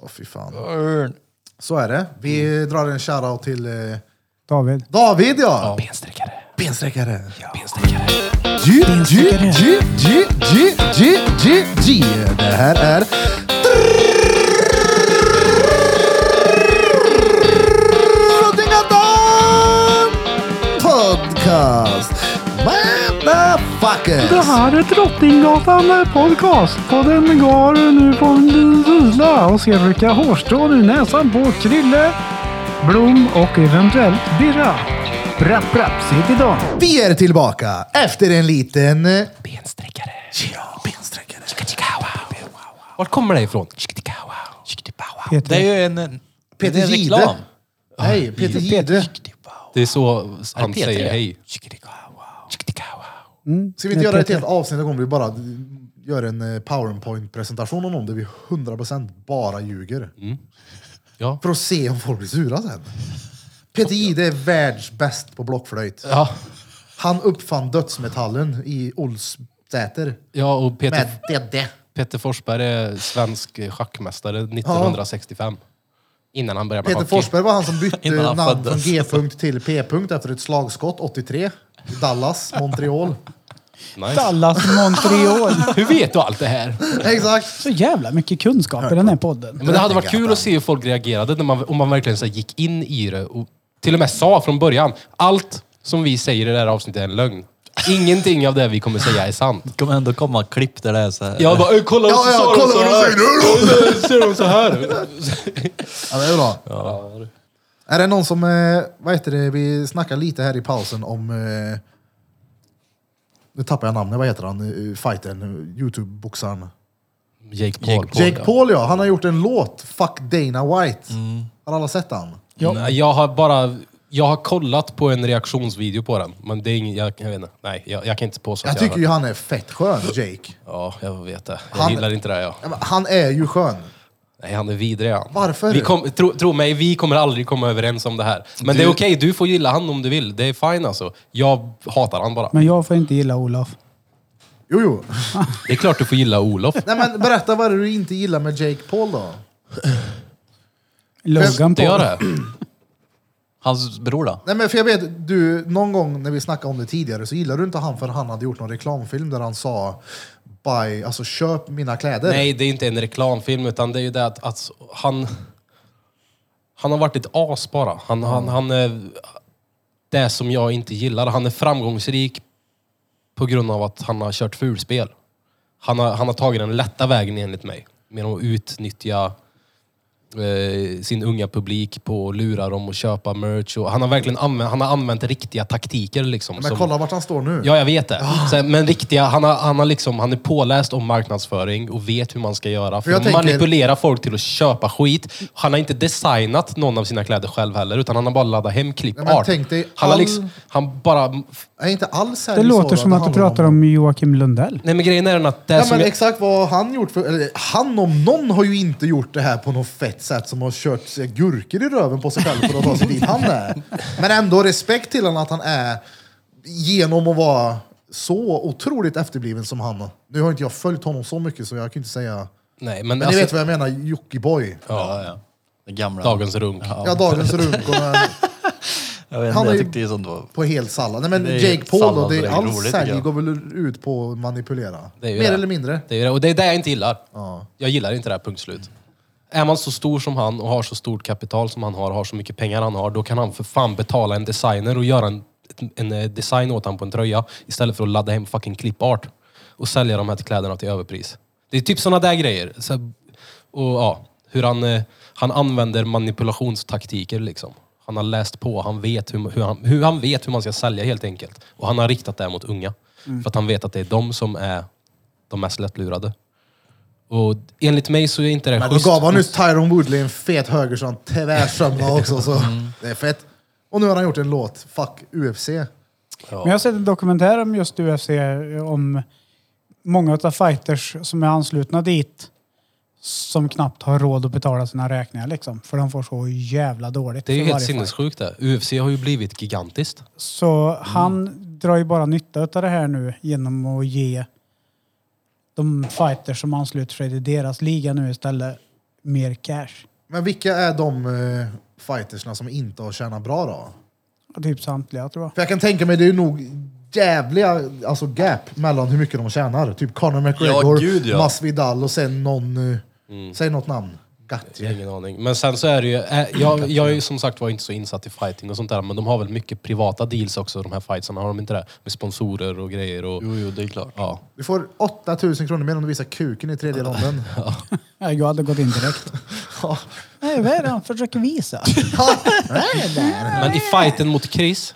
Speaker 1: Åh fy fan.
Speaker 4: Örn.
Speaker 1: Så är det. Vi
Speaker 3: Mm.
Speaker 1: drar en shoutout till eh,
Speaker 2: David.
Speaker 1: David ja!
Speaker 3: Bensträckare.
Speaker 1: Bensträckare.
Speaker 3: Bensträckare.
Speaker 1: G, G, G, G, G, G, G, G. Det här är... Drottninggatan Podcast! Motherfuckers!
Speaker 2: är Drottninggatan podcast. Podden går nu på en vila och ser vilka hårstrån i näsan på Krille, Blom och eventuellt Birra. Rapp, rapp, sitt idag.
Speaker 1: Vi är tillbaka efter en liten... eh,
Speaker 3: Bensträckare.
Speaker 1: Ja, bensträckare.
Speaker 3: Vart kommer det ifrån?
Speaker 4: Det är ju en- en...
Speaker 1: Peter
Speaker 4: det är en
Speaker 1: Gide.
Speaker 4: reklam.
Speaker 1: Nej, Peter Jihde.
Speaker 3: Det är så han
Speaker 4: Peter.
Speaker 3: säger hej.
Speaker 1: Ska vi inte göra ett helt avsnitt en gång vi bara gör en eh, powerpoint-presentation om någon där vi 100% bara ljuger?
Speaker 4: Mm.
Speaker 3: Ja.
Speaker 1: För att se om folk blir sura sen. Peter Jihde är världsbäst på blockflöjt.
Speaker 3: Ja.
Speaker 1: Han uppfann dödsmetallen i Olsäter.
Speaker 3: ja, och Peter,
Speaker 1: Med Dedde.
Speaker 3: Peter Forsberg är svensk schackmästare 1965. Innan han började med
Speaker 1: Peter
Speaker 3: hockey.
Speaker 1: Forsberg var han som bytte
Speaker 4: Innan han
Speaker 1: namn från
Speaker 4: föddes.
Speaker 1: G-punkt till P-punkt efter ett slagskott 83. I Dallas, Montreal.
Speaker 3: Nice.
Speaker 2: Dallas, Montreal.
Speaker 3: Hur vet du allt det här?
Speaker 1: Exakt!
Speaker 2: Så jävla mycket kunskap i den här podden.
Speaker 3: Men det hade varit kul att se hur folk reagerade när man, om man verkligen så här gick in i det och till och med sa från början, allt som vi säger i det här avsnittet är en lögn. Ingenting av det vi kommer säga är sant.
Speaker 4: Det kommer ändå komma klipp där det är så här.
Speaker 3: Jag bara, "Ö, kolla
Speaker 1: Ja, ja,
Speaker 3: sa de
Speaker 1: kolla
Speaker 3: så
Speaker 1: vad de
Speaker 3: här."
Speaker 1: säger.
Speaker 3: Och så Ser de så här?
Speaker 1: Ja, det är bra. Är det någon som, eh, vad heter det, vi snackade lite här i pausen om, eh, nu tappar jag namnet, vad heter han, Eh, fightern, Youtube-boxaren?
Speaker 3: Jake Paul.
Speaker 4: Jake Paul.
Speaker 1: Jake Paul ja, han har gjort en låt, Fuck Dana White. Har alla sett den?
Speaker 3: Nej, jag har bara... Jag har kollat på en reaktionsvideo på den, men det är ingen... Jag, jag vet inte. Nej, jag, jag kan inte påstå
Speaker 1: Jag
Speaker 3: att jag...
Speaker 1: tycker ju han är fett skön, Jake.
Speaker 3: Ja, jag vet det. Jag
Speaker 1: Han-
Speaker 3: gillar inte det, ja.
Speaker 1: Ja, men Han är ju skön.
Speaker 3: Nej, han är vidrig han.
Speaker 1: Varför?
Speaker 3: Vi kom, tro, tro mig, vi kommer aldrig komma överens om det här. Men det är okej, du får gilla han om du vill. Det är fine alltså. Jag hatar han bara.
Speaker 2: Men jag får inte gilla Olof.
Speaker 1: Jo, jo.
Speaker 3: Det är klart du får gilla Olof.
Speaker 1: Nej men berätta vad är det du inte gillar med Jake Paul då?
Speaker 2: Logan på.
Speaker 3: Det gör det.
Speaker 4: Hans bror då?
Speaker 1: Nej men för jag vet, du, någon gång när vi snackade om det tidigare så gillade du inte han för han hade gjort någon reklamfilm där han sa Buy, alltså köp mina kläder.
Speaker 3: Nej, det är inte en reklamfilm utan det är ju det att, att han... Han har varit ett as bara. Han, han, han är... Det som jag inte gillar. Han är framgångsrik på grund av att han har kört fulspel. Han har, han har tagit den lätta vägen enligt mig. Genom att utnyttja eh, sin unga publik på att lura dem och köpa merch. Och han har verkligen använt, han har använt riktiga taktiker liksom.
Speaker 1: men
Speaker 3: som-
Speaker 1: kolla vart han står nu.
Speaker 3: Ja, jag vet det.
Speaker 1: Ah.
Speaker 3: Sen, men riktiga, han, har, han, har liksom, han är påläst om marknadsföring och vet hur man ska göra. För
Speaker 1: jag
Speaker 3: att
Speaker 1: tänker-
Speaker 3: manipulera folk till att köpa skit. Han har inte designat någon av sina kläder själv heller, utan han har bara laddat hem
Speaker 1: Ja, men
Speaker 3: klippart.
Speaker 1: tänk dig
Speaker 3: han, har
Speaker 1: all-
Speaker 3: liksom, han bara...
Speaker 1: Är inte alls här
Speaker 2: Det
Speaker 1: i
Speaker 2: låter
Speaker 1: Sora,
Speaker 2: som att du
Speaker 1: handlar
Speaker 2: pratar om Joakim Lundell.
Speaker 3: Nej men grejen är den att det
Speaker 1: Ja,
Speaker 3: som
Speaker 1: men
Speaker 3: jag,
Speaker 1: exakt vad han gjort. För, eller, han om någon har ju inte gjort det här på något fett sätt som har kört sig gurkor i röven på sig själv för att ta sig dit han är. Men ändå respekt till honom att han är genom att vara så otroligt efterbliven som han. Nu har inte jag följt honom så mycket så jag kan inte säga.
Speaker 3: Nej, men,
Speaker 1: Men
Speaker 3: alltså,
Speaker 1: ni vet vad jag menar, Jockiboi.
Speaker 4: Ja, ja. Den gamla.
Speaker 3: dagens runk.
Speaker 1: Ja, dagens runk och den-
Speaker 4: Jag, vet,
Speaker 1: Han
Speaker 4: inte,
Speaker 1: är
Speaker 4: jag
Speaker 1: ju-
Speaker 4: tyckte ju sånt var...
Speaker 1: på hel sallad. Nej men
Speaker 4: Det är
Speaker 1: Jake Paul
Speaker 4: sallad
Speaker 1: då, det
Speaker 4: och
Speaker 1: är
Speaker 4: det är
Speaker 1: all
Speaker 4: roligt,
Speaker 1: sälj
Speaker 4: tycker jag.
Speaker 1: går väl ut på att manipulera.
Speaker 3: Det är ju
Speaker 1: Mer
Speaker 3: det.
Speaker 1: eller mindre.
Speaker 3: Det är ju det. Och det är det jag inte gillar.
Speaker 1: Ja.
Speaker 3: Jag gillar inte det här, punkt slut. Är man så stor som han och har så stort kapital som han har, har så mycket pengar han har, då kan han för fan betala en designer och göra en, en eh, design åt han på en tröja istället för att ladda hem fucking clipart och sälja de här till kläderna till överpris. Det är typ sådana där grejer. Så, här- och ja, hur han, eh, han använder manipulationstaktiker liksom. Han har läst på, han vet hur, hur, han, hur han vet hur man ska sälja helt enkelt. Och han har riktat det här mot unga.
Speaker 1: Mm.
Speaker 3: För att han vet att det är de som är de mest lättlurade. Och enligt mig så är inte det
Speaker 1: Men då gav han nyss Tyron Woodley en fet höger så han tvärsömnade också. Så det är fett. Och nu har han gjort en låt, Fuck UFC.
Speaker 2: Men jag har sett en dokumentär om just UFC, om många av fighters som är anslutna dit som knappt har råd att betala sina räkningar liksom. För de får så jävla dåligt.
Speaker 3: Det är ju
Speaker 2: för
Speaker 3: helt
Speaker 2: varje fight.
Speaker 3: sinnessjukt det. UFC har ju blivit gigantiskt.
Speaker 2: Så han drar ju bara nytta av det här nu genom att ge de fighters som ansluter sig till deras liga nu istället mer cash.
Speaker 1: Men vilka är de eh, fightersna som inte har tjänat bra då?
Speaker 2: Och Typ samtliga tror jag.
Speaker 1: För jag kan tänka mig, det är ju nog jävliga alltså gap mellan hur mycket de tjänar. Typ Conor McGregor,
Speaker 4: gud, ja. Mm.
Speaker 1: Masvidal och sen någon, eh, säg något namn.
Speaker 3: Jag
Speaker 1: Gatje.
Speaker 3: har ingen aning. Men sen så är det ju... eh, Jag, jag är ju som sagt var inte så insatt i fighting och sånt där, men de har väl mycket privata deals också, de här fightsarna. Har de inte det? Med sponsorer och grejer och...
Speaker 4: Jo, jo, det är klart.
Speaker 3: Ja.
Speaker 1: Du får 8000 kronor mer om du visar kuken i tredje ronden.
Speaker 2: Nej, Jag hade gått in direkt. Nej, vad är det han försöker visa?
Speaker 3: Men i fighten mot Chris,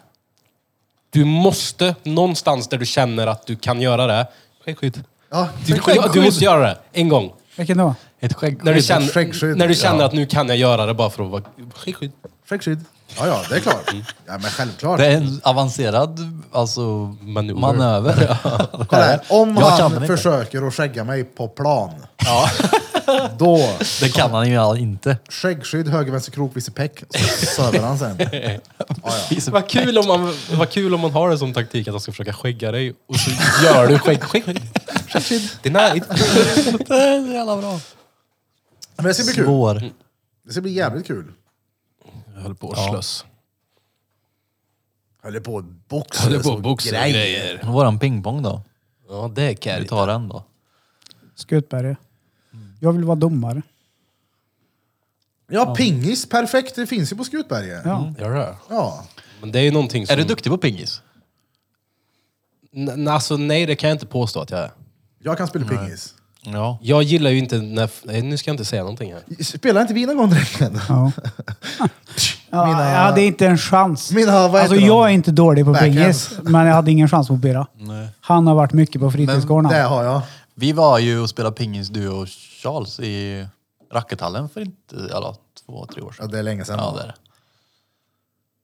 Speaker 3: du måste någonstans där du känner att du kan göra det... Skäggskydd.
Speaker 1: Ja,
Speaker 3: Du, du måste göra det. En gång.
Speaker 2: Vilken då?
Speaker 4: Ett skägg.
Speaker 3: När du
Speaker 1: skäggskydd.
Speaker 3: känner, när du känner
Speaker 1: Ja.
Speaker 3: att nu kan jag göra det bara för att vara... Skäggskydd.
Speaker 1: Fräckskydd. Ja, ja, det är klart. Ja, men självklart.
Speaker 4: Mm. Det är en avancerad alltså,
Speaker 3: Manöver.
Speaker 4: manöver.
Speaker 1: Kolla här, om
Speaker 4: Jag kan den
Speaker 1: han
Speaker 4: inte.
Speaker 1: försöker att skägga mig på plan, då
Speaker 4: Det kan han ju all- inte.
Speaker 1: skäggskydd, höger, vänster krok, vissepäck, så söver han sen.
Speaker 3: Vad kul, om man, vad kul om man har det som taktik att de ska försöka skägga dig och så gör du skägg. skägg, skägg. Det är nice.
Speaker 4: Det är så jävla bra. Mm.
Speaker 1: Men det ska bli kul.
Speaker 4: Svår.
Speaker 1: Det ska bli jävligt kul.
Speaker 3: Jag höll på att slös.
Speaker 1: Höll på att boxa.
Speaker 3: Höll på
Speaker 1: så
Speaker 3: att boxa
Speaker 1: grejer.
Speaker 3: grejer.
Speaker 4: Våran pingpong då?
Speaker 3: Ja, det
Speaker 4: Vi
Speaker 3: kan
Speaker 4: tar den då.
Speaker 2: Skutberg. Jag vill vara domare.
Speaker 1: Ja, pingis, perfekt. Det finns ju på Skutberget. Ja.
Speaker 2: Ja.
Speaker 3: Gör det.
Speaker 1: ja.
Speaker 3: Men det är ju någonting som...
Speaker 4: Är du duktig på pingis?
Speaker 3: N- n- alltså, nej, det kan jag inte påstå att jag är.
Speaker 1: Jag kan spela pingis.
Speaker 4: Ja.
Speaker 3: Jag gillar ju inte när... Nej, nu ska jag inte säga någonting här.
Speaker 1: Spelar inte vi någon gång dräkten?
Speaker 2: Ja. ja,
Speaker 1: Mina-
Speaker 2: Jag hade inte en chans.
Speaker 1: Mina, vad heter
Speaker 2: alltså,
Speaker 1: de?
Speaker 2: jag är inte dålig på
Speaker 1: Backhand.
Speaker 2: pingis, men jag hade ingen chans mot Birra. Han har varit mycket på fritidsgårdarna.
Speaker 1: Det har jag.
Speaker 4: Vi var ju och spelade pingis, du och Charles, i rackethallen för inte, eller, två, tre år
Speaker 1: Ja,
Speaker 4: sedan.
Speaker 1: det är länge sedan.
Speaker 4: Ja, det är det.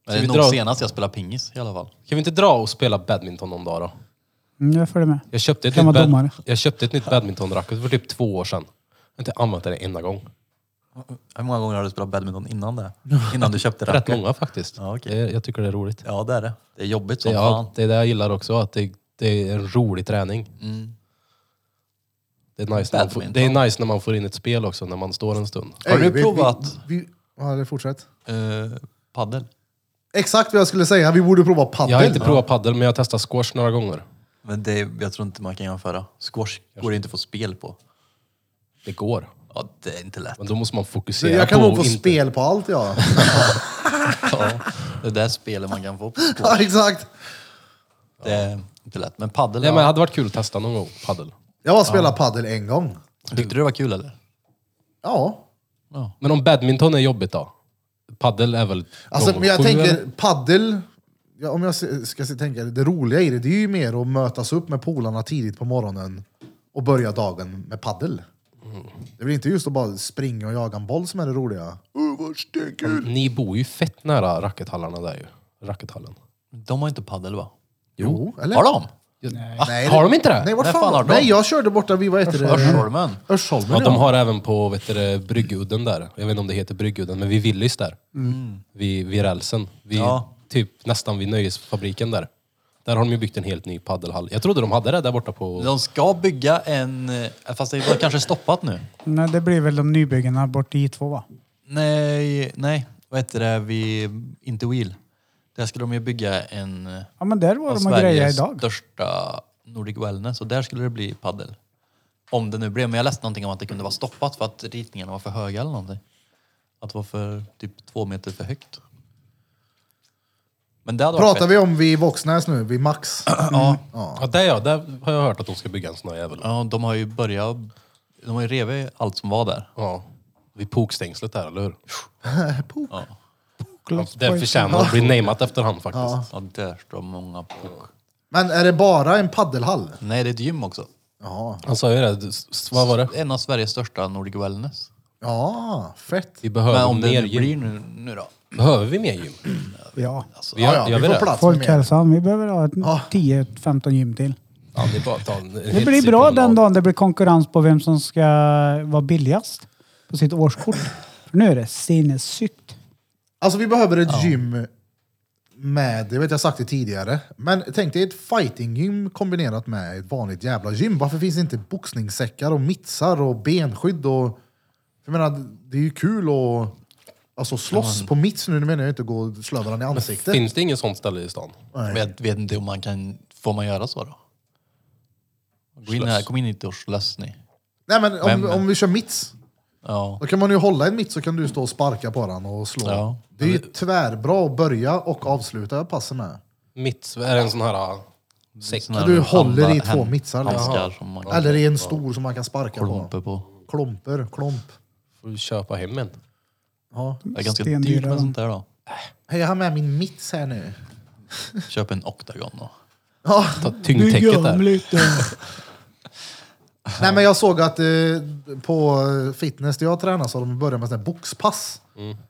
Speaker 4: Men
Speaker 3: Ska
Speaker 4: det
Speaker 3: vi
Speaker 4: är nog
Speaker 3: dra-
Speaker 4: senast jag spelade pingis i alla fall.
Speaker 3: Kan vi inte dra och spela badminton någon dag då?
Speaker 2: Mm, jag följer med.
Speaker 3: Jag köpte ett,
Speaker 2: Kan
Speaker 3: nytt,
Speaker 2: vara
Speaker 3: bad...
Speaker 2: domare.
Speaker 3: jag köpte ett nytt badmintonracket för typ två år sedan. Jag har inte använt det en enda gång.
Speaker 4: Hur många gånger har du spelat badminton innan det? Innan du köpte
Speaker 3: Rätt
Speaker 4: racket?
Speaker 3: många faktiskt.
Speaker 4: Ja, okej.
Speaker 3: Det- Jag tycker det är roligt.
Speaker 4: Ja, det är det. Det är jobbigt
Speaker 3: Det,
Speaker 4: som fan.
Speaker 3: ja, det är det jag gillar också, att det, det är en rolig träning.
Speaker 4: Mm.
Speaker 3: Det är, nice när man får,
Speaker 4: Badminton.
Speaker 3: det är nice när man får in ett spel också, när man står en stund.
Speaker 4: Har
Speaker 1: Ey,
Speaker 4: du provat?
Speaker 1: Vi, vi, Ja, det fortsätt.
Speaker 4: Eh, paddel.
Speaker 1: Exakt vad jag skulle säga, vi borde prova padel.
Speaker 3: Jag har inte provat paddel men jag har testat squash några gånger.
Speaker 4: Men det, jag tror inte man kan jämföra. Squash går det inte att få spel på.
Speaker 3: Det går.
Speaker 4: Ja, det är inte lätt.
Speaker 3: Men då måste man fokusera
Speaker 1: jag kan
Speaker 3: på
Speaker 1: nog få
Speaker 3: att inte-
Speaker 1: spel på allt ja.
Speaker 4: Ja, det där spelet man kan få på squash.
Speaker 1: ja exakt.
Speaker 4: Det är inte lätt. Men paddel,
Speaker 3: Nej,
Speaker 4: ja.
Speaker 3: men det hade varit kul att testa någon gång, paddel.
Speaker 1: Jag har spelat padel en gång.
Speaker 4: tyckte du det var kul eller?
Speaker 1: Ja.
Speaker 3: Men om badminton är jobbigt då? Paddel är väl
Speaker 1: Alltså,
Speaker 3: gånger
Speaker 1: men jag
Speaker 3: sju,
Speaker 1: tänker
Speaker 3: eller?
Speaker 1: paddel ja, om jag se- ska se- tänka det roliga i det, det är ju mer att mötas upp med polarna tidigt på morgonen och börja dagen med paddel. Det är väl inte just att bara springa och jaga en boll som är det roliga. Uh, vad stenkul!
Speaker 3: Ni bor ju fett nära rackethallarna där ju. Rackethallen.
Speaker 4: De har inte paddel va?
Speaker 1: Jo, eller?
Speaker 4: Har de?
Speaker 3: Va?
Speaker 1: Nej,
Speaker 3: har
Speaker 1: det-
Speaker 3: de inte det?
Speaker 1: Nej, vart
Speaker 4: När
Speaker 1: fan,
Speaker 4: fan har de?
Speaker 1: Nej, jag körde borta vid, vad heter det?
Speaker 4: Örsholmen.
Speaker 1: Örsholmen,
Speaker 3: Ja,
Speaker 1: ja.
Speaker 3: de har även på vet du, det, Bryggudden där. Jag vet inte om det heter Bryggudden, men vid Willys där. Vid, vid rälsen. Vid,
Speaker 4: Ja.
Speaker 3: Typ nästan vid nöjesfabriken där. Där har de ju byggt en helt ny paddelhall. Jag trodde de hade det där borta på...
Speaker 4: De ska bygga en, eh, fast det var kanske stoppat nu.
Speaker 2: Nej, det blir väl de nybyggena bort i två va?
Speaker 4: Nej, nej. Vad heter det vid Interwheel? Där skulle de ju bygga en eh,
Speaker 2: Ja men där
Speaker 4: av
Speaker 3: Alltså,
Speaker 2: var de och grejade
Speaker 4: Sveriges
Speaker 2: idag.
Speaker 4: största Nordic Wellness och där skulle det bli paddel. Om det nu blev, men jag läste någonting om att det kunde vara stoppat för att ritningarna var för höga eller någonting. Att det var för typ två meter för högt. Men det hade varit
Speaker 1: Pratar vi om vid Våxnäs nu, vid Max?
Speaker 4: Ja.
Speaker 3: Ja, där, ja, där har jag hört att de ska bygga en sån här jävel. Ja.
Speaker 4: ja, de har ju börjat, de har ju revit allt som var där.
Speaker 3: Vid Pokstängslet där, eller hur?
Speaker 4: Ja,
Speaker 3: Ja, Det förtjänar att bli nameat efter han faktiskt.
Speaker 4: ja där står många på.
Speaker 1: Men är det bara en paddelhall?
Speaker 4: Nej, det är ett gym också.
Speaker 1: Ja.
Speaker 3: Han sa ju det, du- s- s- vad var det?
Speaker 4: En av Sveriges största Nordic Wellness.
Speaker 1: Ja, fett.
Speaker 3: Vi
Speaker 4: Men
Speaker 3: behöver
Speaker 4: om det
Speaker 3: mer
Speaker 4: nu
Speaker 3: gym.
Speaker 4: blir nu, nu då?
Speaker 3: Behöver vi mer gym?
Speaker 2: Ja.
Speaker 3: Vi har,
Speaker 1: ja, ja, vi
Speaker 3: gör
Speaker 1: får
Speaker 3: det?
Speaker 1: plats med mer.
Speaker 2: Folkhälsan, vi behöver ha ett
Speaker 1: Alltså, Ja.
Speaker 2: 10-15 gym till.
Speaker 3: Ja, det är bara att ta en
Speaker 2: Det blir bra den dagen det blir konkurrens på vem som ska vara billigast på sitt årskort. För nu är det sinnessykt.
Speaker 1: Alltså vi behöver ett gym med, det vet jag sagt det tidigare, men tänk dig ett fightinggym kombinerat med ett vanligt jävla gym. Varför finns det inte boxningssäckar och mittsar och benskydd och... Jag menar, det är ju kul att alltså, slåss på mitts nu, nu menar jag inte gå och slå varandra i ansiktet.
Speaker 3: Finns det inget sånt ställe i stan?
Speaker 1: Nej.
Speaker 4: Jag vet inte om man kan, får man göra så då? Gå in här, kom in hit och slåss ni.
Speaker 1: Nej men om,
Speaker 4: Men-
Speaker 1: om vi kör mitts,
Speaker 4: Ja.
Speaker 1: då kan man ju hålla en mitt så kan du stå och sparka på den och slå.
Speaker 4: Ja.
Speaker 1: Det är ju tvärbra att börja och avsluta passen med.
Speaker 3: Mitt, är det en sån här äh, säck?
Speaker 4: Såna här
Speaker 1: Du håller i
Speaker 4: handa-
Speaker 1: två mittsar, liksom.
Speaker 4: Handskar som man kan
Speaker 1: Eller i en stor som man kan sparka på.
Speaker 4: klumpa på.
Speaker 1: Klomper, klomp.
Speaker 3: Får du köpa hem en?
Speaker 1: Ja.
Speaker 4: Det är ganska
Speaker 2: Stendyra
Speaker 4: dyrt
Speaker 2: de.
Speaker 4: med sånt där då.
Speaker 1: Hej, jag har med min mitts här nu.
Speaker 4: Köp en Octagon då.
Speaker 1: Ja.
Speaker 3: Ta tyngdtäcket där.
Speaker 2: lite.
Speaker 1: Nej, men jag såg att eh, på fitness där jag tränar så har de börjat med sån här boxpass.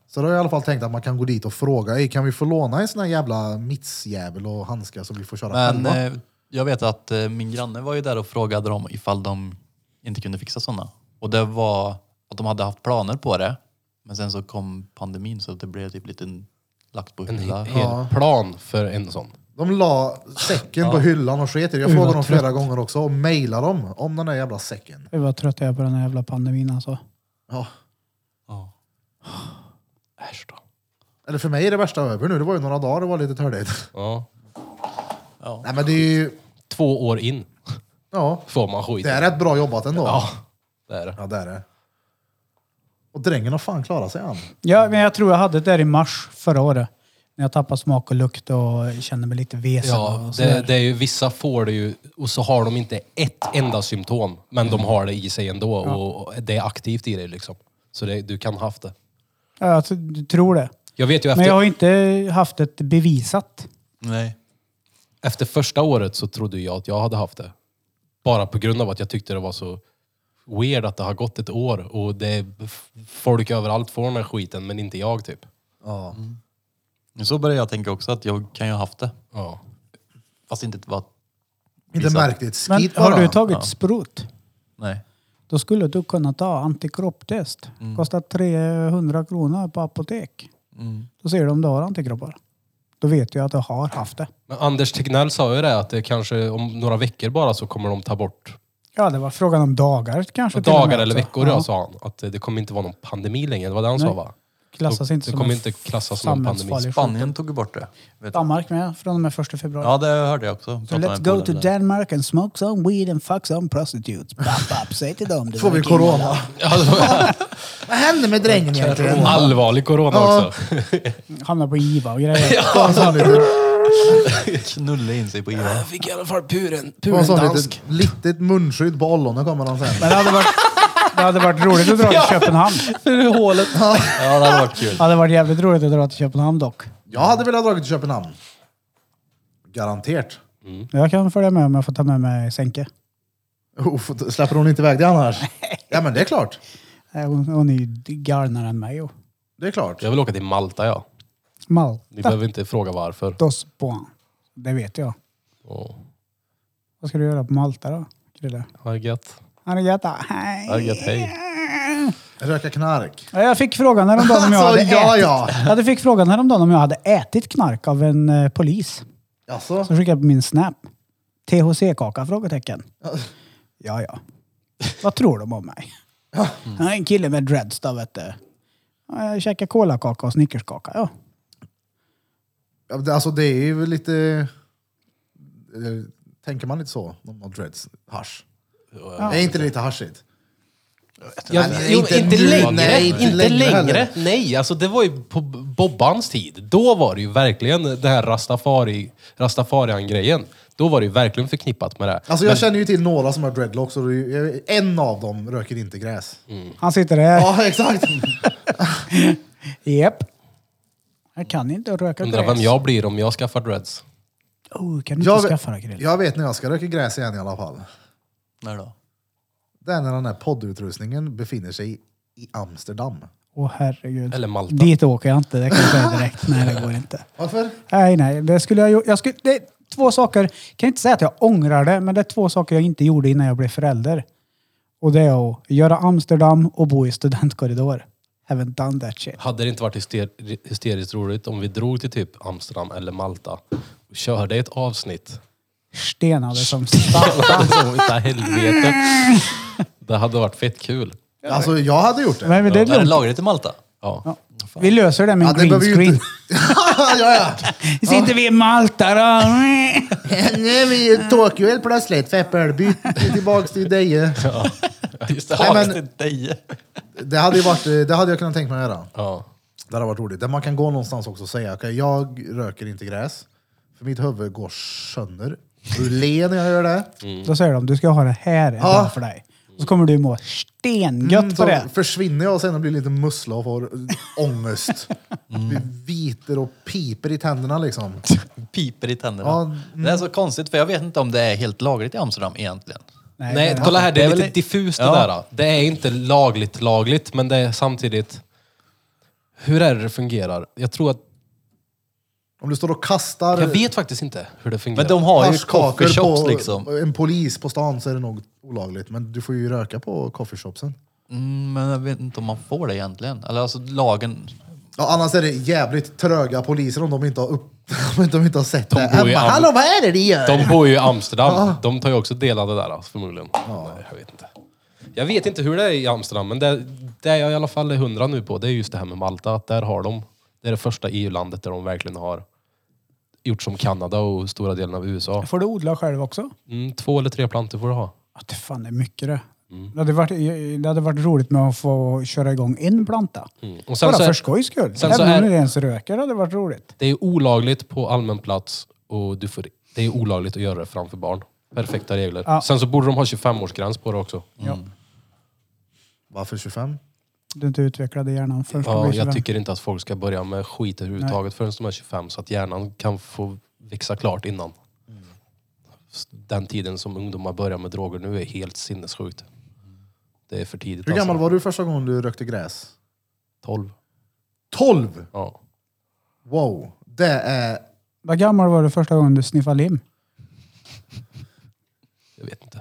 Speaker 1: Så då har jag i alla fall tänkt att man kan gå dit och fråga, "Ey, kan vi få låna en sån här jävla mittsjävel och handskar så vi får köra
Speaker 4: Men
Speaker 1: själva?
Speaker 4: eh, jag vet att eh, min granne var ju där och frågade dem ifall de inte kunde fixa sådana. Och det var att de hade haft planer på det. Men sen så kom pandemin så att det blev typ lite lagt på
Speaker 3: En he-
Speaker 4: hylla.
Speaker 3: hel plan för en sån.
Speaker 1: De la säcken på hyllan och sket i det. Jag
Speaker 2: Uy,
Speaker 1: frågade
Speaker 2: vad
Speaker 1: dem flera gånger också och mejlade dem om den där jävla säcken.
Speaker 2: Gud vad trött jag är på den här jävla pandemin alltså.
Speaker 1: Ja.
Speaker 4: Ja.
Speaker 3: Äsch då.
Speaker 1: Eller för mig är det värsta över nu. Det var ju några dagar det var lite tördigt.
Speaker 3: Ja.
Speaker 1: Nej, men det är ju...
Speaker 3: Två år in
Speaker 1: Ja.
Speaker 3: får man skit.
Speaker 1: Det är rätt bra jobbat ändå.
Speaker 3: Ja, det är det.
Speaker 1: Ja, det är det. Och drängen har fan klarat sig han.
Speaker 2: Ja, men jag tror jag hade det där i mars förra året. När jag tappade smak och lukt och kände mig lite vesen.
Speaker 3: Ja,
Speaker 2: och sådär.
Speaker 3: det, det är ju, vissa får det ju och så har de inte ett enda symptom. Men de har det i sig ändå och det är aktivt i dig liksom. Så det, du kan haft det.
Speaker 2: Ja, alltså, du tror det.
Speaker 3: Jag vet ju efter...
Speaker 2: Men jag har inte haft ett bevisat.
Speaker 4: Nej.
Speaker 3: efter första året så trodde jag att jag hade haft det. Bara på grund av att jag tyckte det var så weird att det har gått ett år och det är f- folk överallt får den här skiten men inte jag typ.
Speaker 1: Ja.
Speaker 4: Så började jag tänka också att jag kan ju ha haft det.
Speaker 3: Ja.
Speaker 4: Fast inte var...
Speaker 1: Inte
Speaker 4: Vissa-
Speaker 1: märkt ett
Speaker 2: Men
Speaker 1: skit
Speaker 2: har
Speaker 1: bara.
Speaker 2: du tagit sprut?
Speaker 4: Nej.
Speaker 2: Då skulle du kunna ta antikropptest.
Speaker 3: Mm.
Speaker 2: Kostar 300 kronor på apotek.
Speaker 4: Mm.
Speaker 2: Då ser du om du har antikroppar. Då vet jag att du har haft det.
Speaker 3: Men Anders Tegnell sa ju det att det kanske om några veckor bara så kommer de ta bort.
Speaker 2: Ja, det var frågan om dagar kanske. till och
Speaker 3: Dagar
Speaker 2: med
Speaker 3: eller alltså.
Speaker 2: också.
Speaker 3: veckor ja. sa han. Att det kommer inte vara någon pandemi längre. Det var det han sa
Speaker 2: Nej.
Speaker 3: va?
Speaker 2: klassas inte
Speaker 3: det
Speaker 2: som
Speaker 3: kommer
Speaker 2: en
Speaker 3: inte klassas som en
Speaker 2: samhällsfarlig
Speaker 3: pandemi.
Speaker 4: Spanien tog ju bort det. Vet du.
Speaker 2: Danmark med från och med 1 februari.
Speaker 4: Ja, det hörde jag också.
Speaker 2: So
Speaker 4: Pratade
Speaker 2: let's
Speaker 4: med
Speaker 2: go
Speaker 4: polaren
Speaker 2: to
Speaker 4: där.
Speaker 2: Denmark and smoke some weed and fuck some prostitutes. Bap, bap, säg till dem. det
Speaker 1: Får vi
Speaker 2: verkar illa.
Speaker 1: corona? Vad hände med drängen egentligen?
Speaker 3: Allvarlig corona
Speaker 1: Ja.
Speaker 3: också.
Speaker 2: Hamnar på IVA och grejer.
Speaker 1: Det var en sån liten,
Speaker 4: Knulla in sig på IVA.
Speaker 3: Jag fick i alla fall puren,
Speaker 1: det var
Speaker 3: puren
Speaker 1: en sån
Speaker 3: dansk.
Speaker 1: liten, litet munskydd på ollonet kommer han sen.
Speaker 2: Men det hade varit, det hade varit roligt att dra till Köpenhamn.
Speaker 3: hålet.
Speaker 4: Ja, det hade varit kul.
Speaker 2: Det hade varit jävligt roligt att dra till Köpenhamn dock.
Speaker 4: Mm.
Speaker 1: Jag hade velat dra till Köpenhamn. Garanterat.
Speaker 2: Jag kan följa med om jag får ta med mig Sänke.
Speaker 1: Uff, släpper hon inte iväg det annars? Ja men det är klart.
Speaker 2: Eh, Hon, hon är ju galnare än mig. och-
Speaker 1: Det är klart.
Speaker 3: Jag vill åka till Malta ja. Ni
Speaker 2: Malta
Speaker 3: behöver inte fråga varför.
Speaker 2: dos Bon. Det vet jag.
Speaker 3: Åh,
Speaker 2: Vad ska du göra på Malta då, Krille?
Speaker 3: ha det gött.
Speaker 2: Arigato. Hej. Eh,
Speaker 3: Ha det gött, hej.
Speaker 1: Röka knark.
Speaker 2: Ja, Jag fick frågan häromdagen om jag hade
Speaker 1: Alltså, ja,
Speaker 2: ätit.
Speaker 1: ja.
Speaker 2: Ja, du fick frågan häromdagen om jag hade ätit knark av en eh, polis.
Speaker 1: Jaså?
Speaker 2: Så skickade jag på min Snap. THC-kaka? Frågetecken. Ja, ja. Vad tror de om mig? Ja, en kille med dreads då, vet du. Ja, Jag käkar kolakaka och snickerskaka, ja.
Speaker 1: Ja, det- Alltså det är ju lite... eh, Tänker man inte så? Om man har dreads? Hasch. Är inte lite haschigt? Nej, inte nu. Nej, inte längre heller.
Speaker 3: Nej, alltså det var ju på Bobbans tid. Då var det ju verkligen det här rastafari, rastafarian-grejen. Då var det ju verkligen förknippat med det.
Speaker 1: Alltså jag känner ju till några som har dreadlocks och det är ju- en av dem röker inte gräs.
Speaker 2: Han sitter där.
Speaker 1: Ja exakt!
Speaker 2: Jep. Jag kan inte röka
Speaker 3: Undrar vem jag blir om jag skaffar dreads.
Speaker 2: Oh, kan du
Speaker 1: Jag,
Speaker 2: inte
Speaker 1: ve-
Speaker 2: skaffa dig Krille?
Speaker 1: jag vet när jag ska röka gräs igen i alla fall.
Speaker 4: När då?
Speaker 1: Det är när den här poddutrustningen befinner sig i- i Amsterdam.
Speaker 2: Åh herregud.
Speaker 3: Eller Malta.
Speaker 2: Dit åker jag inte, det kan jag säga direkt. Nej, det går inte.
Speaker 1: Varför?
Speaker 2: Nej, nej. Det skulle jag, ju- jag skulle, det är två saker. Jag kan inte säga att jag ångrar det, men det är två saker jag inte gjorde innan jag blev förälder. Och det är att göra Amsterdam och bo i studentkorridor. Haven't done that shit.
Speaker 3: Hade det inte varit hyster- hysteriskt roligt om vi drog till typ Amsterdam eller Malta och körde ett avsnitt?
Speaker 2: Stenade som satan.
Speaker 3: Alltså, utav helvete. Det hade varit fett kul.
Speaker 1: Alltså jag hade gjort det.
Speaker 2: Men det
Speaker 4: Är det
Speaker 2: är lugnt.
Speaker 4: lagret i Malta?
Speaker 3: Ja.
Speaker 2: Vi löser det med en
Speaker 1: det
Speaker 2: green
Speaker 1: behöver ju
Speaker 2: screen.
Speaker 1: inte- ja, ja.
Speaker 2: Sitter vi i Malta då?
Speaker 1: Nu är vi i Tokyo helt plötsligt. Feppelby tillbaks till Deje.
Speaker 4: Just det,
Speaker 1: Nej, men-
Speaker 4: det är dig.
Speaker 1: Det hade, ju varit, det hade jag kunnat tänka mig att göra.
Speaker 3: Ja.
Speaker 1: Det hade varit roligt. Där man kan gå någonstans också och säga, okej, jag röker inte gräs. För mitt huvud går sönder. Du ler när jag gör det.
Speaker 2: Då säger de, du ska ha det här idag för dig. Och så kommer du må stengött
Speaker 1: Mm,
Speaker 2: på
Speaker 1: så
Speaker 2: det.
Speaker 1: försvinner jag sen och blir lite mussla och får ångest. Blir Viter och piper i tänderna liksom.
Speaker 4: Piper i tänderna.
Speaker 1: Ja, mm.
Speaker 4: Det är så konstigt för jag vet inte om det är helt lagligt i Amsterdam egentligen.
Speaker 2: Nej,
Speaker 3: Nej,
Speaker 2: det-
Speaker 3: kolla här, det
Speaker 4: Det
Speaker 3: är
Speaker 4: är
Speaker 3: lite
Speaker 4: väl-
Speaker 3: diffust det
Speaker 4: Ja.
Speaker 3: där. då. Det är inte lagligt lagligt, men det är samtidigt... Hur är det det fungerar? Jag tror att...
Speaker 1: Om du står och kastar
Speaker 3: Jag vet faktiskt inte hur det fungerar.
Speaker 4: Men de har ju
Speaker 1: haschkakor
Speaker 4: coffeeshops
Speaker 1: på
Speaker 4: liksom.
Speaker 1: en polis på stan så är det nog olagligt. Men du får ju röka på coffeeshopsen.
Speaker 4: Mm, men jag vet inte om man får det egentligen. Eller alltså lagen.
Speaker 1: Ja, annars är det jävligt tröga poliser om de inte har, upp, om de inte har sett det.
Speaker 3: bor ju
Speaker 1: Äh,
Speaker 3: i Am-
Speaker 1: Hallå, vad är det ni gör?
Speaker 3: De bor ju i Amsterdam. De tar ju också del av det där alltså, förmodligen. Nej, jag vet inte. Jag vet inte hur det är i Amsterdam, men det, det jag i alla fall är hundra nu på, det är just det här med Malta. Att där har de, det är det första EU-landet där de verkligen har gjort som Kanada och stora delen av USA.
Speaker 2: Får du odla själv också?
Speaker 3: Mm, två eller tre plantor får du ha.
Speaker 2: Ja, det fan det är mycket det.
Speaker 3: Mm.
Speaker 2: Det, hade varit, det hade varit roligt med att få köra igång en planta.
Speaker 3: Mm. Och sen
Speaker 2: Bara
Speaker 3: så är-
Speaker 2: för skojs skull.
Speaker 3: sen
Speaker 2: Även
Speaker 3: så
Speaker 2: om
Speaker 3: är-
Speaker 2: du inte ens röker hade det varit roligt.
Speaker 3: Det är olagligt på allmän plats och du får, det är olagligt att göra det framför barn. Perfekta regler.
Speaker 2: Ja.
Speaker 3: Sen så borde de ha 25-årsgräns på det också.
Speaker 2: Ja.
Speaker 1: Varför 25?
Speaker 2: Du inte utvecklade hjärnan först. och
Speaker 3: Ja,
Speaker 2: blir
Speaker 3: jag
Speaker 2: sådär.
Speaker 3: tycker inte att folk ska börja med skit överhuvudtaget förrän de är 25 så att hjärnan kan få växa klart innan. S- Den tiden som ungdomar börjar med droger nu är helt sinnessjukt. Det är för tidigt.
Speaker 1: Hur gammal
Speaker 3: alltså.
Speaker 1: var du första gången du rökte gräs?
Speaker 3: 12.
Speaker 1: 12!
Speaker 3: Ja.
Speaker 1: Wow! Det är...
Speaker 2: Vad gammal var du första gången du sniffade lim?
Speaker 3: Jag vet inte.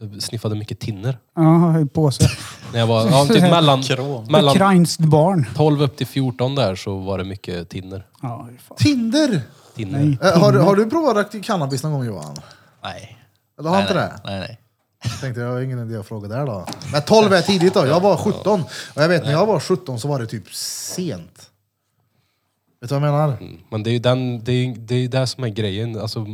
Speaker 3: Jag sniffade mycket tinner.
Speaker 2: Ja, i påse.
Speaker 3: När jag var ja, typ mellan,
Speaker 4: Krom.
Speaker 3: mellan
Speaker 2: Ukrainskt barn.
Speaker 3: 12 upp till 14 där så var det mycket tinner.
Speaker 2: Ja, hur fan.
Speaker 1: Tinder!
Speaker 3: tinner.
Speaker 2: Nej.
Speaker 1: Eh, har, du, har du provat att röka cannabis någon gång Johan?
Speaker 4: Nej.
Speaker 1: Eller har
Speaker 4: nej,
Speaker 1: inte
Speaker 4: nej,
Speaker 1: det?
Speaker 4: nej, nej.
Speaker 1: Jag tänkte jag har ingen idé att fråga där då. Men 12 är tidigt då, jag var 17. Och jag vet när jag var 17 så var det typ sent. Vet du vad jag menar?
Speaker 4: Mm.
Speaker 3: Men det är ju den, det, är, ju- det är ju det som är grejen. Alltså,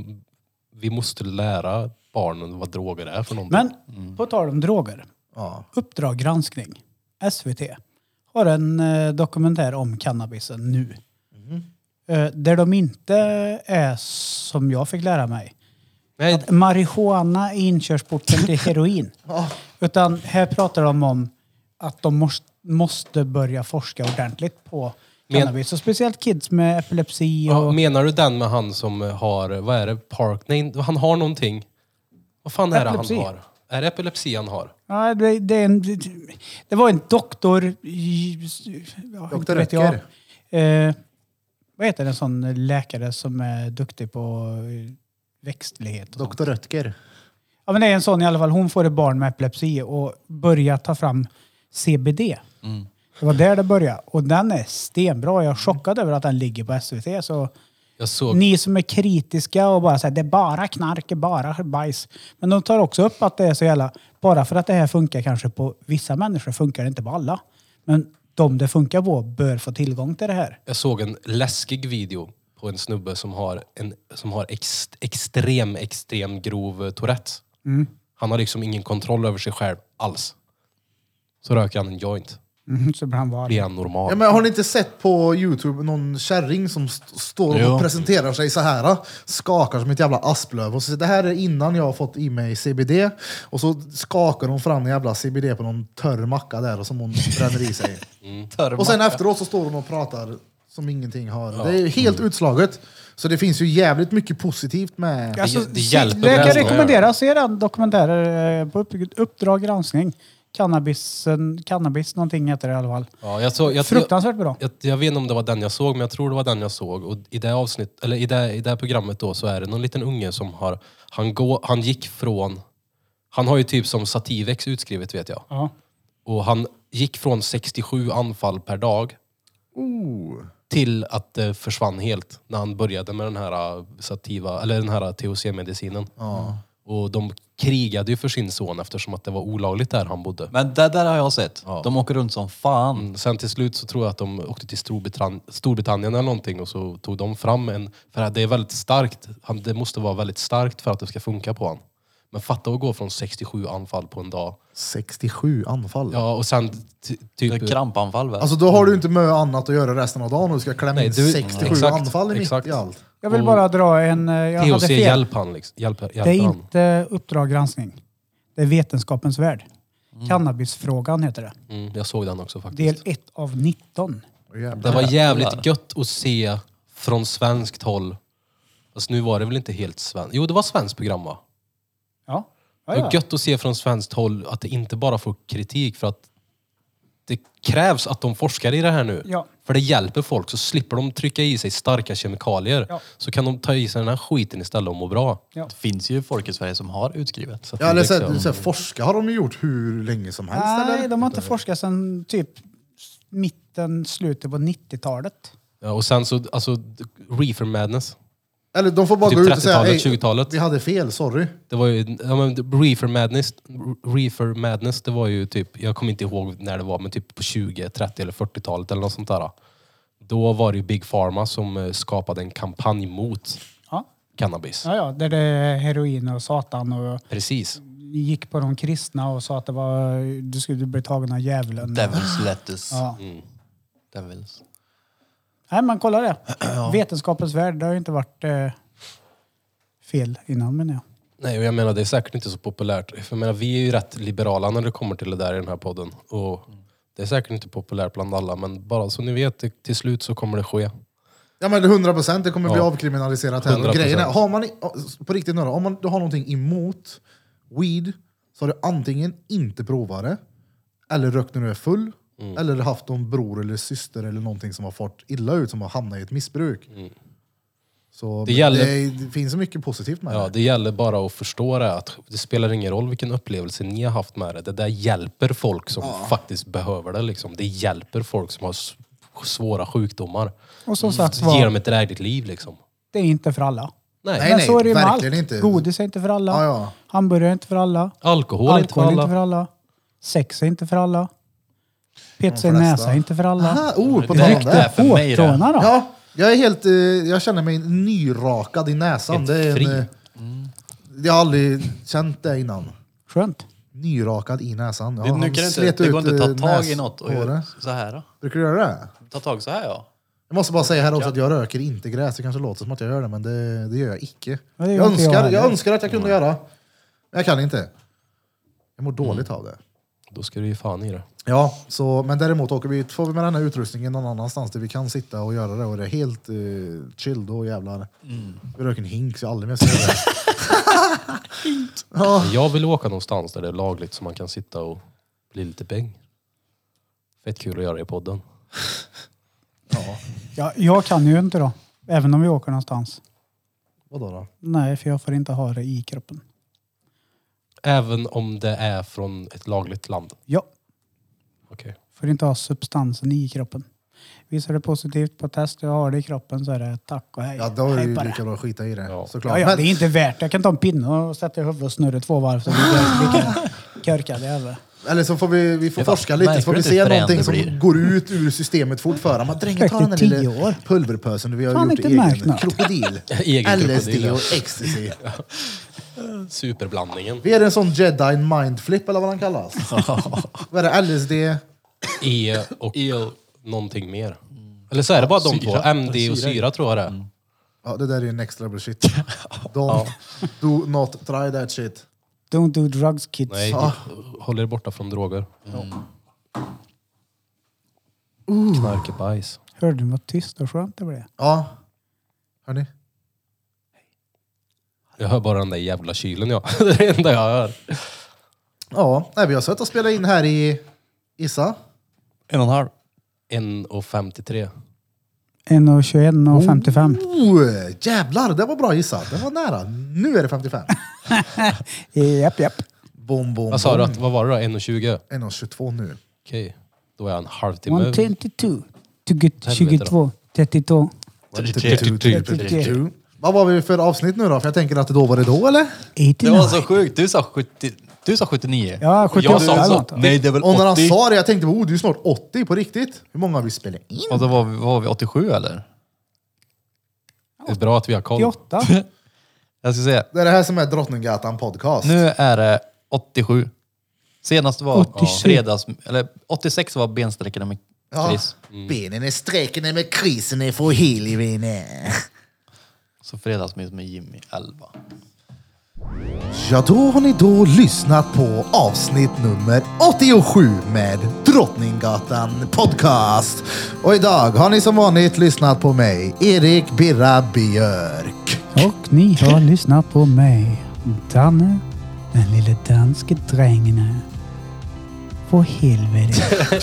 Speaker 3: vi måste lära barnen vad droger är för någonting.
Speaker 2: Men på tal om droger.
Speaker 1: Ja.
Speaker 2: Uppdrag granskning, SVT, har en eh, dokumentär om cannabisen nu.
Speaker 3: Mhm.
Speaker 2: Eh, där de inte är som jag fick lära mig.
Speaker 3: Nej,
Speaker 2: Att marijuana är inkörsporten till heroin. Utan här pratar de om att de måste, måste börja forska ordentligt på
Speaker 3: Men-
Speaker 2: cannabis. Och speciellt kids med epilepsi och...
Speaker 3: ja, menar du den med han som har, vad är det, Park? Nej, han har någonting. Vad fan är det
Speaker 2: Epilepsi.
Speaker 3: han har? Är det epilepsi han har?
Speaker 2: Ja, det, det, är en, det var en doktor... i- Ja,
Speaker 1: Doktor
Speaker 2: inte vet jag. Eh, vad heter en sån läkare som är duktig på eh, växtlighet? och sånt?
Speaker 1: Dr. Röttger.
Speaker 2: Ja, men det är en sån i alla fall. Hon får ett barn med epilepsi och börjar ta fram CBD. Det var där det började. Och den är stenbra. Jag är chockad över att den ligger på SVT. Så
Speaker 3: Jag såg...
Speaker 2: ni som är kritiska och bara säger det är bara knark, det är bara bajs. Men de tar också upp att det är så jävla... Bara för att det här funkar kanske på vissa människor funkar det inte på alla. Men de det funkar på bör få tillgång till det här.
Speaker 3: Jag såg en läskig video på en snubbe som har, en, som har ex, extrem, extrem grov eh, Tourette.
Speaker 2: Mm.
Speaker 3: Han har liksom ingen kontroll över sig själv alls. Så röker han en joint.
Speaker 2: Mhm, Så blir han var.
Speaker 3: Blir han normal?
Speaker 1: Ja, men har ni inte sett på Youtube någon kärring som st- står och
Speaker 4: Jo.
Speaker 1: presenterar sig så här? Skakar som ett jävla asplöv. Och så, det här är innan jag har fått i mig CBD. Och så skakar hon fram en jävla CBD på någon törr macka där och som hon bränner i sig.
Speaker 3: Mm.
Speaker 1: Och sen efteråt så står hon och pratar som ingenting har. Det är helt utslaget. Så det finns ju jävligt mycket positivt med...
Speaker 2: Alltså,
Speaker 3: det
Speaker 2: se-
Speaker 3: hjälper
Speaker 2: jag kan
Speaker 3: nästan.
Speaker 2: rekommendera att se den dokumentären eh, på upp- Uppdrag granskning. Cannabisen, cannabis någonting heter det i alla fall.
Speaker 3: Ja, jag, såg, jag, jag,
Speaker 2: Fruktansvärt bra.
Speaker 3: jag, jag vet inte om det var den jag såg, men jag tror det var den jag såg. Och i det, avsnitt, eller i det, i det här programmet då så är det någon liten unge som har... Han, gå, han gick från... Han har ju typ som Sativex utskrivet vet jag.
Speaker 2: Ja.
Speaker 3: Och han gick från 67 anfall per dag till att det försvann helt när han började med den här eh, sativa, eller den här THC-medicinen. Och de krigade ju för sin son eftersom att det var olagligt där han bodde.
Speaker 4: Men det där har jag sett.
Speaker 3: Ja.
Speaker 4: De åker runt som fan.
Speaker 3: Sen till slut så tror jag att de åkte till Storbritannien, Storbritannien eller någonting och så tog de fram en, för att det är väldigt starkt, han, det måste vara väldigt starkt för att det ska funka på han. Men fatta att gå från 67 anfall på en dag.
Speaker 1: 67 anfall.
Speaker 3: Ja och sen ty,
Speaker 4: Det
Speaker 3: typ...
Speaker 4: är krampanfall väl?
Speaker 1: Alltså då har du inte med annat att göra resten av dagen och du ska klämma
Speaker 3: Nej,
Speaker 1: in
Speaker 3: du-
Speaker 1: 67
Speaker 3: exakt,
Speaker 1: anfall i mitt
Speaker 3: exakt.
Speaker 1: i allt.
Speaker 2: Jag vill
Speaker 3: Och-
Speaker 2: bara dra en... eh, Jag hade
Speaker 3: THC
Speaker 2: fel.
Speaker 3: hjälper han liksom. Hjälper,
Speaker 2: Det
Speaker 3: hjälper
Speaker 2: är
Speaker 3: han.
Speaker 2: inte Uppdrag granskning. Det är Vetenskapens värld. Cannabisfrågan heter det.
Speaker 3: Mm, jag såg den också faktiskt.
Speaker 2: Del 1 av 19.
Speaker 1: Åh, jävlar.
Speaker 3: Det var
Speaker 4: Jävlar.
Speaker 3: jävligt gött att se från svenskt håll. Fast nu var det väl inte helt svenskt? Jo, det var svenskt program va?
Speaker 2: Ja.
Speaker 3: Det var gött att se från svenskt håll att det inte bara får kritik för att det krävs att de forskar i det här nu.
Speaker 2: Ja.
Speaker 3: För det hjälper folk, så slipper de trycka i sig starka kemikalier.
Speaker 2: Ja.
Speaker 3: Så kan de ta i sig den här skiten istället och må bra.
Speaker 2: Ja.
Speaker 4: Det finns ju folk i Sverige som har utskrivet.
Speaker 3: Så att
Speaker 1: Ja, eller
Speaker 3: det
Speaker 1: så,
Speaker 3: liksom-
Speaker 1: så, forska har de ju gjort hur länge som helst
Speaker 2: Nej,
Speaker 1: eller?
Speaker 2: de har inte forskat sedan typ mitten, slutet på 90-talet.
Speaker 3: ja, och sen så, alltså, reefer madness.
Speaker 1: Eller de får bara
Speaker 3: Typ
Speaker 1: gå ut och säga
Speaker 3: 30-talet,
Speaker 1: "Ey,
Speaker 3: 20-talet.
Speaker 1: vi hade fel, sorry.
Speaker 3: Det var ju, ja men Reefer Madness, Reefer Madness, det var ju typ, jag kommer inte ihåg när det var, men typ på 20, 30 eller 40-talet eller något sånt där. Då var det ju Big Pharma som eh, skapade en kampanj mot
Speaker 2: Ja.
Speaker 3: cannabis.
Speaker 2: Ja, ja, där det är heroin och satan och
Speaker 3: Precis.
Speaker 2: gick på de kristna och sa att det var, du skulle bli tagen av djävulen.
Speaker 4: Devils lettuce.
Speaker 2: Ja.
Speaker 4: Devils.
Speaker 2: Nej, men kolla det. Vetenskapens värld, det har ju inte varit eh, fel innan menar jag.
Speaker 3: Nej, och jag menar det är säkert inte så populärt. För jag menar, vi är ju rätt liberala när det kommer till det där i den här podden. Och det är säkert inte populärt bland alla, men bara så ni vet, det- till slut så kommer det ske.
Speaker 1: Ja men det är 100 procent, det kommer bli
Speaker 3: Ja.
Speaker 1: avkriminaliserat här.
Speaker 3: 100%.
Speaker 1: Och Grejen är, har man, i- på riktigt nu då, om man, du har någonting emot weed så har du antingen inte provat det, eller rökt när du är full, eller haft någon bror eller syster eller någonting som har fått illa ut, som har hamnat i ett missbruk. Så
Speaker 3: Det
Speaker 1: det,
Speaker 3: gäller-
Speaker 1: det, finns så mycket positivt med
Speaker 3: Ja,
Speaker 1: det.
Speaker 3: det gäller bara att förstå det. Att det spelar ingen roll vilken upplevelse ni har haft med det. Det där hjälper folk som faktiskt behöver det. Liksom. Det hjälper folk som har s- svåra sjukdomar.
Speaker 2: Och som sagt
Speaker 3: Ge
Speaker 2: var,
Speaker 3: dem ett drägligt liv. Liksom.
Speaker 2: det är inte för alla.
Speaker 3: Nej.
Speaker 1: Nej.
Speaker 2: Men så är det ju med allt.
Speaker 1: verkligen inte.
Speaker 2: Godis är inte för alla.
Speaker 1: Ja, ja.
Speaker 2: Hamburgare är inte för alla.
Speaker 3: Alkohol,
Speaker 2: Alkohol
Speaker 3: är inte för alla.
Speaker 2: är inte för alla. Sex är inte för alla. Pizza i
Speaker 1: De flesta.
Speaker 2: näsa är inte för alla.
Speaker 1: Aha, oh, på
Speaker 4: Det
Speaker 1: tal om
Speaker 4: rykte
Speaker 1: det.
Speaker 4: är för mig det.
Speaker 2: Hårtråna då?
Speaker 1: Ja, jag är helt, eh, jag känner mig nyrakad i näsan.
Speaker 3: Helt
Speaker 1: Det är
Speaker 3: fri.
Speaker 1: en, eh, jag har aldrig känt det innan.
Speaker 2: Skönt.
Speaker 1: Nyrakad i näsan. Ja,
Speaker 4: Det, nu
Speaker 1: han
Speaker 4: kan det, inte,
Speaker 1: slet
Speaker 4: det går
Speaker 1: ut,
Speaker 4: inte att
Speaker 1: eh,
Speaker 4: ta tag i något och
Speaker 1: näshåret.
Speaker 4: göra så här. Då.
Speaker 1: Brukar du göra det?
Speaker 4: Ta tag så här ja.
Speaker 1: Jag måste bara säga här också att jag röker inte gräs. Det kanske låter som att jag gör det, men det, det gör jag icke.
Speaker 2: Ja, det gör
Speaker 1: jag,
Speaker 2: inte jag
Speaker 1: önskar, jag,
Speaker 2: heller.
Speaker 1: önskar att jag kunde göra, men jag kan inte. Jag mår dåligt av det.
Speaker 3: Då ska du ju fan i det.
Speaker 1: Ja, så, men däremot åker vi, får vi med den här utrustningen någon annanstans där vi kan sitta och göra det och det är helt uh, chill då jävlar. Vi röker en hink så jag aldrig mer ser det.
Speaker 3: Men Jag vill åka någonstans där det är lagligt så man kan sitta och bli lite bäng. Fett kul att göra i podden.
Speaker 2: Ja, jag kan ju inte då. Även om vi åker någonstans.
Speaker 1: Vadå då?
Speaker 2: Nej, för jag får inte ha det i kroppen.
Speaker 3: Även om det är från ett lagligt land.
Speaker 2: Ja,
Speaker 3: Okej.
Speaker 2: får inte ha substansen i kroppen. Visar det positivt på test jag har det i kroppen så är det tack och hej.
Speaker 1: Ja, då är det ju
Speaker 2: Hej på
Speaker 1: lika bra att skita i det.
Speaker 3: Ja.
Speaker 1: Såklart.
Speaker 2: Ja, ja,
Speaker 1: Men-
Speaker 2: det är inte värt Jag kan ta en pinne och sätta i huvudet och snurra två varv så blir jag lika körkad jävel.
Speaker 1: Eller så får vi, vi får
Speaker 4: Det är fan-
Speaker 1: forska lite, så
Speaker 4: märker
Speaker 1: får
Speaker 4: du
Speaker 1: vi
Speaker 4: inte
Speaker 1: se
Speaker 4: hur frän
Speaker 1: någonting
Speaker 4: det
Speaker 1: som
Speaker 4: blir?
Speaker 1: går ut ur systemet fort före. Man dränger ta den där
Speaker 2: Efter tio
Speaker 1: lilla
Speaker 2: år.
Speaker 1: pulverpösen vi har
Speaker 2: Fan,
Speaker 1: gjort
Speaker 2: inte
Speaker 1: egen
Speaker 2: märkt något.
Speaker 1: krokodil.
Speaker 3: Egen
Speaker 1: LSD
Speaker 3: krokodil, ja.
Speaker 1: och ecstasy.
Speaker 4: Mm.
Speaker 3: Superblandningen.
Speaker 1: Vi är en sån jedi mindflip eller vad den kallas. Vad är det? LSD?
Speaker 3: E och någonting mer. Eller så är det bara de
Speaker 4: Syra. Mm.
Speaker 3: två. MD och syra tror jag det är.
Speaker 1: Ja, det där är ju next level shit. Don't do not try that shit.
Speaker 2: Don't do drugs kids.
Speaker 3: Nej, håll er borta från droger. Mm. Knark är bajs.
Speaker 2: Hörde du vad tyst och skönt det blev?
Speaker 1: Ja. Hörni?
Speaker 3: Jag hör bara den där jävla kylen jag. det är det enda jag hör.
Speaker 1: Ja, nej, vi har suttit och spelat in här i Issa.
Speaker 4: En och en halv.
Speaker 3: 1.53.
Speaker 2: 1.21 och 55.
Speaker 1: Oh, jävlar, det var bra gissat. Det var nära. Nu är det 55.
Speaker 4: Mm.
Speaker 2: Japp, japp.
Speaker 1: Bom, bom,
Speaker 3: Vad sa du?
Speaker 1: bom.
Speaker 3: Att, vad var det då? 1.20?
Speaker 1: 1.22 nu.
Speaker 3: Okej. Då är jag en halvtimme.
Speaker 2: 122, 22, 32.
Speaker 3: Typ,
Speaker 2: 32.
Speaker 1: Vad var vi för avsnitt nu då? För jag tänker att då var det då eller?
Speaker 2: 89.
Speaker 4: Det var så sjukt. Du sa, 70, du sa 79.
Speaker 2: Ja, 78
Speaker 4: jag sa
Speaker 2: eller
Speaker 4: så,
Speaker 2: något.
Speaker 4: Nej, det är väl
Speaker 1: Och när han
Speaker 4: 80.
Speaker 1: sa det, jag tänkte oh, du är snart 80 på riktigt. Hur många har vi spelat in?
Speaker 4: Och då var vi, var vi 87 eller?
Speaker 3: Det är bra att vi har koll.
Speaker 2: 88.
Speaker 4: Jag ska säga,
Speaker 1: Det är det här som är Drottninggatan podcast.
Speaker 4: nu är det 87. Senast var
Speaker 2: 87.
Speaker 4: fredags, eller 86 var bensträckorna med
Speaker 1: ja.
Speaker 4: Chris.
Speaker 3: Mm.
Speaker 1: Benen är sträckande med krisen är för helvete.
Speaker 4: Så fredagsmys med Jimmy 11.
Speaker 1: Ja, då har ni då lyssnat på avsnitt nummer 87 med Drottninggatan Podcast. Och idag har ni som vanligt lyssnat på mig, Erik Birra Björk.
Speaker 2: Och ni har lyssnat på mig, Danne, den lille danske drängen. På helvete.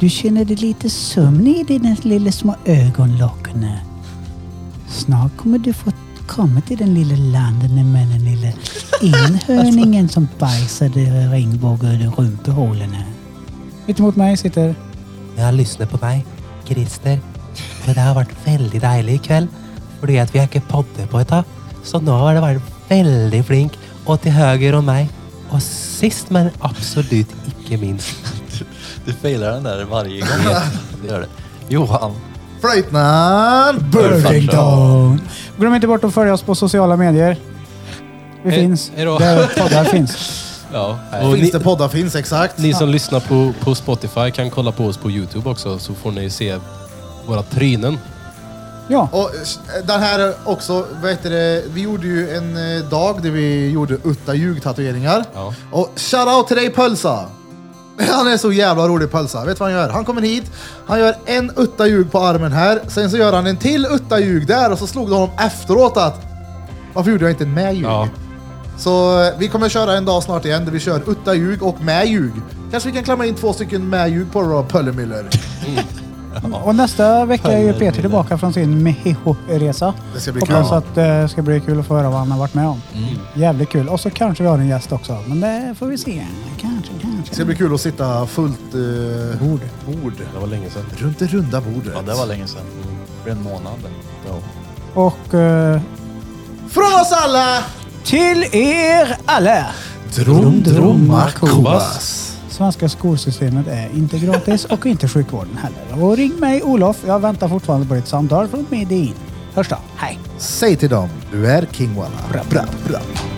Speaker 2: Du känner dig lite sömnig i dina lilla små ögonlocken. Snart kommer du få komma till den lilla landen med den lilla enhörningen som bajsade regnbågar i rumphålen. Mitt emot mig sitter...
Speaker 5: Jag lyssnar på meg, Christer. Men det har vært veldig deilig i kveld, fordi at vi er ikke podde på et tag. Så nå har det vært veldig flink, og til høyre om meg. Og sist, men absolutt ikke minst,
Speaker 4: Du failar den där varje gång. Det gör det. Johan.
Speaker 1: Flöjtnant Burfing.
Speaker 2: Burlington! Glöm inte bort att följa oss på sociala medier. Vi
Speaker 3: Eh,
Speaker 2: finns.
Speaker 3: hejdå.
Speaker 2: Där poddar finns.
Speaker 3: Ja. Och
Speaker 1: Finns
Speaker 3: ni,
Speaker 1: det poddar finns, exakt.
Speaker 3: ni som lyssnar på, på Spotify kan kolla på oss på Youtube också så får ni se våra trynen.
Speaker 2: Ja.
Speaker 1: Och eh, den här också, vad heter det, vi gjorde ju en eh, dag där vi gjorde utta ljug-tatueringar.
Speaker 3: Ja.
Speaker 1: Och shoutout till dig Pölsa! Han är så jävla rolig Pölsa. Vet du vad han gör? Han kommer hit, han gör en utta ljug på armen här, sen så gör han en till utta ljug där och så slog det honom efteråt att varför gjorde jag inte en med ljug?
Speaker 3: Ja.
Speaker 1: Så eh, vi kommer köra en dag snart igen där vi kör utta ljug och med ljug. Kanske vi kan klämma in två stycken med ljug på det då, Pöllemüller.
Speaker 2: Och nästa vecka är ju Peter tillbaka från sin Mexico-resa.
Speaker 1: Det ska bli
Speaker 2: Hoppas
Speaker 1: kul.
Speaker 2: att eh, det ska bli kul att få höra vad han har varit med om. Jävligt kul. Och så kanske vi har en gäst också. Men det får vi se. Kanske,
Speaker 1: Det
Speaker 2: kanske.
Speaker 1: ska bli kul att sitta fullt... eh,
Speaker 2: Bord.
Speaker 1: bord.
Speaker 3: Det var länge sedan.
Speaker 1: Runt det runda bordet.
Speaker 4: Ja, det var länge sedan. För en månad. Ja.
Speaker 2: Och eh,
Speaker 1: Från oss alla!
Speaker 2: Till er alla!
Speaker 1: Drom,
Speaker 2: droma,
Speaker 1: kobas.
Speaker 2: Svenska skolsystemet är inte gratis och inte sjukvården heller. Och ring mig Olof, jag väntar fortfarande på ditt samtal från Medin. Hörs då, hej!
Speaker 1: Säg till dem, du är King Walla. Bra, bra, bra.